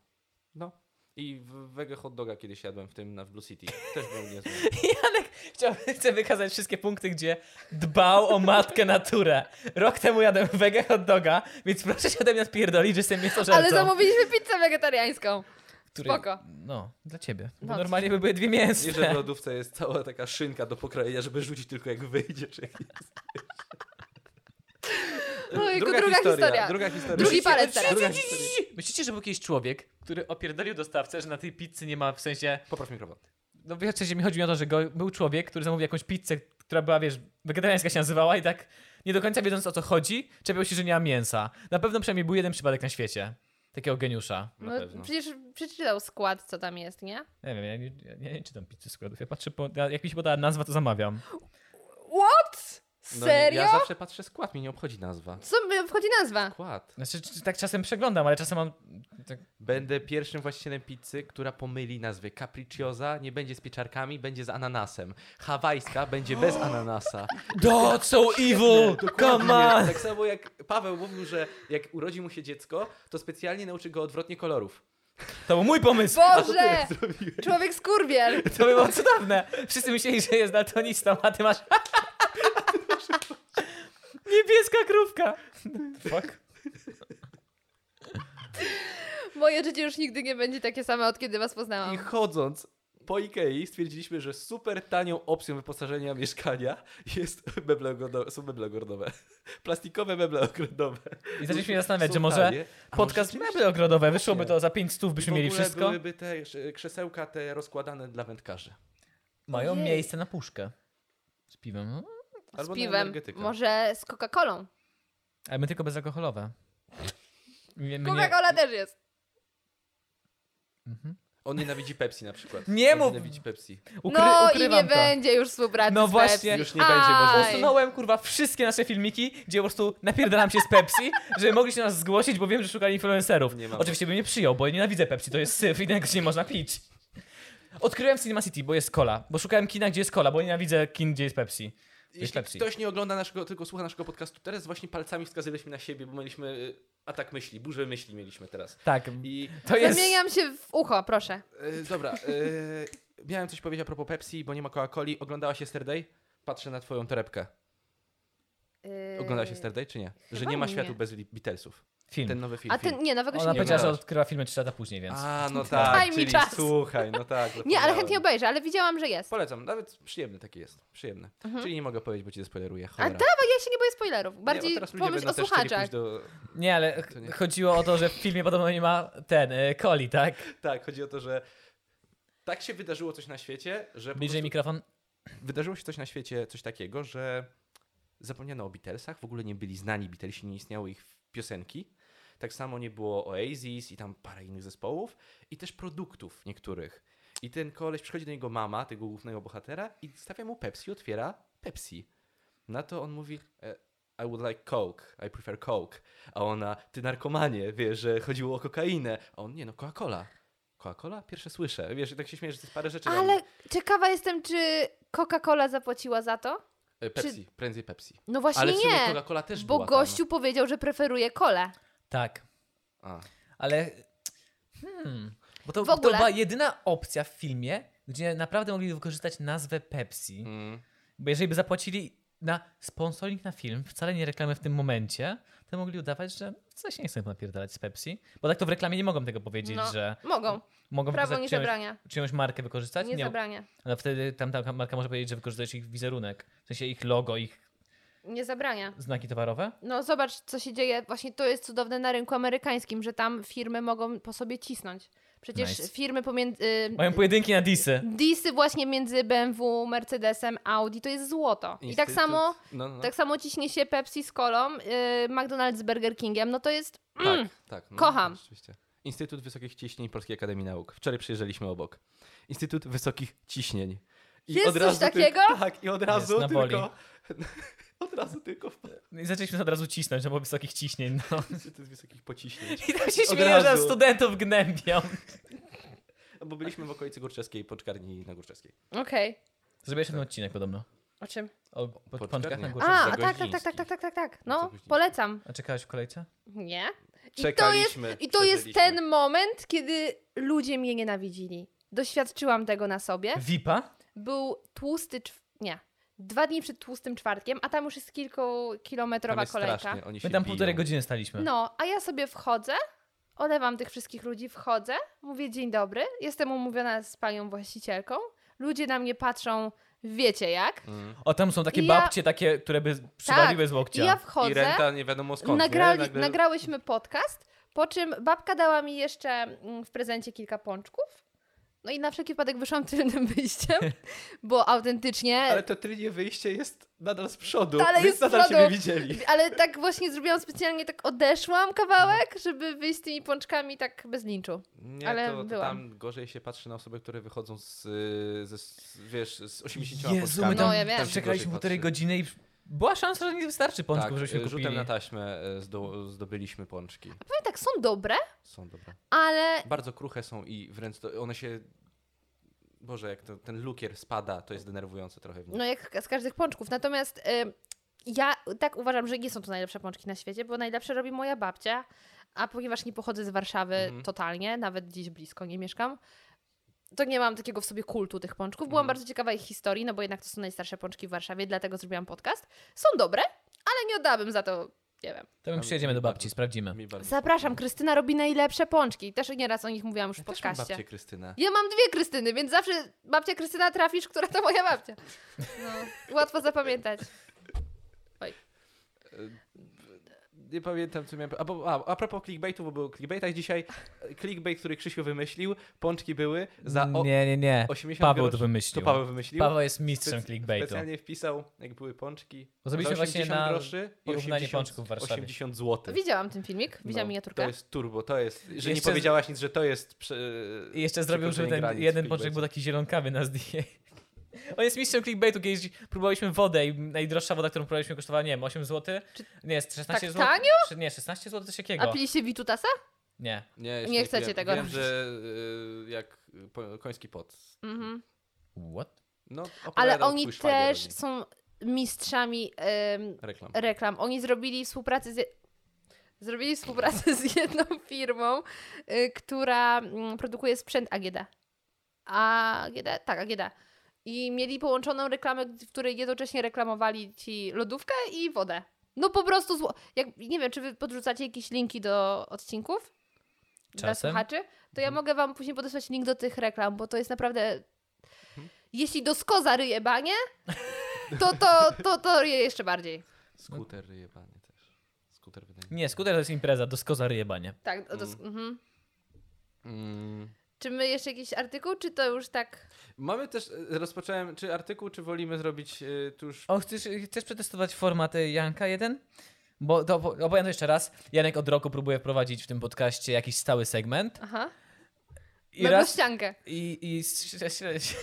S2: No. I w- wege hot doga kiedyś jadłem w tym na w Blue City. Też był niezły.
S1: Janek chciał, chce wykazać wszystkie punkty, gdzie dbał o matkę naturę. Rok temu jadłem wege hot doga, więc proszę się ode mnie odpierdolić, że jestem mięsożercą.
S3: Ale zamówiliśmy pizzę wegetariańską.
S1: Który-
S3: Spoko.
S1: No, dla ciebie. Bo
S3: No.
S1: normalnie by były dwie
S2: Nie, że w
S1: mięsne.
S2: lodówce jest cała taka szynka do pokrojenia, żeby rzucić tylko jak wyjdziesz. Jak jest.
S3: Ojku, No, druga historia.
S2: Druga historia.
S3: Drugi
S2: Myślicie-
S3: palec teraz.
S2: Druga historia.
S1: Myślicie, że był jakiś człowiek, który opierdolił dostawcę, że na tej pizzy nie ma, w sensie...
S2: Popraw mikrofon.
S1: No wiecie, że mi chodzi mi o to, że go, był człowiek, który zamówił jakąś pizzę, która była, wiesz, wegetariańska się nazywała i tak nie do końca wiedząc o co chodzi, czepiał się, że nie ma mięsa. Na pewno przynajmniej był jeden przypadek na świecie. Takiego geniusza.
S2: Na pewno.
S3: No, przecież przeczytał skład, co tam jest, nie?
S1: Nie wiem, ja nie, ja nie, nie czytam pizzy składów. Ja patrzę, po, ja, jak mi się podała nazwa, to zamawiam.
S3: What?
S2: No,
S3: Serio?
S2: Ja zawsze patrzę skład, mi nie obchodzi nazwa.
S3: Co mi wchodzi nazwa?
S2: Skład.
S1: Znaczy, czy- tak czasem przeglądam, ale czasem mam... Tak,
S2: Będę pierwszym właścicielem pizzy, która pomyli nazwy. Capricciosa nie będzie z pieczarkami, będzie z ananasem. Hawajska będzie bez ananasa.
S1: That's so evil! Come on!
S2: Tak samo jak Paweł mówił, że jak urodzi mu się dziecko, to specjalnie nauczy go odwrotnie kolorów.
S1: To był mój pomysł!
S3: Boże!
S2: Zrobiłeś.
S3: Człowiek skurwiel!
S1: To by było cudowne. Wszyscy myśleli, że jest daltonistą, a ty masz... Niebieska krówka! Fuck.
S3: Moje życie już nigdy nie będzie takie same, od kiedy was poznałam.
S2: I chodząc po Ikei stwierdziliśmy, że super tanią opcją wyposażenia mieszkania jest meble ogrodowe, są meble ogrodowe. Plastikowe meble ogrodowe.
S1: I zaczęliśmy się zastanawiać,
S2: Są
S1: że może
S2: tanie, a
S1: podcast
S2: może rzeczywiście-
S1: meble ogrodowe, wyszłoby
S2: Właśnie.
S1: to za 5 stów, byśmy
S2: I w
S1: mieli
S2: ogóle
S1: wszystko.
S2: byłyby te krze- krzesełka te rozkładane dla wędkarzy.
S1: Mają
S3: Ojej.
S1: miejsce na puszkę z piwem. no.
S2: Albo
S3: z
S2: na
S3: piwem,
S2: energetyka.
S3: może z Coca-Colą.
S1: Ale my tylko bezalkoholowe. My, my nie,
S3: Coca-Cola też jest.
S1: mhm.
S2: On nienawidzi Pepsi na przykład.
S1: Nie
S2: On
S1: mów-
S2: Nienawidzi Pepsi.
S1: Ukry,
S3: no i
S1: ukrywam
S3: nie
S1: to.
S3: będzie już współpracy
S1: No
S3: z
S1: właśnie.
S3: Pepsi.
S2: Już nie będzie może.
S3: Aj.
S1: Usunąłem kurwa wszystkie nasze filmiki, gdzie po prostu napierdalam się z Pepsi, żeby mogli się nas zgłosić, bo wiem, że szukali influencerów.
S2: Nie mam.
S1: Oczywiście bym nie przyjął, bo ja nienawidzę Pepsi, to jest syf i tego się nie można pić. Odkryłem Cinema City, bo jest cola, bo szukałem kina, gdzie jest cola, bo nienawidzę kin, gdzie jest Pepsi.
S2: Jeśli
S1: Pepsi.
S2: ktoś nie ogląda naszego, tylko słucha naszego podcastu, teraz właśnie palcami wskazywaliśmy na siebie, bo mieliśmy y, atak myśli, burzę myśli mieliśmy teraz.
S1: Tak,
S2: I
S1: to jest...
S3: Zamieniam się w ucho, proszę.
S2: y, dobra, y, miałem coś powiedzieć a propos Pepsi, bo nie ma Coca-Coli. Oglądałaś Yesterday? Patrzę na twoją torebkę.
S3: Yy,
S2: Oglądałaś Yesterday czy nie? Że
S3: chyba
S2: nie ma
S3: nie.
S2: światu bez Li- Beatlesów.
S1: Film.
S2: Ten nowy film.
S3: A ten,
S2: film.
S3: nie, nowego się
S1: Ona
S3: nie
S1: powiedziała, że
S2: oglądałaś.
S1: odkryła filmy 3 lata później, więc...
S2: A, no tak,
S3: Daj mi
S2: czyli
S3: czas.
S2: słuchaj, no tak.
S3: Nie, ale
S2: zapomniałem.
S3: chętnie obejrzę, ale widziałam, że jest.
S2: Polecam, nawet przyjemny taki jest. Przyjemny. Czyli nie mogę powiedzieć, bo ci zespoileruję.
S3: Mhm. A
S2: Cholera.
S3: dawaj, No, ja się nie boję spoilerów.
S2: nie,
S3: Bardziej
S2: bo teraz ludzie
S3: pomyśl
S2: będą
S3: o
S2: też chcieli
S3: słuchaczach.
S2: pójść do...
S1: Nie, ale
S2: To nie.
S1: ch- chodziło o to, że w filmie podobno nie ma ten, y, coli, tak?
S2: Tak, chodzi o to, że tak się wydarzyło coś na świecie, że po
S1: Bliżej
S2: prostu
S1: mikrofon.
S2: wydarzyło się coś na świecie, coś takiego, że zapomniano o Beatlesach, w ogóle nie byli znani Beatlesi, nie istniały ich piosenki. Tak samo nie było Oasis i tam parę innych zespołów i też produktów niektórych. I ten koleś przychodzi do niego mama, tego głównego bohatera i stawia mu Pepsi, otwiera Pepsi. Na to on mówi e, I would like Coke, I prefer Coke. A ona, ty narkomanie, wiesz, że chodziło o kokainę. A on, nie no, Coca-Cola. Coca-Cola? Pierwsze słyszę. Wiesz, i tak się śmieję, że to jest parę rzeczy.
S3: Ale ciekawa jestem, czy Coca-Cola zapłaciła za to?
S2: E, Pepsi, prędzej Pepsi.
S3: No właśnie
S2: Ale w sumie
S3: nie,
S2: Coca-Cola też
S3: bo
S2: była no.
S3: gościu powiedział, że preferuje kolę.
S1: Tak,
S2: Tam. A.
S1: ale... Hmm. Bo to,
S3: W ogóle-
S1: to była jedyna opcja w filmie, gdzie naprawdę mogli wykorzystać nazwę Pepsi.
S2: Mm.
S1: Bo jeżeli by zapłacili na sponsoring na film, wcale nie reklamy w tym momencie, to mogli udawać, że coś nie chcą napierdalać z Pepsi. Bo tak to w reklamie nie mogą tego powiedzieć,
S3: No.
S1: że
S3: Mogą,
S1: mogą
S3: prawo
S1: wykorzystać
S3: nie
S1: czyjąś,
S3: zabrania.
S1: czyjąś markę wykorzystać.
S3: Nie zabrania.
S1: ale wtedy tamta marka może powiedzieć, że wykorzystujesz ich wizerunek. W sensie ich logo, ich
S3: Nie zabrania.
S1: znaki towarowe.
S3: No zobacz, co się dzieje. Właśnie to jest cudowne na rynku amerykańskim, że tam firmy mogą po sobie cisnąć. Przecież
S1: Nice.
S3: firmy pomiędzy... y,
S1: Mają pojedynki na disy.
S3: Disy właśnie między BMW, Mercedesem, Audi to jest złoto. I tak
S2: Instytut-
S3: samo,
S2: No, no, no.
S3: tak samo ciśnie się Pepsi z Colą, yy, McDonald's z Burger Kingiem. No to jest
S2: tak, tak no,
S3: kocham.
S2: Rzeczywiście. Instytut Wysokich Ciśnień Polskiej Akademii Nauk. Wczoraj przyjeżdżaliśmy obok. Instytut Wysokich Ciśnień.
S3: Jest coś
S2: tylko-
S3: takiego?
S2: tak, i od
S1: Jest
S2: razu
S1: na woli.
S2: tylko... od razu tylko w
S1: I zaczęliśmy od razu cisnąć, no bo wysokich ciśnień. No.
S2: Instytut Wysokich Pociśnień.
S1: I tak się
S2: Od
S1: śmieję, że
S2: razu.
S1: studentów gnębią.
S2: Bo byliśmy w okolicy Górczeskiej, Poczkarni na Górczeskiej.
S3: okej.
S1: Zrobiłeś ten odcinek podobno.
S3: O czym?
S1: O pod- pączkach na
S2: nie.
S1: górze.
S3: A,
S2: Zagoździński.
S3: tak, tak, tak, tak, tak, tak, tak, tak. No,
S2: Zagoździński.
S3: polecam.
S1: A czekałeś w kolejce?
S3: Nie. I to jest,
S2: Czekaliśmy,
S3: i to jest
S2: przeżyliśmy.
S3: ten moment, kiedy ludzie mnie nienawidzili. Doświadczyłam tego na sobie.
S1: Vipa?
S3: Był tłusty, czw- nie, dwa dni przed tłustym czwartkiem, a tam już jest
S2: Tam
S3: kilkukilometrowa
S2: jest
S3: kolejka.
S2: strasznie, oni się
S1: My tam
S2: biją.
S1: półtorej godziny staliśmy.
S3: No, a ja sobie wchodzę, olewam tych wszystkich ludzi, wchodzę, mówię dzień dobry, jestem umówiona z panią właścicielką, ludzie na mnie patrzą, wiecie jak.
S2: Mm.
S1: O, tam są takie
S3: I ja-
S1: babcie takie, które by przywaliły z
S3: I
S1: łokcia.
S3: ja
S2: I
S3: wchodzę,
S2: renta nie wiadomo skąd,
S3: nagrali,
S2: nie? Nagle-
S3: nagrałyśmy podcast, po czym babka dała mi jeszcze mm, w prezencie kilka pączków. No i na wszelki wypadek wyszłam tylnym wyjściem, bo autentycznie...
S2: Ale to tylnie wyjście jest nadal z przodu,
S3: Ale
S2: więc
S3: jest z
S2: nadal się
S3: przodu.
S2: nie widzieli.
S3: Ale tak właśnie zrobiłam specjalnie, tak odeszłam kawałek, żeby wyjść z tymi pączkami tak bez linczu.
S2: Nie,
S3: Ale
S2: to, to
S3: byłam.
S2: tam gorzej się patrzy na osoby, które wychodzą z, y, ze, s- wiesz, z
S1: Jezu,
S2: 80
S1: my
S2: Polskami.
S1: tam
S3: No, ja wiem.
S1: tam
S2: gorzej
S1: czekaliśmy półtorej
S2: patrzy.
S1: godziny i była szansa, że nie wystarczy pączków,
S2: tak,
S1: żebyśmy
S2: y,
S1: kupili.
S2: rzutem na taśmę y, zdo, zdobyliśmy pączki.
S3: Powiem tak, są dobre,
S2: Są dobre.
S3: ale
S2: Bardzo kruche są i wręcz to, one się... Boże, jak to, ten lukier spada, to jest denerwujące trochę w nich.
S3: no jak z każdych pączków. Natomiast y, ja tak uważam, że nie są to najlepsze pączki na świecie, bo najlepsze robi moja babcia, a ponieważ nie pochodzę z Warszawy
S2: Mhm.
S3: totalnie, nawet gdzieś blisko nie mieszkam, to nie mam takiego w sobie kultu tych pączków. Byłam
S2: Mhm.
S3: bardzo ciekawa ich historii, no bo jednak to są najstarsze pączki w Warszawie, dlatego zrobiłam podcast. Są dobre, ale nie oddałabym za to Nie wiem.
S1: To my przyjedziemy do babci,
S3: No
S1: sprawdzimy.
S2: Mi bardzo-
S3: Zapraszam, Krystyna robi najlepsze pączki. Też nieraz o nich mówiłam już w
S2: Ja też mam
S3: podcaście.
S2: babcię Krystynę.
S3: Ja mam dwie Krystyny, więc zawsze babcia Krystyna trafisz, która to moja babcia. No, łatwo zapamiętać.
S2: Nie pamiętam, co miałem... A, bo, a, a propos clickbaitu, bo był clickbaitach dzisiaj. e, Clickbait, który Krzysiu wymyślił, pączki były za o,
S1: Nie, nie, nie.
S2: 80
S1: Paweł
S2: groszy.
S1: to wymyślił.
S2: To Paweł wymyślił.
S1: Paweł jest mistrzem
S2: Spec-
S1: clickbaitu.
S2: Specjalnie wpisał, jak były pączki.
S1: Bo zrobiliśmy
S2: za 80
S1: właśnie na
S2: groszy i
S1: porównanie
S2: 80,
S1: pączków w Warszawie.
S2: 80 zł.
S3: Widziałam ten filmik, widziałam miniaturkę.
S2: Tak. No, To jest turbo, to jest. Że nie
S1: Jeszcze z-
S2: powiedziałaś nic, że to jest. Prze...
S1: I jeszcze zrobił, żeby
S2: przekroczenie
S1: ten
S2: granic
S1: jeden
S2: w
S1: pączek był
S2: clickbaicie.
S1: taki zielonkawy na zdjęciu. On jest mistrzem clickbaitu, kiedyś próbowaliśmy wodę i najdroższa woda, którą próbowaliśmy kosztowała, nie wiem, 8 zł? Nie, jest 16
S3: Tak
S1: zł.
S3: tanio?
S1: Nie, 16 zł coś
S3: A
S1: takiego.
S3: piliście Witutasa?
S1: Nie.
S2: Nie, jeszcze
S3: Nie chcecie
S2: piłem.
S3: tego
S2: Wiem,
S3: robić.
S2: że y, jak y, po- koński pot.
S3: Mhm.
S1: What?
S2: No,
S3: Ale
S2: opowiadał
S3: oni
S2: twój szwagier o
S3: też
S2: nim.
S3: są e, mistrzami em,
S2: Reklam.
S3: reklam. Oni zrobili współpracę z. je- Zrobili współpracę z jedną firmą, y, która mm, produkuje sprzęt AGD. AGD? Tak, AGD. I mieli połączoną reklamę, w której jednocześnie reklamowali ci lodówkę i wodę. No po prostu, zło... jak, nie wiem, czy wy podrzucacie jakieś linki do odcinków dla
S1: Czasem.
S3: słuchaczy, to ja mogę wam później podesłać link do tych reklam, bo to jest naprawdę... Jeśli dosko zaryje banie, to to, to, to ryje jeszcze bardziej.
S2: Skuter jebany też. Skuter wydaje mi
S1: Nie, skuter to jest impreza, do skozary jebanie.
S3: Tak, to,
S2: Mm.
S3: mhm.
S2: Mm.
S3: Czy my jeszcze jakiś artykuł, czy to już tak?
S2: Mamy też, y, rozpocząłem, czy artykuł, czy wolimy zrobić y, tuż...
S1: O, chcesz, chcesz przetestować format y, Janka jeden? Bo to opo- opowiem to jeszcze raz. Janek od roku próbuje wprowadzić w tym podcaście jakiś stały segment.
S3: Aha.
S1: I
S3: na
S1: raz.
S3: ściankę.
S1: I, i s- s- s-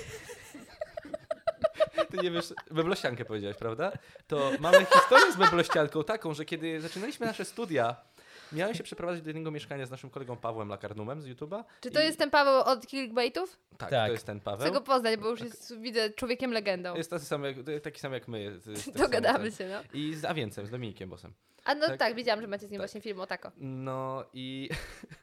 S2: Ty nie wiesz, meblościankę powiedziałeś, prawda? To mamy historię z meblościanką taką, że kiedy zaczynaliśmy nasze studia, miałem się przeprowadzić do jednego mieszkania z naszym kolegą Pawłem Lakarnumem z YouTube'a.
S3: Czy to
S2: I-
S3: jest ten Paweł od clickbaitów?
S2: Tak,
S1: Tak.
S2: to jest ten
S3: Chcę
S2: Paweł. Tak.
S3: go poznać, bo już jest, widzę, człowiekiem legendą.
S2: Jest taki sam jak, taki sam jak my. to jest tak
S3: Dogadamy
S2: samo
S3: się, no.
S2: ten. I z Awiencem, z Dominikiem Bosem.
S3: A no
S2: Tak.
S3: tak, widziałam, że macie z nim
S2: Tak.
S3: właśnie film o tako.
S2: No i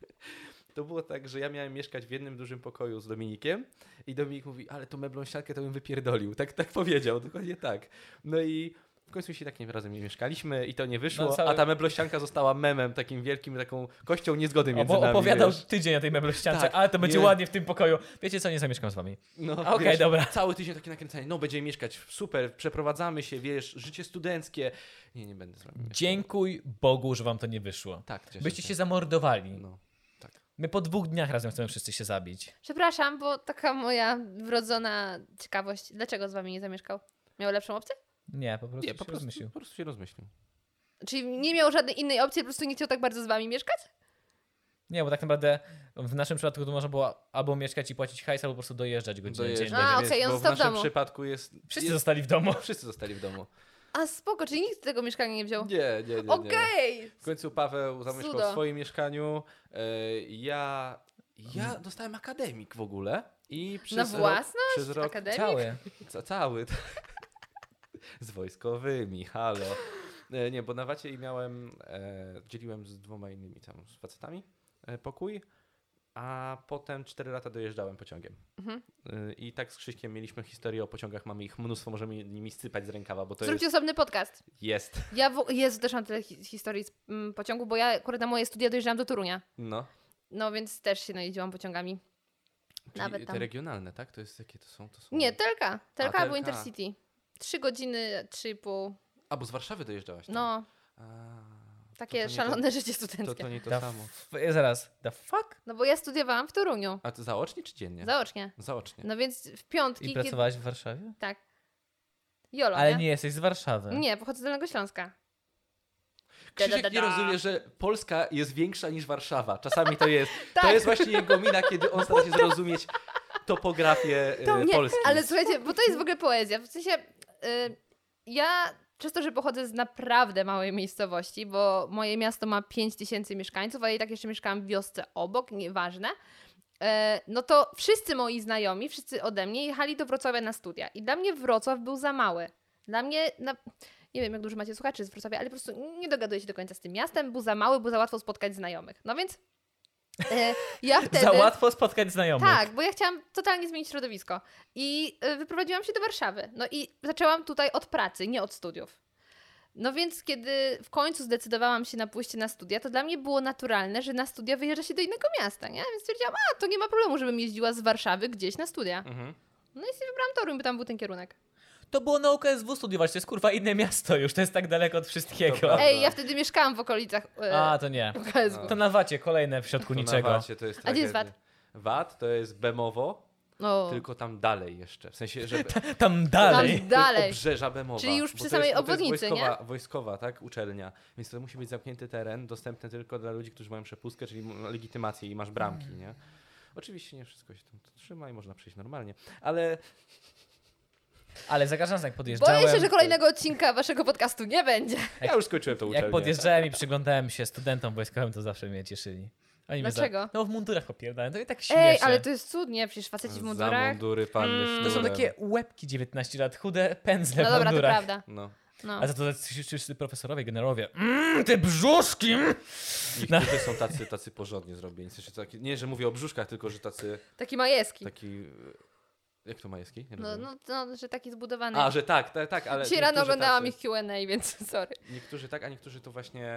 S2: to było tak, że ja miałem mieszkać w jednym dużym pokoju z Dominikiem i Dominik mówi, ale to meblą siatkę to bym wypierdolił. Tak, tak powiedział, dokładnie tak. No i w końcu się takim razem nie mieszkaliśmy i to nie wyszło,
S1: No, cały-
S2: a ta meblosianka została memem takim wielkim, taką kością niezgody
S1: o,
S2: między
S1: bo
S2: nami.
S1: opowiadał
S2: wiesz.
S1: tydzień na tej meblościance,
S2: Tak,
S1: ale to będzie
S2: nie.
S1: ładnie w tym pokoju. Wiecie co, nie zamieszkam z wami.
S2: No,
S1: Okej,
S2: wiesz,
S1: dobra.
S2: Cały tydzień takie nakręcanie, no będziemy mieszkać, super, przeprowadzamy się, wiesz, życie studenckie. Nie, nie będę z wami mieszkał.
S1: Dziękuj Bogu, że wam to nie wyszło.
S2: Tak, cieszę
S1: Byście się zamordowali.
S2: No,
S1: My po dwóch dniach razem chcemy wszyscy się zabić.
S3: Przepraszam, bo taka moja wrodzona ciekawość. Dlaczego z wami nie zamieszkał? Miał lepszą opcję?
S1: Nie, po prostu
S2: nie,
S1: się
S2: po prostu,
S1: rozmyślił.
S2: po prostu się rozmyślił.
S3: Czyli nie miał żadnej innej opcji, po prostu nie chciał tak bardzo z wami mieszkać?
S1: Nie, bo tak naprawdę w naszym przypadku to można było albo mieszkać i płacić hajs, albo po prostu dojeżdżać godzinę
S2: Dojeżdżać,
S1: dziennie.
S3: A,
S2: więc-
S3: okej, on
S2: bo w
S3: został w
S2: naszym
S3: domu.
S2: przypadku jest...
S1: Wszyscy
S2: jest
S1: zostali w domu.
S2: Wszyscy zostali w domu.
S3: A spoko, czyli nikt tego mieszkania nie wziął.
S2: Nie, nie, nie. nie.
S3: Okej!
S2: W końcu Paweł zamieszkał
S3: Cudo.
S2: w swoim mieszkaniu. e, Ja, ja dostałem akademik w ogóle. I przez rok-
S3: własność?
S2: Przez rok
S3: no, Akademik?
S1: Cały.
S2: ca, cały. tak. z wojskowymi, halo. E, Nie, bo na Wacie miałem, e, dzieliłem z dwoma innymi tam z facetami e, pokój, a potem cztery lata dojeżdżałem pociągiem.
S3: Mhm.
S2: E, I tak z Krzyśkiem mieliśmy historię o pociągach, mamy ich mnóstwo, możemy nimi sypać z rękawa, bo to
S3: Zróbcie osobny podcast.
S2: jest... Jest,
S3: Ja w... Jezu, też mam tyle hi- historii z mm, pociągu, bo ja akurat na moje studia dojeżdżałam do Torunia.
S2: no.
S3: No więc też się najeździłam pociągami.
S2: Czyli
S3: Nawet
S2: te
S3: tam.
S2: regionalne, tak? To jest, jakie to są? To są...
S3: Nie, Telka. Telka albo
S2: TLK.
S3: Intercity. Trzy godziny, trzy i pół.
S2: A, bo z Warszawy dojeżdżałaś tam.
S3: No,
S2: A,
S3: takie
S2: to nie
S3: szalone życie
S2: To, to,
S3: studenckie.
S2: to nie to
S1: Da-
S2: samo.
S1: F- zaraz. The fuck?
S3: No bo ja studiowałam w Toruniu.
S2: A to zaocznie czy dziennie?
S3: Zaocznie.
S2: Zaocznie.
S3: No więc w
S1: I
S3: piątki... kiedy-
S1: pracowałaś w Warszawie?
S3: Tak. Jolo,
S1: Ale nie jesteś z Warszawy.
S3: Nie, pochodzę z Dolnego Śląska.
S2: Krzysiek
S3: da, da,
S2: nie
S3: da.
S2: rozumie, że Polska jest większa niż Warszawa. Czasami to jest. To
S3: Tak.
S2: jest właśnie jego mina, kiedy on stara się zrozumieć topografię
S1: y,
S2: to,
S3: nie,
S2: Polski.
S3: Ale słuchajcie, bo to jest w ogóle poezja. W sensie y, ja przez to, że pochodzę z naprawdę małej miejscowości, bo moje miasto ma 5000 mieszkańców, a i tak jeszcze mieszkałam w wiosce obok, nieważne. y, No to wszyscy moi znajomi, wszyscy ode mnie jechali do Wrocławia na studia. I dla mnie Wrocław był za mały. Dla mnie, na, nie wiem jak dużo macie słuchaczy z Wrocławia, ale po prostu nie dogaduję się do końca z tym miastem, był za mały, był za łatwo spotkać znajomych. No więc y, ja wtedy...
S1: Za łatwo spotkać znajomych.
S3: Tak, bo ja chciałam totalnie zmienić środowisko. I y, wyprowadziłam się do Warszawy. No i zaczęłam tutaj od pracy, nie od studiów. No więc kiedy w końcu zdecydowałam się na pójście na studia, to dla mnie było naturalne, że na studia wyjeżdża się do innego miasta, nie? Więc stwierdziłam, a to nie ma problemu, żebym jeździła z Warszawy gdzieś na studia.
S2: Mhm.
S3: No i sobie wybrałam Toruń, bo tam był ten kierunek.
S1: To było na UKSW studiować, to jest kurwa inne miasto już, to jest tak daleko od wszystkiego.
S2: Dobra. no.
S3: Ej, ja wtedy mieszkałam w okolicach e,
S1: A, to nie.
S3: UKSW.
S1: To na wacie kolejne w środku
S2: To na
S1: niczego.
S2: Wacie to jest
S3: A gdzie jest
S2: tragedia. Wat to jest Bemowo,
S3: No,
S2: tylko tam dalej jeszcze. W sensie, że
S1: Tam
S3: dalej.
S1: dalej.
S3: Tam
S2: To
S3: dalej.
S2: jest obrzeża Bemowa.
S3: Czyli już
S2: bo
S3: przy
S2: to
S3: samej
S2: jest, bo to jest
S3: obwodnicy, nie?
S2: wojskowa, Wojskowa, tak? Uczelnia. Więc to musi być zamknięty teren, dostępny tylko dla ludzi, którzy mają przepustkę, czyli m- legitymację i masz bramki,
S3: Mm.
S2: nie? Oczywiście nie wszystko się tam trzyma i można przejść normalnie, ale
S1: Ale za każdym razem jak podjeżdżałem,
S3: Boję się, że kolejnego odcinka waszego podcastu nie będzie.
S2: ja już skończyłem to uczelnię.
S1: jak podjeżdżałem i przyglądałem się studentom wojskowym, to zawsze mnie cieszyli. Oni mnie
S3: Dlaczego?
S1: Za... No w mundurach popierdałem, to i tak śmieszę.
S3: Ej, ale to jest cudnie, przecież faceci w
S2: Za
S3: mundurach.
S2: mundury, panny
S3: Mm.
S1: To są
S2: sznurem.
S1: takie łebki 19 lat, chude pędzle
S3: No
S1: w
S3: dobra, to
S1: mundurach.
S3: prawda.
S2: No.
S3: No.
S1: A za to tacy wszyscy profesorowie, generałowie. Mmm, te brzuszki! mm.
S2: Niektórzy są tacy, tacy porządnie zrobieni. W sensie taki, nie, że mówię o brzuszkach, tylko że tacy,
S3: Taki majewski.
S2: taki... Jak to majewski? Nie
S3: No,
S2: rozumiem.
S3: no, no, że taki zbudowany.
S2: A, że tak, tak, tak, ale...
S3: Dzisiaj rano
S2: niektórzy
S3: oglądałam
S2: tacy.
S3: ich Q&A, więc sorry.
S2: Niektórzy tak, a niektórzy to właśnie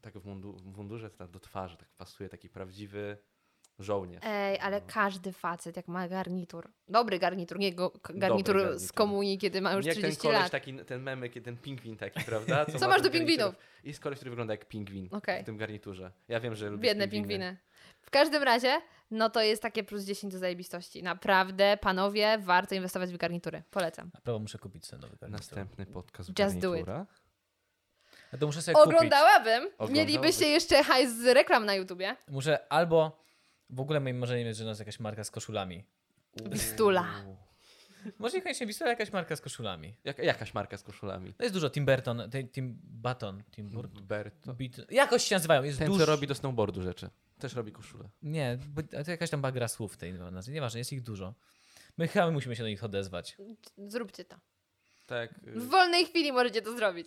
S2: tak w, mundu, w mundurze, tak do twarzy, tak pasuje taki prawdziwy żołnierz.
S3: Ej,
S2: No.
S3: ale każdy facet jak ma garnitur, dobry garnitur, nie go, k- garnitur
S2: Dobry
S3: z
S2: garnitur.
S3: komunii, kiedy ma już
S2: jak ten
S3: 30
S2: koleś,
S3: lat.
S2: taki, ten memek, ten pingwin taki, prawda? ma
S3: Co masz
S2: ten
S3: do
S2: garnitur-
S3: pingwinów?
S2: Jest koleś, który wygląda jak pingwin
S3: Okej.
S2: w tym garniturze. Ja wiem, że lubię
S3: Biedne pingwiny. W każdym razie, no to jest takie plus 10 do zajebistości. Naprawdę, panowie, warto inwestować w garnitury. Polecam.
S1: A prawo muszę kupić sobie nowy garnitur.
S2: Następny podcast w
S3: Just do it.
S2: garniturach.
S1: A to muszę sobie kupić.
S3: Oglądałabym.
S2: Oglądałbyś?
S3: Mielibyście jeszcze hajs z reklam na YouTubie.
S1: Muszę albo... W ogóle moim marzeniem jest, że nas jakaś marka z koszulami.
S3: Bistula.
S2: Uuu.
S1: Może niekoniecznie Wisła, jakaś marka z koszulami.
S2: Jak, jakaś marka z koszulami?
S1: To jest dużo Tim Burton, te- Tim Button, Tim Burton.
S2: Berto.
S1: Beat- Jakoś się nazywają, jest
S2: Ten,
S1: dużo.
S2: co robi do snowboardu rzeczy. Też robi koszulę. nie
S1: Nie, bo to jakaś tam bagra słów tej nazwy. Nieważne, jest ich dużo. My chyba musimy się do nich odezwać.
S3: Zróbcie to.
S2: Tak. y,
S3: W wolnej chwili możecie to zrobić.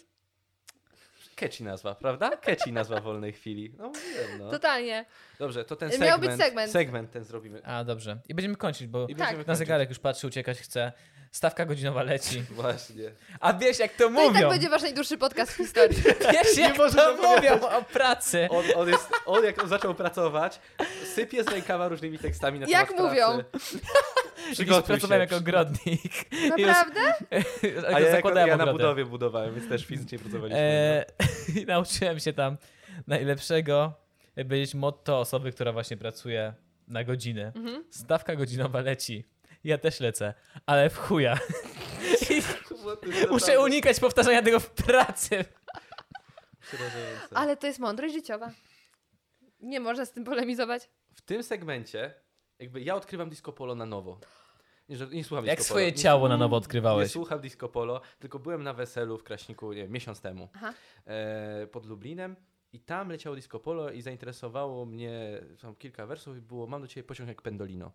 S2: Catchy nazwa, prawda? Catchy nazwa wolnej chwili. No mówiłem, no.
S3: Totalnie.
S2: Dobrze, to ten
S3: Miał
S2: segment,
S3: być segment.
S2: ten zrobimy.
S1: A, dobrze. I będziemy kończyć, bo
S2: I
S3: Tak.
S2: będziemy
S1: na
S2: kończyć.
S1: zegarek już patrzy, uciekać chce. Stawka godzinowa leci.
S2: Właśnie.
S1: A wiesz, jak to
S3: To i
S1: mówią?
S3: tak będzie wasz najdłuższy podcast w historii.
S1: Wiesz, jak to
S2: możemy
S1: mówią o pracy.
S2: On, on, jest, on jak on zaczął pracować, sypie z rękawa różnymi tekstami na
S3: Jak
S2: temat
S3: mówią?
S2: pracy.
S1: Kiedyś
S2: Przygotuj się.
S1: pracowałem jako ogrodnik.
S3: Naprawdę?
S2: A ja, jako, ja na
S1: ogrodę.
S2: budowie budowałem, więc też fizycznie pracowaliśmy.
S1: E, I nauczyłem się tam najlepszego być motto osoby, która właśnie pracuje na godzinę.
S3: Mhm.
S1: Stawka godzinowa leci. Ja też lecę, ale w chuja. I
S2: Kurwa, no. to jest
S1: muszę
S2: naprawdę
S1: unikać powtarzania tego w pracy.
S2: przerażające.
S3: Ale to jest mądrość życiowa. Nie można z tym polemizować.
S2: W tym segmencie jakby ja odkrywam disco polo na nowo. Nie, że, nie słucham
S1: Jak
S2: disco polo.
S1: swoje ciało na nowo
S2: Nie
S1: odkrywałeś.
S2: słucham disco polo, tylko byłem na weselu w Kraśniku nie, wiem, miesiąc temu
S3: Aha.
S2: e, pod Lublinem i tam leciało disco polo i zainteresowało mnie tam kilka wersów i było mam do ciebie pociąg jak pendolino.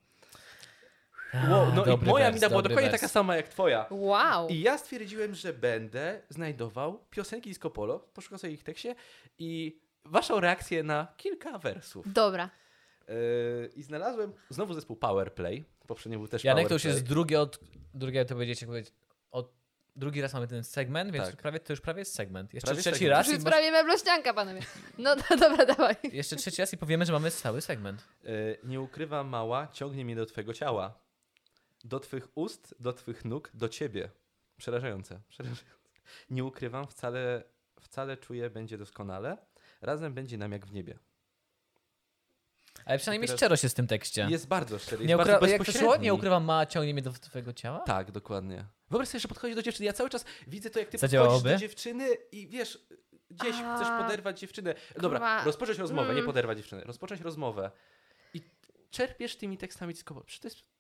S2: Wow, no i
S1: Ah, dobry
S2: moja
S1: wers,
S2: mina była
S1: dobry
S2: dokładnie
S1: wers.
S2: taka sama jak twoja.
S3: Wow.
S2: I ja stwierdziłem, że będę znajdował piosenki disco polo, poszukam sobie ich tekście i waszą reakcję na kilka wersów.
S3: Dobra.
S2: E, I znalazłem znowu zespół Powerplay. Poprzednio był też
S1: Janek, to
S2: Powerplay.
S1: już jest drugie od... Drugie to będziecie powiedzieć... Od, drugi raz mamy ten segment, więc
S2: Tak.
S1: to, prawie, to już prawie jest segment. Jeszcze
S2: Prawie
S1: trzeci
S2: segment.
S3: Już
S1: raz i
S3: jest prawie meblościanka, panowie. No to, dobra, dawaj.
S1: Jeszcze trzeci raz i powiemy, że mamy cały segment.
S2: E, Nie ukrywa mała, ciągnie mnie do twego ciała. Do twych ust, do twych nóg, do ciebie. Przerażające, przerażające. Nie ukrywam, wcale, wcale czuję, będzie doskonale. Razem będzie nam jak w niebie.
S1: Ale przynajmniej
S2: Teraz-
S1: szczerość jest w tym tekście.
S2: Jest bardzo szczery, jest
S1: Nie ukra-
S2: bardzo
S1: jak to szło?
S2: bezpośredni.
S1: Nie ukrywam, ma ciągnie mnie do twojego ciała?
S2: Tak, dokładnie. Wyobraź sobie, że podchodzi do dziewczyny. Ja cały czas widzę to, jak ty podchodzisz
S1: Zadziałałoby?
S2: do dziewczyny i wiesz, gdzieś
S3: A.
S2: chcesz poderwać dziewczynę. Dobra,
S3: Kurwa.
S2: rozpocząć rozmowę, nie
S3: Mm.
S2: poderwać dziewczyny. Rozpocząć rozmowę. I czerpiesz tymi tekstami disco. Przecież to jest...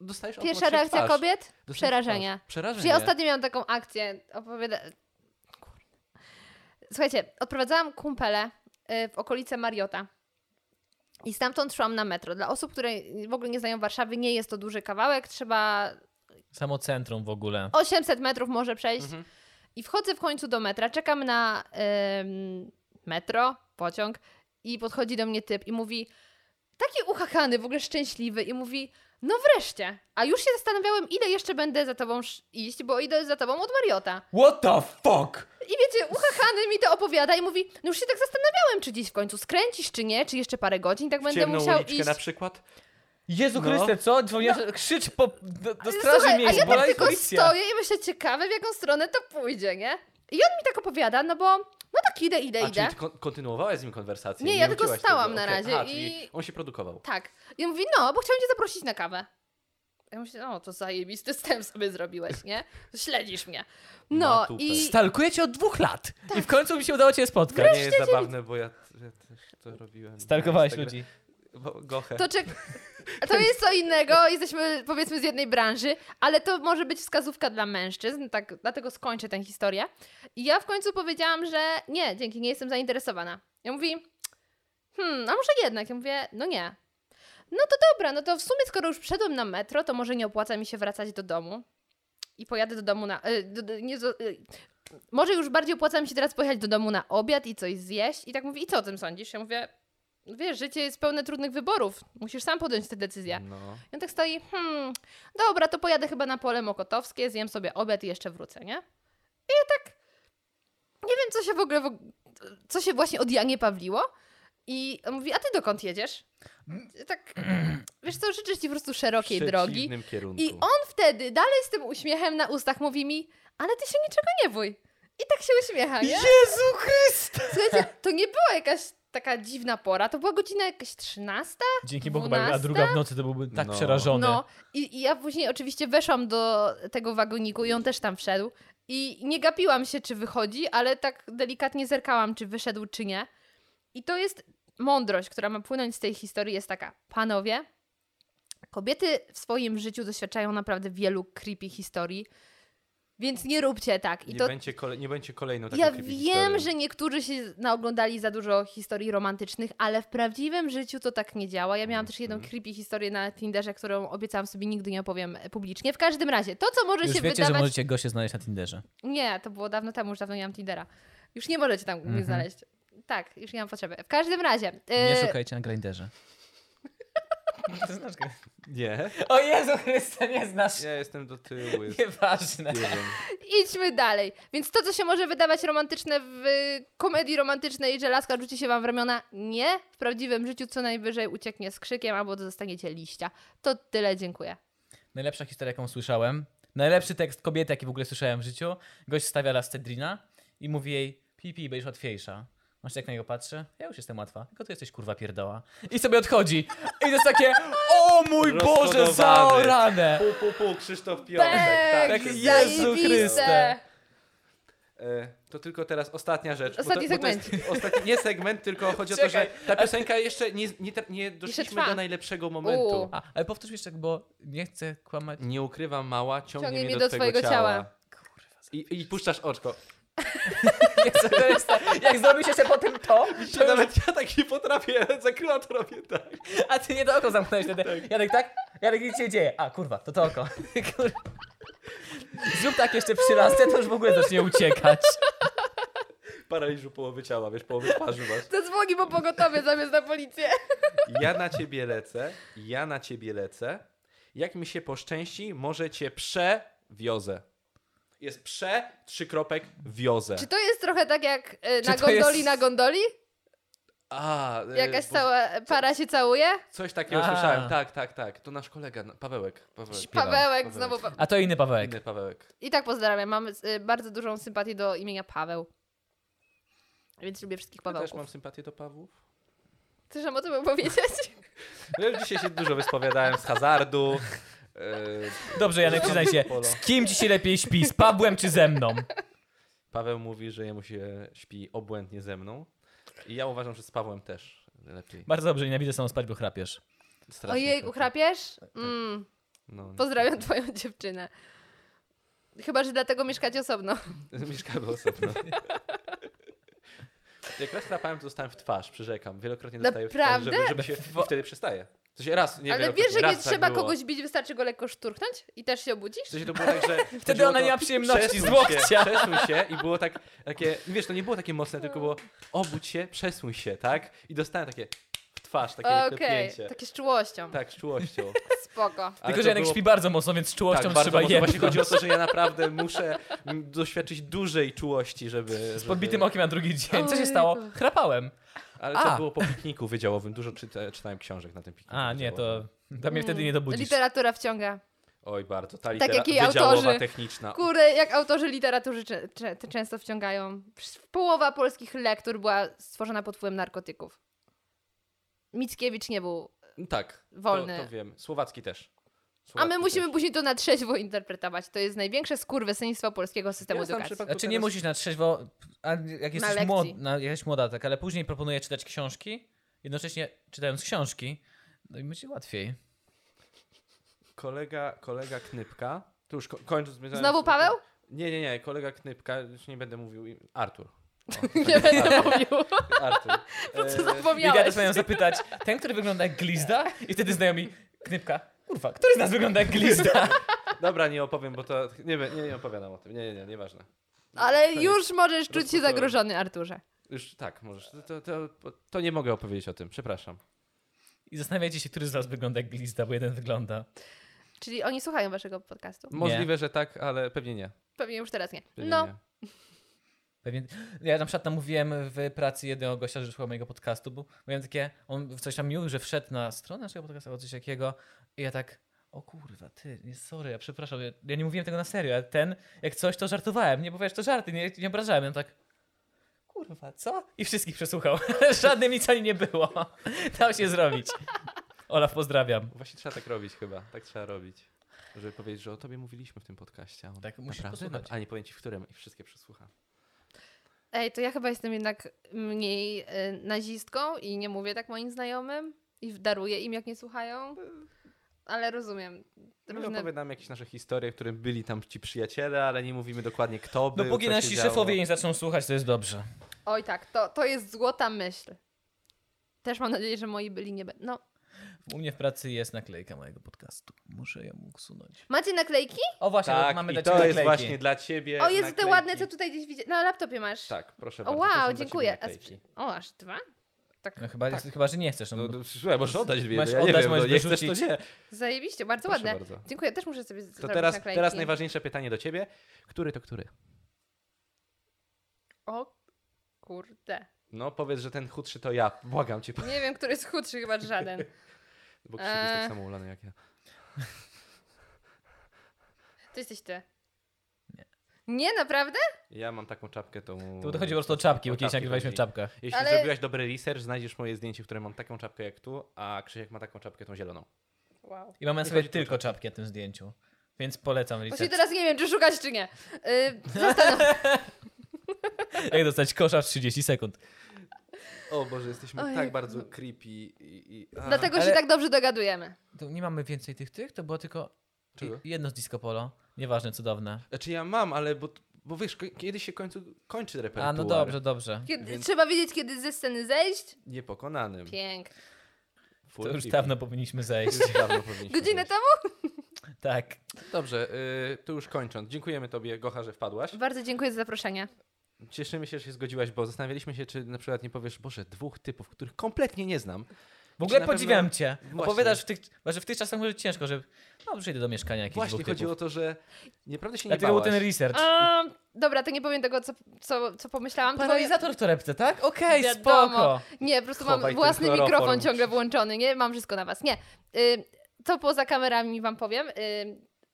S2: Dostajesz
S3: Pierwsza
S2: automat się w
S3: reakcja
S2: twarz.
S3: kobiet?
S2: Dostajesz
S3: Przerażenia.
S2: twarz. Przerażenie.
S3: Ja ostatnio miałam taką akcję. Opowiada... Kur- Słuchajcie, odprowadzałam kumpelę y, w okolice Mariota. I stamtąd szłam na metro. Dla osób, które w ogóle nie znają Warszawy, nie jest to duży kawałek. Trzeba
S1: Samo centrum w ogóle.
S3: 800 metrów może przejść.
S2: Mhm.
S3: I wchodzę w końcu do metra, czekam na em, metro, pociąg i podchodzi do mnie typ i mówi, taki uchachany, w ogóle szczęśliwy i mówi, No wreszcie! A już się zastanawiałem, ile jeszcze będę za tobą sz- iść, bo idę za tobą od Mariota.
S2: What the fuck?
S3: I wiecie, uchachany mi to opowiada i mówi, no już się tak zastanawiałem, czy dziś w końcu skręcisz, czy nie, czy jeszcze parę godzin, tak
S2: W
S3: będę
S2: ciemną
S3: musiał
S2: uliczkę
S3: iść.
S2: na przykład?
S1: Jezu
S2: No.
S1: Chryste, co? Dzwoniasz, krzycz po, do, do
S3: Ale
S1: straży
S3: Słuchaj,
S1: miejskiej,
S3: a ja
S1: bo
S3: tak
S1: jest
S3: tylko
S1: policja.
S3: stoję i myślę, ciekawe w jaką stronę to pójdzie, nie? I on mi tak opowiada, no bo, no tak idę, idę,
S2: A,
S3: idę.
S2: czyli ty kon- kontynuowałaś z nim konwersację?
S3: Nie, ja tylko
S2: wróciłaś
S3: stałam
S2: tego.
S3: na
S2: Okej.
S3: razie
S2: A,
S3: i-
S2: czyli on się produkował.
S3: Tak. I on mówi, no, bo chciałem cię zaprosić na kawę. Ja myślę, o, to zajebisty wstęp sobie zrobiłeś, nie? Śledzisz mnie. No
S2: Matupę.
S3: i... Tak.
S1: Stalkuję cię od dwóch lat i w końcu mi się udało cię
S2: To
S1: spotkać.
S2: nie jest zabawne, bo ja, ja też to robiłem.
S1: Stalkowałeś
S2: Instagram-
S1: ludzi.
S2: Bo, gochę.
S3: To, czek... to jest co innego, jesteśmy powiedzmy z jednej branży, ale to może być wskazówka dla mężczyzn, tak, dlatego skończę tę historię. I ja w końcu powiedziałam, że nie, dzięki, nie jestem zainteresowana. Ja mówi, hmm, a może jednak? Ja mówię, no nie. No to dobra, no to w sumie skoro już wszedłem na metro, to może nie opłaca mi się wracać do domu i pojadę do domu na... y, do, do, nie, zo- y, może już bardziej opłaca mi się teraz pojechać do domu na obiad i coś zjeść. I tak mówi, i co o tym sądzisz? Ja mówię, no wiesz, życie jest pełne trudnych wyborów. Musisz sam podjąć te decyzje.
S2: No.
S3: I on tak stoi, hmm, dobra, to pojadę chyba na pole mokotowskie, zjem sobie obiad i jeszcze wrócę, nie? I ja tak nie wiem, co się w ogóle, w og- co się właśnie od Janie Pawliło. I on mówi, a ty dokąd jedziesz? I Tak, wiesz co, życzę ci po prostu
S2: W
S3: szerokiej drogi.
S2: przeciwnym kierunku.
S3: I on wtedy dalej z tym uśmiechem na ustach mówi mi, ale ty się niczego nie bój. I tak się uśmiecha, nie?
S1: Jezu Chryste!
S3: Słuchajcie, to nie była jakaś taka dziwna pora, to była godzina jakaś 13.
S1: Dzięki Bogu, bo jakby a
S3: Dwunasta?
S1: druga w nocy to byłby tak
S2: No.
S1: przerażony.
S3: No i, i ja później oczywiście weszłam do tego wagoniku i on też tam wszedł. I nie gapiłam się, czy wychodzi, ale tak delikatnie zerkałam, czy wyszedł, czy nie. I to jest mądrość, która ma płynąć z tej historii, jest taka. Panowie, kobiety w swoim życiu doświadczają naprawdę wielu creepy historii, więc nie róbcie tak. I
S2: nie,
S3: to
S2: będzie kole... nie będzie kolejną taką
S3: ja wiem,
S2: creepyhistorią.
S3: że niektórzy się naoglądali za dużo historii romantycznych, ale w prawdziwym życiu to tak nie działa. Ja miałam też jedną
S2: Mhm.
S3: creepy historię na Tinderze, którą obiecałam sobie nigdy nie opowiem publicznie. W każdym razie, to co może
S1: Już
S3: się
S1: wiecie, że
S3: wydawać...
S1: możecie go się znaleźć na Tinderze.
S3: Nie, to było dawno temu, już dawno nie mam Tindera. Już nie możecie tam mnie
S1: Mhm.
S3: znaleźć. Tak, już nie mam potrzeby. W każdym razie...
S1: Nie
S3: e,
S1: szukajcie na Grinderze.
S2: Nie,
S1: O Jezu Chryste, nie znasz.
S2: ja jestem do tyłu. Jest...
S1: Nieważne.
S2: Nie wiem.
S3: Idźmy dalej. Więc to, co się może wydawać romantyczne w y, komedii romantycznej, że laska rzuci się wam w ramiona, nie. W prawdziwym życiu co najwyżej ucieknie z krzykiem albo dostaniecie liścia. To tyle, dziękuję.
S1: Najlepsza historia, jaką słyszałem. Najlepszy tekst kobiety, jaki w ogóle słyszałem w życiu. Gość stawia lasce drina i mówi jej, pipi, będziesz łatwiejsza. Masz tak na niego patrzę, ja już jestem łatwa, tylko ty jesteś kurwa pierdoła. I sobie odchodzi. I to jest takie, o mój Boże,
S2: Rozkodowany.
S1: zaorane.
S2: Pu, pu, pu, Krzysztof Piątek.
S1: Tak,
S2: tak,
S1: Jezu zajebiste. Chryste.
S2: E, To tylko teraz ostatnia rzecz. bo
S3: Ostatni
S2: to, bo to jest Ostatni, nie segment, tylko chodzi o to, że
S1: Czekaj.
S2: ta piosenka jeszcze nie, nie, tra- nie doszliśmy
S3: trwa.
S2: do najlepszego momentu.
S3: U.
S1: A, ale powtórz jeszcze, bo nie chcę kłamać.
S2: Nie ukrywam mała, ciągnie,
S3: Ciągnie
S2: mnie do, twojego ciała.
S1: Kurwa.
S2: I, I puszczasz oczko.
S1: Jezu, to jest tak, jak zrobisz jeszcze potem to,
S2: Ja
S1: to już,
S2: nawet ja tak nie potrafię, zakryłam to robię tak.
S1: a ty nie do oko zamknąłeś wtedy. Jarek tak? Jarek nic się nie dzieje. A kurwa, to to oko. Kurwa. Zrób tak jeszcze przy lasce, to już w ogóle zacznie uciekać.
S2: Paraliżu połowy ciała, wiesz, połowy twarzy masz.
S3: Zadzwoni po pogotowie zamiast na policję.
S2: Ja na ciebie lecę, ja na ciebie lecę. Jak mi się poszczęści, może cię przewiozę. Jest prze, trzy kropek, wiozę.
S3: Czy to jest trochę tak jak y,
S1: Czy
S3: na
S1: to
S3: gondoli,
S1: jest-
S3: na gondoli?
S2: A, e,
S3: Jakaś
S2: bo-
S3: cała para się całuje?
S2: Coś takiego
S1: A.
S2: słyszałem, tak, tak, tak. To nasz kolega, na- Pawełek. Pawełek.
S1: Śpiewa.
S3: Pawełek, znowu. Pa...
S1: A to inny Pawełek.
S2: Inny Pawełek.
S3: I tak pozdrawiam. Mam y, bardzo dużą sympatię do imienia Paweł. Więc lubię wszystkich
S2: Ja też
S3: Pawełków.
S2: mam sympatię do Pawłów.
S3: Chcesz nam o tym opowiedzieć?
S2: Ja już dzisiaj się dużo wyspowiadałem z hazardu. Yy,
S1: Dobrze, Janek, przyznaj się. Z kim ci się lepiej śpi? Z Pabłem czy ze mną?
S2: Paweł mówi, że jemu się śpi obłędnie ze mną. I ja uważam, że z Pawłem też lepiej.
S1: Bardzo dobrze, nienawidzę samo spać, bo chrapiesz.
S2: Strasznie
S3: Ojej,
S2: lepiej.
S3: chrapiesz?
S2: Tak,
S3: Mm,
S2: No.
S3: pozdrawiam twoją dziewczynę. Chyba, że dlatego mieszkacie osobno.
S2: Mieszkamy osobno. Jak raz chrapałem, to dostałem w twarz, przyrzekam. Wielokrotnie dostaję w twarz, żeby,
S3: Naprawdę?
S2: żeby się... I wtedy przestaje. W sensie raz, nie
S3: Ale wiesz,
S2: wielokrotnie,
S3: że
S2: raz
S3: nie
S2: tak
S3: trzeba
S2: było.
S3: kogoś bić, wystarczy go lekko szturchnąć i też się obudzisz?
S2: W sensie to było tak, że...
S1: Wtedy ona nie ma przyjemności z łokcia.
S2: Przesuń się i było tak, takie... Wiesz, to nie było takie mocne, tylko było obudź się, przesuń się, tak? I dostałem takie w twarz, takie
S3: Okej,
S2: klepnięcie.
S3: takie z czułością.
S2: Tak, z czułością.
S3: Spoko.
S2: Ale
S1: Tylko,
S2: to
S1: że Janek
S2: było-
S1: śpi bardzo mocno, więc z
S2: tak,
S1: czułością
S2: bardzo
S1: trzeba
S2: mocno. Właśnie
S1: jechać.
S2: chodzi o to, że ja naprawdę muszę mm, doświadczyć dużej czułości, żeby...
S1: Z podbitym okiem na drugi dzień. Co się
S3: Ojejku.
S1: stało? Chrapałem.
S2: Ale to
S1: A.
S2: było po pikniku wydziałowym. Dużo czyta, czytałem książek na tym pikniku
S1: A, nie, to,
S2: wydziałowym.
S1: to mnie wtedy nie dobudzisz.
S3: Literatura wciąga.
S2: Oj, bardzo. Ta
S3: Tak jak
S2: litera...
S3: jej
S2: wydziałowa,
S3: autorzy.
S2: techniczna.
S3: Kurde, jak autorzy literatury cze- cze- często wciągają. Przecież Połowa polskich lektur była stworzona pod wpływem narkotyków. Mickiewicz nie był.
S2: Tak,
S3: Wolny.
S2: To, to wiem. Słowacki też.
S3: A my
S2: Słowacki
S3: musimy
S2: też.
S3: później to na trzeźwo interpretować. To jest największe skurwysyństwo polskiego systemu
S2: Ja znam
S3: edukacji.
S2: przypadku
S1: Znaczy nie
S2: teraz-
S1: musisz na trzeźwo, a jak jesteś,
S3: lekcji.
S1: młod, na, jak jesteś młoda, tak, ale później proponuję czytać książki, jednocześnie czytając książki, no i będzie łatwiej.
S2: Kolega, kolega Knypka. Tu już ko- kończąc.
S3: Znowu Paweł?
S2: Nie, nie, nie. Kolega Knypka, już nie będę mówił. im- Artur. O,
S3: Nie będę mówił.
S2: Artur.
S3: Po co
S2: E,
S1: I ja
S3: zapomniałeś?
S1: też miałem zapytać, ten, który wygląda jak glizda? I wtedy znajomi, knypka, kurwa, który z nas wygląda jak glizda?
S2: Dobra, nie opowiem, bo to. Nie, be- nie, nie opowiadam o tym. Nie, nie, nie, nieważne.
S3: Ale
S2: Koniec.
S3: już możesz czuć się
S2: Tak. Rozpocząłem.
S3: zagrożony, Arturze.
S2: Już tak, możesz. To, to, to, to nie mogę opowiedzieć o tym, przepraszam.
S1: I zastanawiacie się, który z nas wygląda jak glizda, bo jeden wygląda.
S3: Czyli oni słuchają waszego podcastu.
S2: Możliwe, że tak, ale pewnie nie.
S3: Pewnie już teraz nie.
S2: Pewnie
S3: No,
S2: nie.
S1: Pewnie... Ja na przykład namówiłem w pracy jednego gościa, że słuchał mojego podcastu, bo miałem takie, on w coś tam mił, że wszedł na stronę naszego podcastu albo coś takiego i ja tak, o kurwa, ty, nie, sorry, ja przepraszam, ja, ja nie mówiłem tego na serio, ale ten, jak coś, to żartowałem, nie, bo wiesz, to żarty, nie, nie obrażałem, ja tak, kurwa, co? I wszystkich przesłuchał, żadnej nic ani nie było, dał się zrobić. Olaf, pozdrawiam.
S2: Właśnie trzeba tak robić chyba. Tak trzeba robić. Żeby powiedzieć, że o tobie mówiliśmy w tym podcaście. a on
S1: Tak, musisz
S2: naprawdę? No,
S1: posłuchać.
S2: A nie powiem ci w którym i wszystkie przesłucha.
S3: Ej, to ja chyba jestem jednak mniej e, nazistką i nie mówię tak moim znajomym i daruję im, jak nie słuchają. Ale rozumiem.
S2: My
S3: Różne...
S2: opowiadamy jakieś nasze historie, w którym byli tam ci przyjaciele, ale nie mówimy dokładnie kto był,
S1: Dopóki
S2: co się
S1: nasi
S2: działo.
S1: szefowie nie zaczną słuchać, to jest dobrze.
S3: Oj tak, to, to jest złota myśl. Też mam nadzieję, że moi byli nie będą. No.
S1: U mnie w pracy jest naklejka mojego podcastu, muszę ją usunąć.
S3: Macie naklejki?
S1: O właśnie,
S2: Tak,
S1: mamy
S2: i
S1: dla
S2: to
S1: ciebie
S2: jest
S1: naklejki.
S2: właśnie dla ciebie
S3: O, jest te
S2: naklejki.
S3: ładne, co tutaj gdzieś widzę. Na laptopie masz.
S2: Tak, proszę
S3: O,
S2: bardzo. to są dla
S3: wow,
S2: ciebie
S3: dziękuję. A
S2: naklejki.
S3: sprze- O, aż dwa? Tak.
S1: No chyba, jest, chyba, że nie chcesz. No,
S2: No,
S1: bo-
S2: to, słuchaj, możesz oddać dwie,
S1: Masz
S2: no, ja nie
S1: oddać,
S2: wiem,
S1: możesz
S2: no, nie chcesz, to
S1: wyrzucić.
S2: nie.
S3: Zajebiście, bardzo
S2: Proszę
S3: ładne.
S2: bardzo.
S3: Dziękuję, też muszę sobie
S2: To
S3: zrobić
S2: teraz,
S3: naklejki.
S2: teraz najważniejsze pytanie do ciebie. Który to który?
S3: O kurde.
S2: No powiedz, że ten chudszy to ja. Błagam cię,
S3: Nie wiem, który jest chudszy, chyba żaden.
S2: bo Krzysiek jest
S3: Eee.
S2: tak samo ulany jak ja.
S3: To jesteś ty. Nie. Nie, naprawdę?
S2: Ja mam taką czapkę, tą...
S1: To chodzi po prostu o czapki, bo kiedyś
S2: czapki
S1: nagrywaliśmy w
S2: chodzi.
S1: czapkach.
S2: Jeśli
S3: Ale-
S2: zrobiłaś dobry research, znajdziesz moje zdjęcie, w którym mam taką czapkę jak tu, a Krzysiek ma taką czapkę, tą zieloną.
S3: Wow.
S1: I mamy na
S2: Nie
S1: sobie
S2: chodzi tu o
S1: tylko czapki na tym zdjęciu. Więc polecam
S3: Właśnie
S1: research.
S3: teraz nie wiem, czy szukać, czy nie. Yy, zastanów.
S1: Jak dostać kosza w 30 sekund.
S2: O Boże, jesteśmy
S3: Ojej.
S2: tak bardzo creepy i... i a.
S3: Dlatego się
S1: ale-
S3: tak dobrze dogadujemy.
S1: Tu nie mamy więcej tych tych, to było tylko
S2: Czego?
S1: i- jedno z Disco Polo. Nieważne, cudowne. no
S2: Znaczy ja mam, ale bo, bo wiesz, ko- kiedy się końcu kończy
S1: A
S2: repertuar?
S1: no dobrze, dobrze.
S3: Kiedy,
S2: Więc-
S3: Trzeba wiedzieć, kiedy ze sceny zejść.
S2: Niepokonanym.
S3: Pięknie.
S1: To
S2: Full
S1: już
S2: creepy.
S1: dawno powinniśmy zejść.
S2: Już dawno powinniśmy
S3: Godzinę
S2: zejść.
S3: temu?
S1: Tak.
S2: Dobrze, y, to już kończąc. Dziękujemy tobie, Gocha, że wpadłaś.
S3: Bardzo dziękuję za zaproszenie.
S2: Cieszymy się, że się zgodziłaś, bo zastanawialiśmy się, czy na przykład nie powiesz, Boże, dwóch typów, których kompletnie nie znam.
S1: W ogóle
S2: na pewno-
S1: podziwiam cię.
S2: Właśnie.
S1: Opowiadasz w tych, że w tych czasach może ciężko, że no przyjdę do mieszkania jakichś
S2: Właśnie
S1: dwóch
S2: chodziło
S1: typów.
S2: o to, że naprawdę się nie
S1: Dlatego był
S2: bałaś.
S1: ten research.
S3: A,
S2: Znaczy-
S3: dobra, to nie powiem tego, co, co, co pomyślałam. tylko powiem-
S1: Paralizator w torebce, tak? Okej,
S3: Wiadomo.
S1: spoko.
S3: Nie, po prostu
S2: Chowaj
S3: mam
S2: ten
S3: własny
S2: chloroform.
S3: mikrofon ciągle włączony, nie? Mam wszystko na was. Nie. Y, to poza kamerami wam powiem. Y,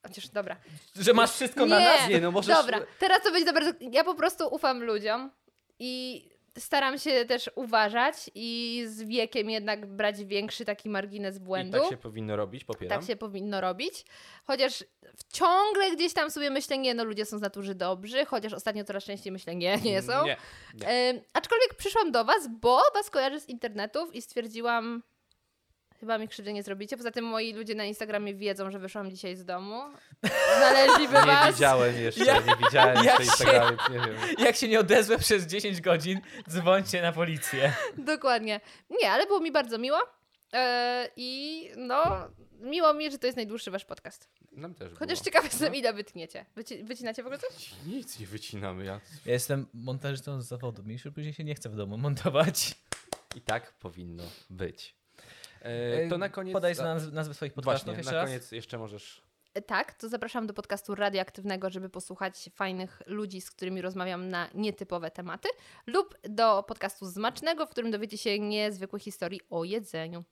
S3: chociaż dobra.
S1: Że masz wszystko na
S3: Nie.
S1: nas?
S2: Nie, no możesz...
S3: Dobra, teraz to będzie dobra. Ja po prostu ufam ludziom i staram się też uważać i z wiekiem jednak brać większy taki margines
S2: I
S3: błędu.
S2: tak się powinno robić, popieram.
S3: Tak się powinno robić. Chociaż w- ciągle gdzieś tam sobie myślę, nie, no ludzie są z natury dobrzy, chociaż ostatnio coraz częściej myślę, nie, nie są.
S2: Mm, Nie.
S3: Em, aczkolwiek przyszłam do Was, bo Was kojarzę z internetów i stwierdziłam, chyba mi krzywdy nie zrobicie. Poza tym moi ludzie na Instagramie wiedzą, że wyszłam dzisiaj z domu. Znaleźliby
S2: Nie
S3: Was.
S2: widziałem jeszcze,
S1: Ja-
S2: nie widziałem
S1: ja
S2: jeszcze
S1: się-
S2: Instagramie, nie wiem.
S1: Jak się nie odezwę przez 10 godzin, dzwońcie na policję.
S3: Dokładnie. Nie, ale było mi bardzo miło. E, I no, miło mi, że to jest najdłuższy Wasz podcast.
S2: Nam też
S3: Chociaż
S2: było. No.
S3: ciekawe jestem, ile wytniecie. Wyci- wycinacie w ogóle coś?
S2: Nic nie wycinamy, ja...
S1: Ja jestem montażystą z zawodu. Mi się później się nie chce w domu montować.
S2: I tak powinno być. E, To na koniec.
S1: Podaj nam nazwy swoich podcastów
S2: Właśnie,
S1: jeszcze
S2: na
S1: raz.
S2: koniec jeszcze możesz.
S3: Tak, to zapraszam do podcastu radioaktywnego, żeby posłuchać fajnych ludzi, z którymi rozmawiam na nietypowe tematy, lub do podcastu Zmacznego, w którym dowiecie się niezwykłych historii o jedzeniu.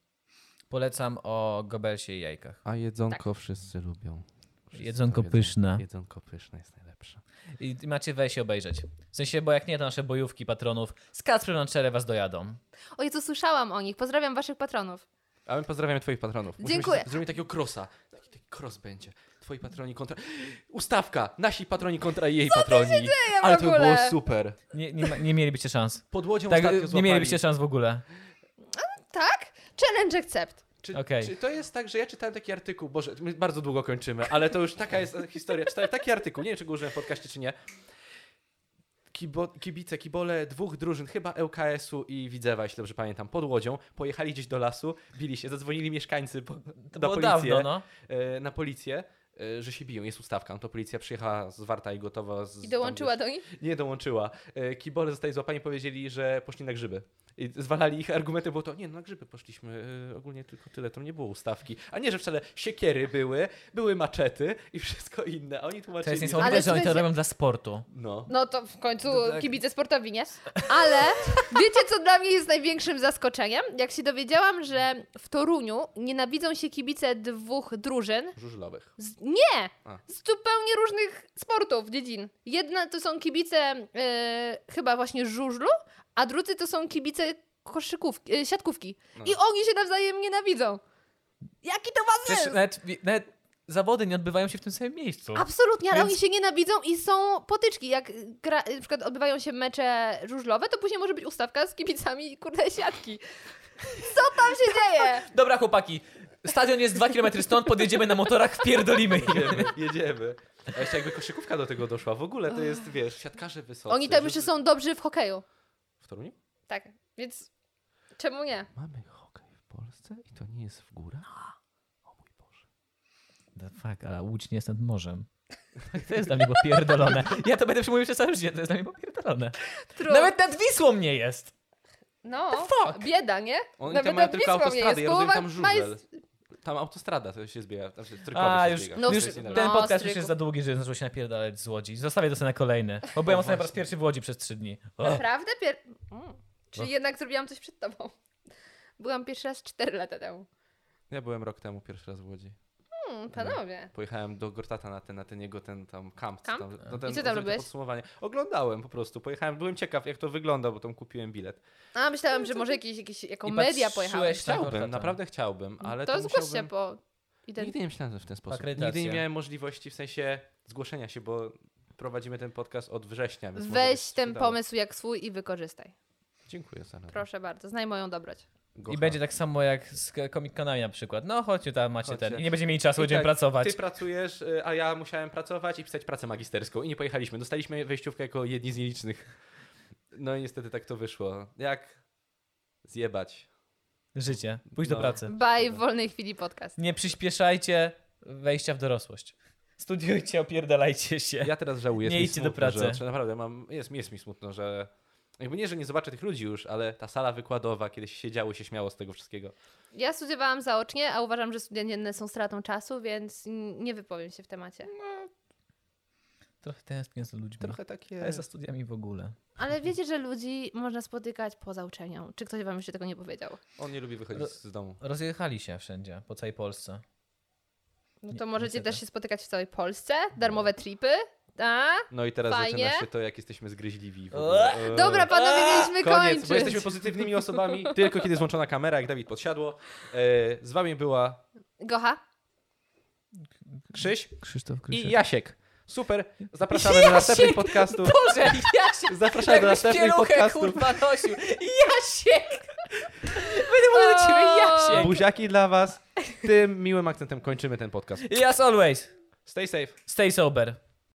S1: Polecam o gobelsie i jajkach.
S2: A jedzonko
S3: Tak.
S2: wszyscy lubią. Wszyscy
S1: Jedzonko
S2: to jedzą.
S1: pyszne.
S2: Jedzonko pyszne jest najlepsze.
S1: I i macie wejść i obejrzeć. W sensie, bo jak nie, to nasze bojówki patronów z Kacprem na czele was dojadą.
S3: O Jezu, słyszałam o nich. Pozdrawiam waszych patronów.
S2: A my pozdrawiamy Twoich patronów. Musimy
S3: Dziękuję.
S2: się z- Zrobimy takiego crossa. Taki, taki cross będzie. Twoi patroni kontra. Ustawka! Nasi patroni kontra jej patroni.
S3: w
S2: Ale to by było
S3: ogóle?
S2: super.
S1: Nie, nie, ma- nie mielibyście szans.
S2: Pod łodzią
S1: Tak,
S2: ostatnio
S1: nie
S2: złapali.
S1: mielibyście szans w ogóle.
S3: Tak? Challenge accept.
S2: Czy,
S1: Okej.
S2: czy to jest tak, że ja czytałem taki artykuł, Boże, my bardzo długo kończymy, ale to już taka jest historia. Czytałem taki artykuł, nie wiem, czy go użyłem w podcaście, czy nie. Kibo, kibice, kibole dwóch drużyn, chyba E ŁKS-u i Widzewa, jeśli dobrze pamiętam, pod Łodzią, pojechali gdzieś do lasu, bili się, zadzwonili mieszkańcy po,
S1: To
S2: na
S1: było
S2: policję,
S1: dawno, no.
S2: e, na policję, e, że się biją, jest ustawka. No to policja przyjechała zwarta i gotowa. Z,
S3: I dołączyła
S2: tam,
S3: do nich.
S2: Nie dołączyła. E, Kibole zostali złapani, powiedzieli, że poszli na grzyby. I zwalali ich argumenty, było to, nie, no, na grzyby poszliśmy, e, ogólnie tylko tyle, tam nie było ustawki. A nie, że wcale siekiery były, były maczety i wszystko inne. A oni
S1: To jest
S2: tłumaczyli...
S1: niesamowite,
S3: Ale
S1: że oni to
S3: słuchajcie-
S1: robią dla sportu.
S2: no.
S3: No to w końcu
S1: No tak.
S3: kibice sportowi, nie? Ale wiecie, co dla mnie jest największym zaskoczeniem? Jak się dowiedziałam, że w Toruniu nienawidzą się kibice dwóch drużyn.
S2: Żużlowych.
S3: Z... Nie!
S2: A.
S3: Z zupełnie różnych sportów, dziedzin. Jedna to są kibice e, chyba właśnie żużlu, a drudzy to są kibice koszykówki, e, siatkówki.
S2: No.
S3: I oni się nawzajem nienawidzą. Jaki to was
S1: tak. Przecież
S3: jest?
S1: nawet, nawet zawody nie odbywają się w tym samym miejscu.
S3: Absolutnie, ale
S1: Więc-
S3: oni się nienawidzą i są potyczki. Jak gra, na przykład odbywają się mecze żużlowe, to później może być ustawka z kibicami i kurde siatki. Co tam
S1: Tak.
S3: się dzieje?
S1: Dobra, chłopaki, stadion jest 2 km stąd, podjedziemy na motorach, pierdolimy ich.
S2: Jedziemy, jedziemy. A jeszcze jakby koszykówka do tego doszła, w ogóle to jest, wiesz, siatkarze
S1: No,
S2: wysocy.
S3: Oni tam jeszcze są dobrzy w hokeju.
S2: W Toruniu?
S3: Tak, więc czemu nie?
S2: Mamy hokej w Polsce i to nie jest w górach? O mój Boże.
S1: No fuck, ale Łódź nie jest nad morzem. Tak, To jest dla mnie popierdolone. Ja to będę przemówił przez całe życie, to jest dla mnie popierdolone.
S3: True.
S1: Nawet nad Wisłą nie jest.
S3: no,
S1: fuck?
S3: bieda, nie?
S2: Oni
S3: Nawet
S2: tam mają
S3: nad
S2: tylko
S3: Wisłą nie
S2: autostrady, ja
S3: jest,
S2: rozumiem
S3: połowa
S2: tam żużel.
S3: majs-
S2: Tam autostrada to się zbiega, tam się trykowy
S1: A,
S2: się
S1: już,
S2: zbiega.
S3: No,
S2: to
S1: już
S2: jest
S3: no,
S2: inaczej.
S1: ten podcast już
S3: stryku.
S1: jest za długi, że zaczął się napierdalać z Łodzi. Zostawię to sobie na kolejny, bo byłem
S2: O,
S1: ostatnio po raz
S2: No właśnie.
S1: pierwszy w Łodzi przez trzy dni. O.
S3: Naprawdę? Pier... Mm. Czyli
S1: No.
S3: jednak zrobiłam coś przed tobą. Byłam pierwszy raz 4 lata temu.
S2: Ja byłem rok temu pierwszy raz w Łodzi.
S3: Hmm, panowie.
S2: Pojechałem do Gortata na ten, na ten jego ten tam kamp.
S3: Kamp?
S2: Tam,
S1: E.
S2: no, ten,
S3: I co tam
S2: zrobię to
S3: robiłeś?
S2: Podsumowanie. Oglądałem po prostu, pojechałem, byłem ciekaw jak to wygląda, bo tam kupiłem bilet.
S3: A, myślałam, że może jakieś, jakieś, jaką
S1: I
S3: media
S1: patrzyłeś
S3: pojechałeś.
S1: Na
S2: Chciałbym,
S1: Gortata.
S2: naprawdę chciałbym, ale
S3: Mm, to
S2: to
S3: zgłoś
S2: musiałbym...
S3: się po ident...
S2: Nigdy nie myślałem że w ten sposób. Nigdy
S1: Akredytacja.
S2: nie miałem możliwości w sensie zgłoszenia się, bo prowadzimy ten podcast od września. Więc może by
S3: Weź
S2: się
S3: ten
S2: przydało.
S3: pomysł jak swój i wykorzystaj.
S2: Dziękuję za radę.
S3: Proszę bardzo, znaj moją dobroć.
S2: Gocha.
S1: I będzie tak samo jak z Comic Conami na przykład. No chodźcie tam, macie
S2: Chodźcie.
S1: ten. I nie będziemy mieli czasu,
S2: I
S1: będziemy
S2: tak,
S1: pracować.
S2: Ty pracujesz, y, a ja musiałem pracować i pisać pracę magisterską i nie pojechaliśmy. Dostaliśmy wejściówkę jako jedni z nielicznych. No i niestety tak to wyszło. Jak zjebać.
S1: Życie, pójdź do
S2: No.
S1: pracy.
S3: Baj w wolnej chwili podcast.
S1: Nie przyspieszajcie wejścia w dorosłość. Studiujcie, opierdalajcie się.
S2: Ja teraz żałuję.
S1: Nie
S2: jest mi
S1: idźcie do
S2: smutno, że-
S1: pracy.
S2: Że, naprawdę mam, jest, jest mi smutno, że jakby nie, że nie zobaczę tych ludzi już, ale ta sala wykładowa, kiedyś siedziało się śmiało z tego wszystkiego.
S3: Ja studiowałam zaocznie, a uważam, że studia dzienne są stratą czasu, więc n- nie wypowiem się w temacie.
S1: Trochę tęsknię za ludźmi.
S2: Trochę takie...
S1: Ale za studiami w ogóle.
S3: Ale wiecie, że ludzi można spotykać poza uczelnią. Czy ktoś wam jeszcze tego nie powiedział?
S2: On nie lubi wychodzić z domu.
S1: Rozjechali się wszędzie, po całej Polsce.
S3: No
S1: Nie,
S3: to możecie
S1: niestety.
S3: też się spotykać w całej Polsce, darmowe tripy, tak? a?
S2: No i teraz
S3: Fajnie.
S2: zaczyna się to, jak jesteśmy zgryźliwi. W ogóle. Eee.
S3: Dobra, panowie, mieliśmy
S2: Koniec, bo
S3: kończyć.
S2: jesteśmy pozytywnymi osobami, tylko kiedy złączona kamera, jak Dawid podsiadło. E, z wami była
S3: Gocha?
S2: Krzyś
S1: Krzysztof
S2: i Jasiek. Super, zapraszamy do następnych podcastów.
S1: Boże, tak Jasiek!
S2: Zapraszamy do następnych podcastów.
S1: kurwa nosił. Jasiek! Będę mówił do ciebie Jasiek!
S2: Buziaki dla was. Tym miłym akcentem kończymy ten podcast.
S1: Yes always,
S2: Stay safe.
S1: stay sober.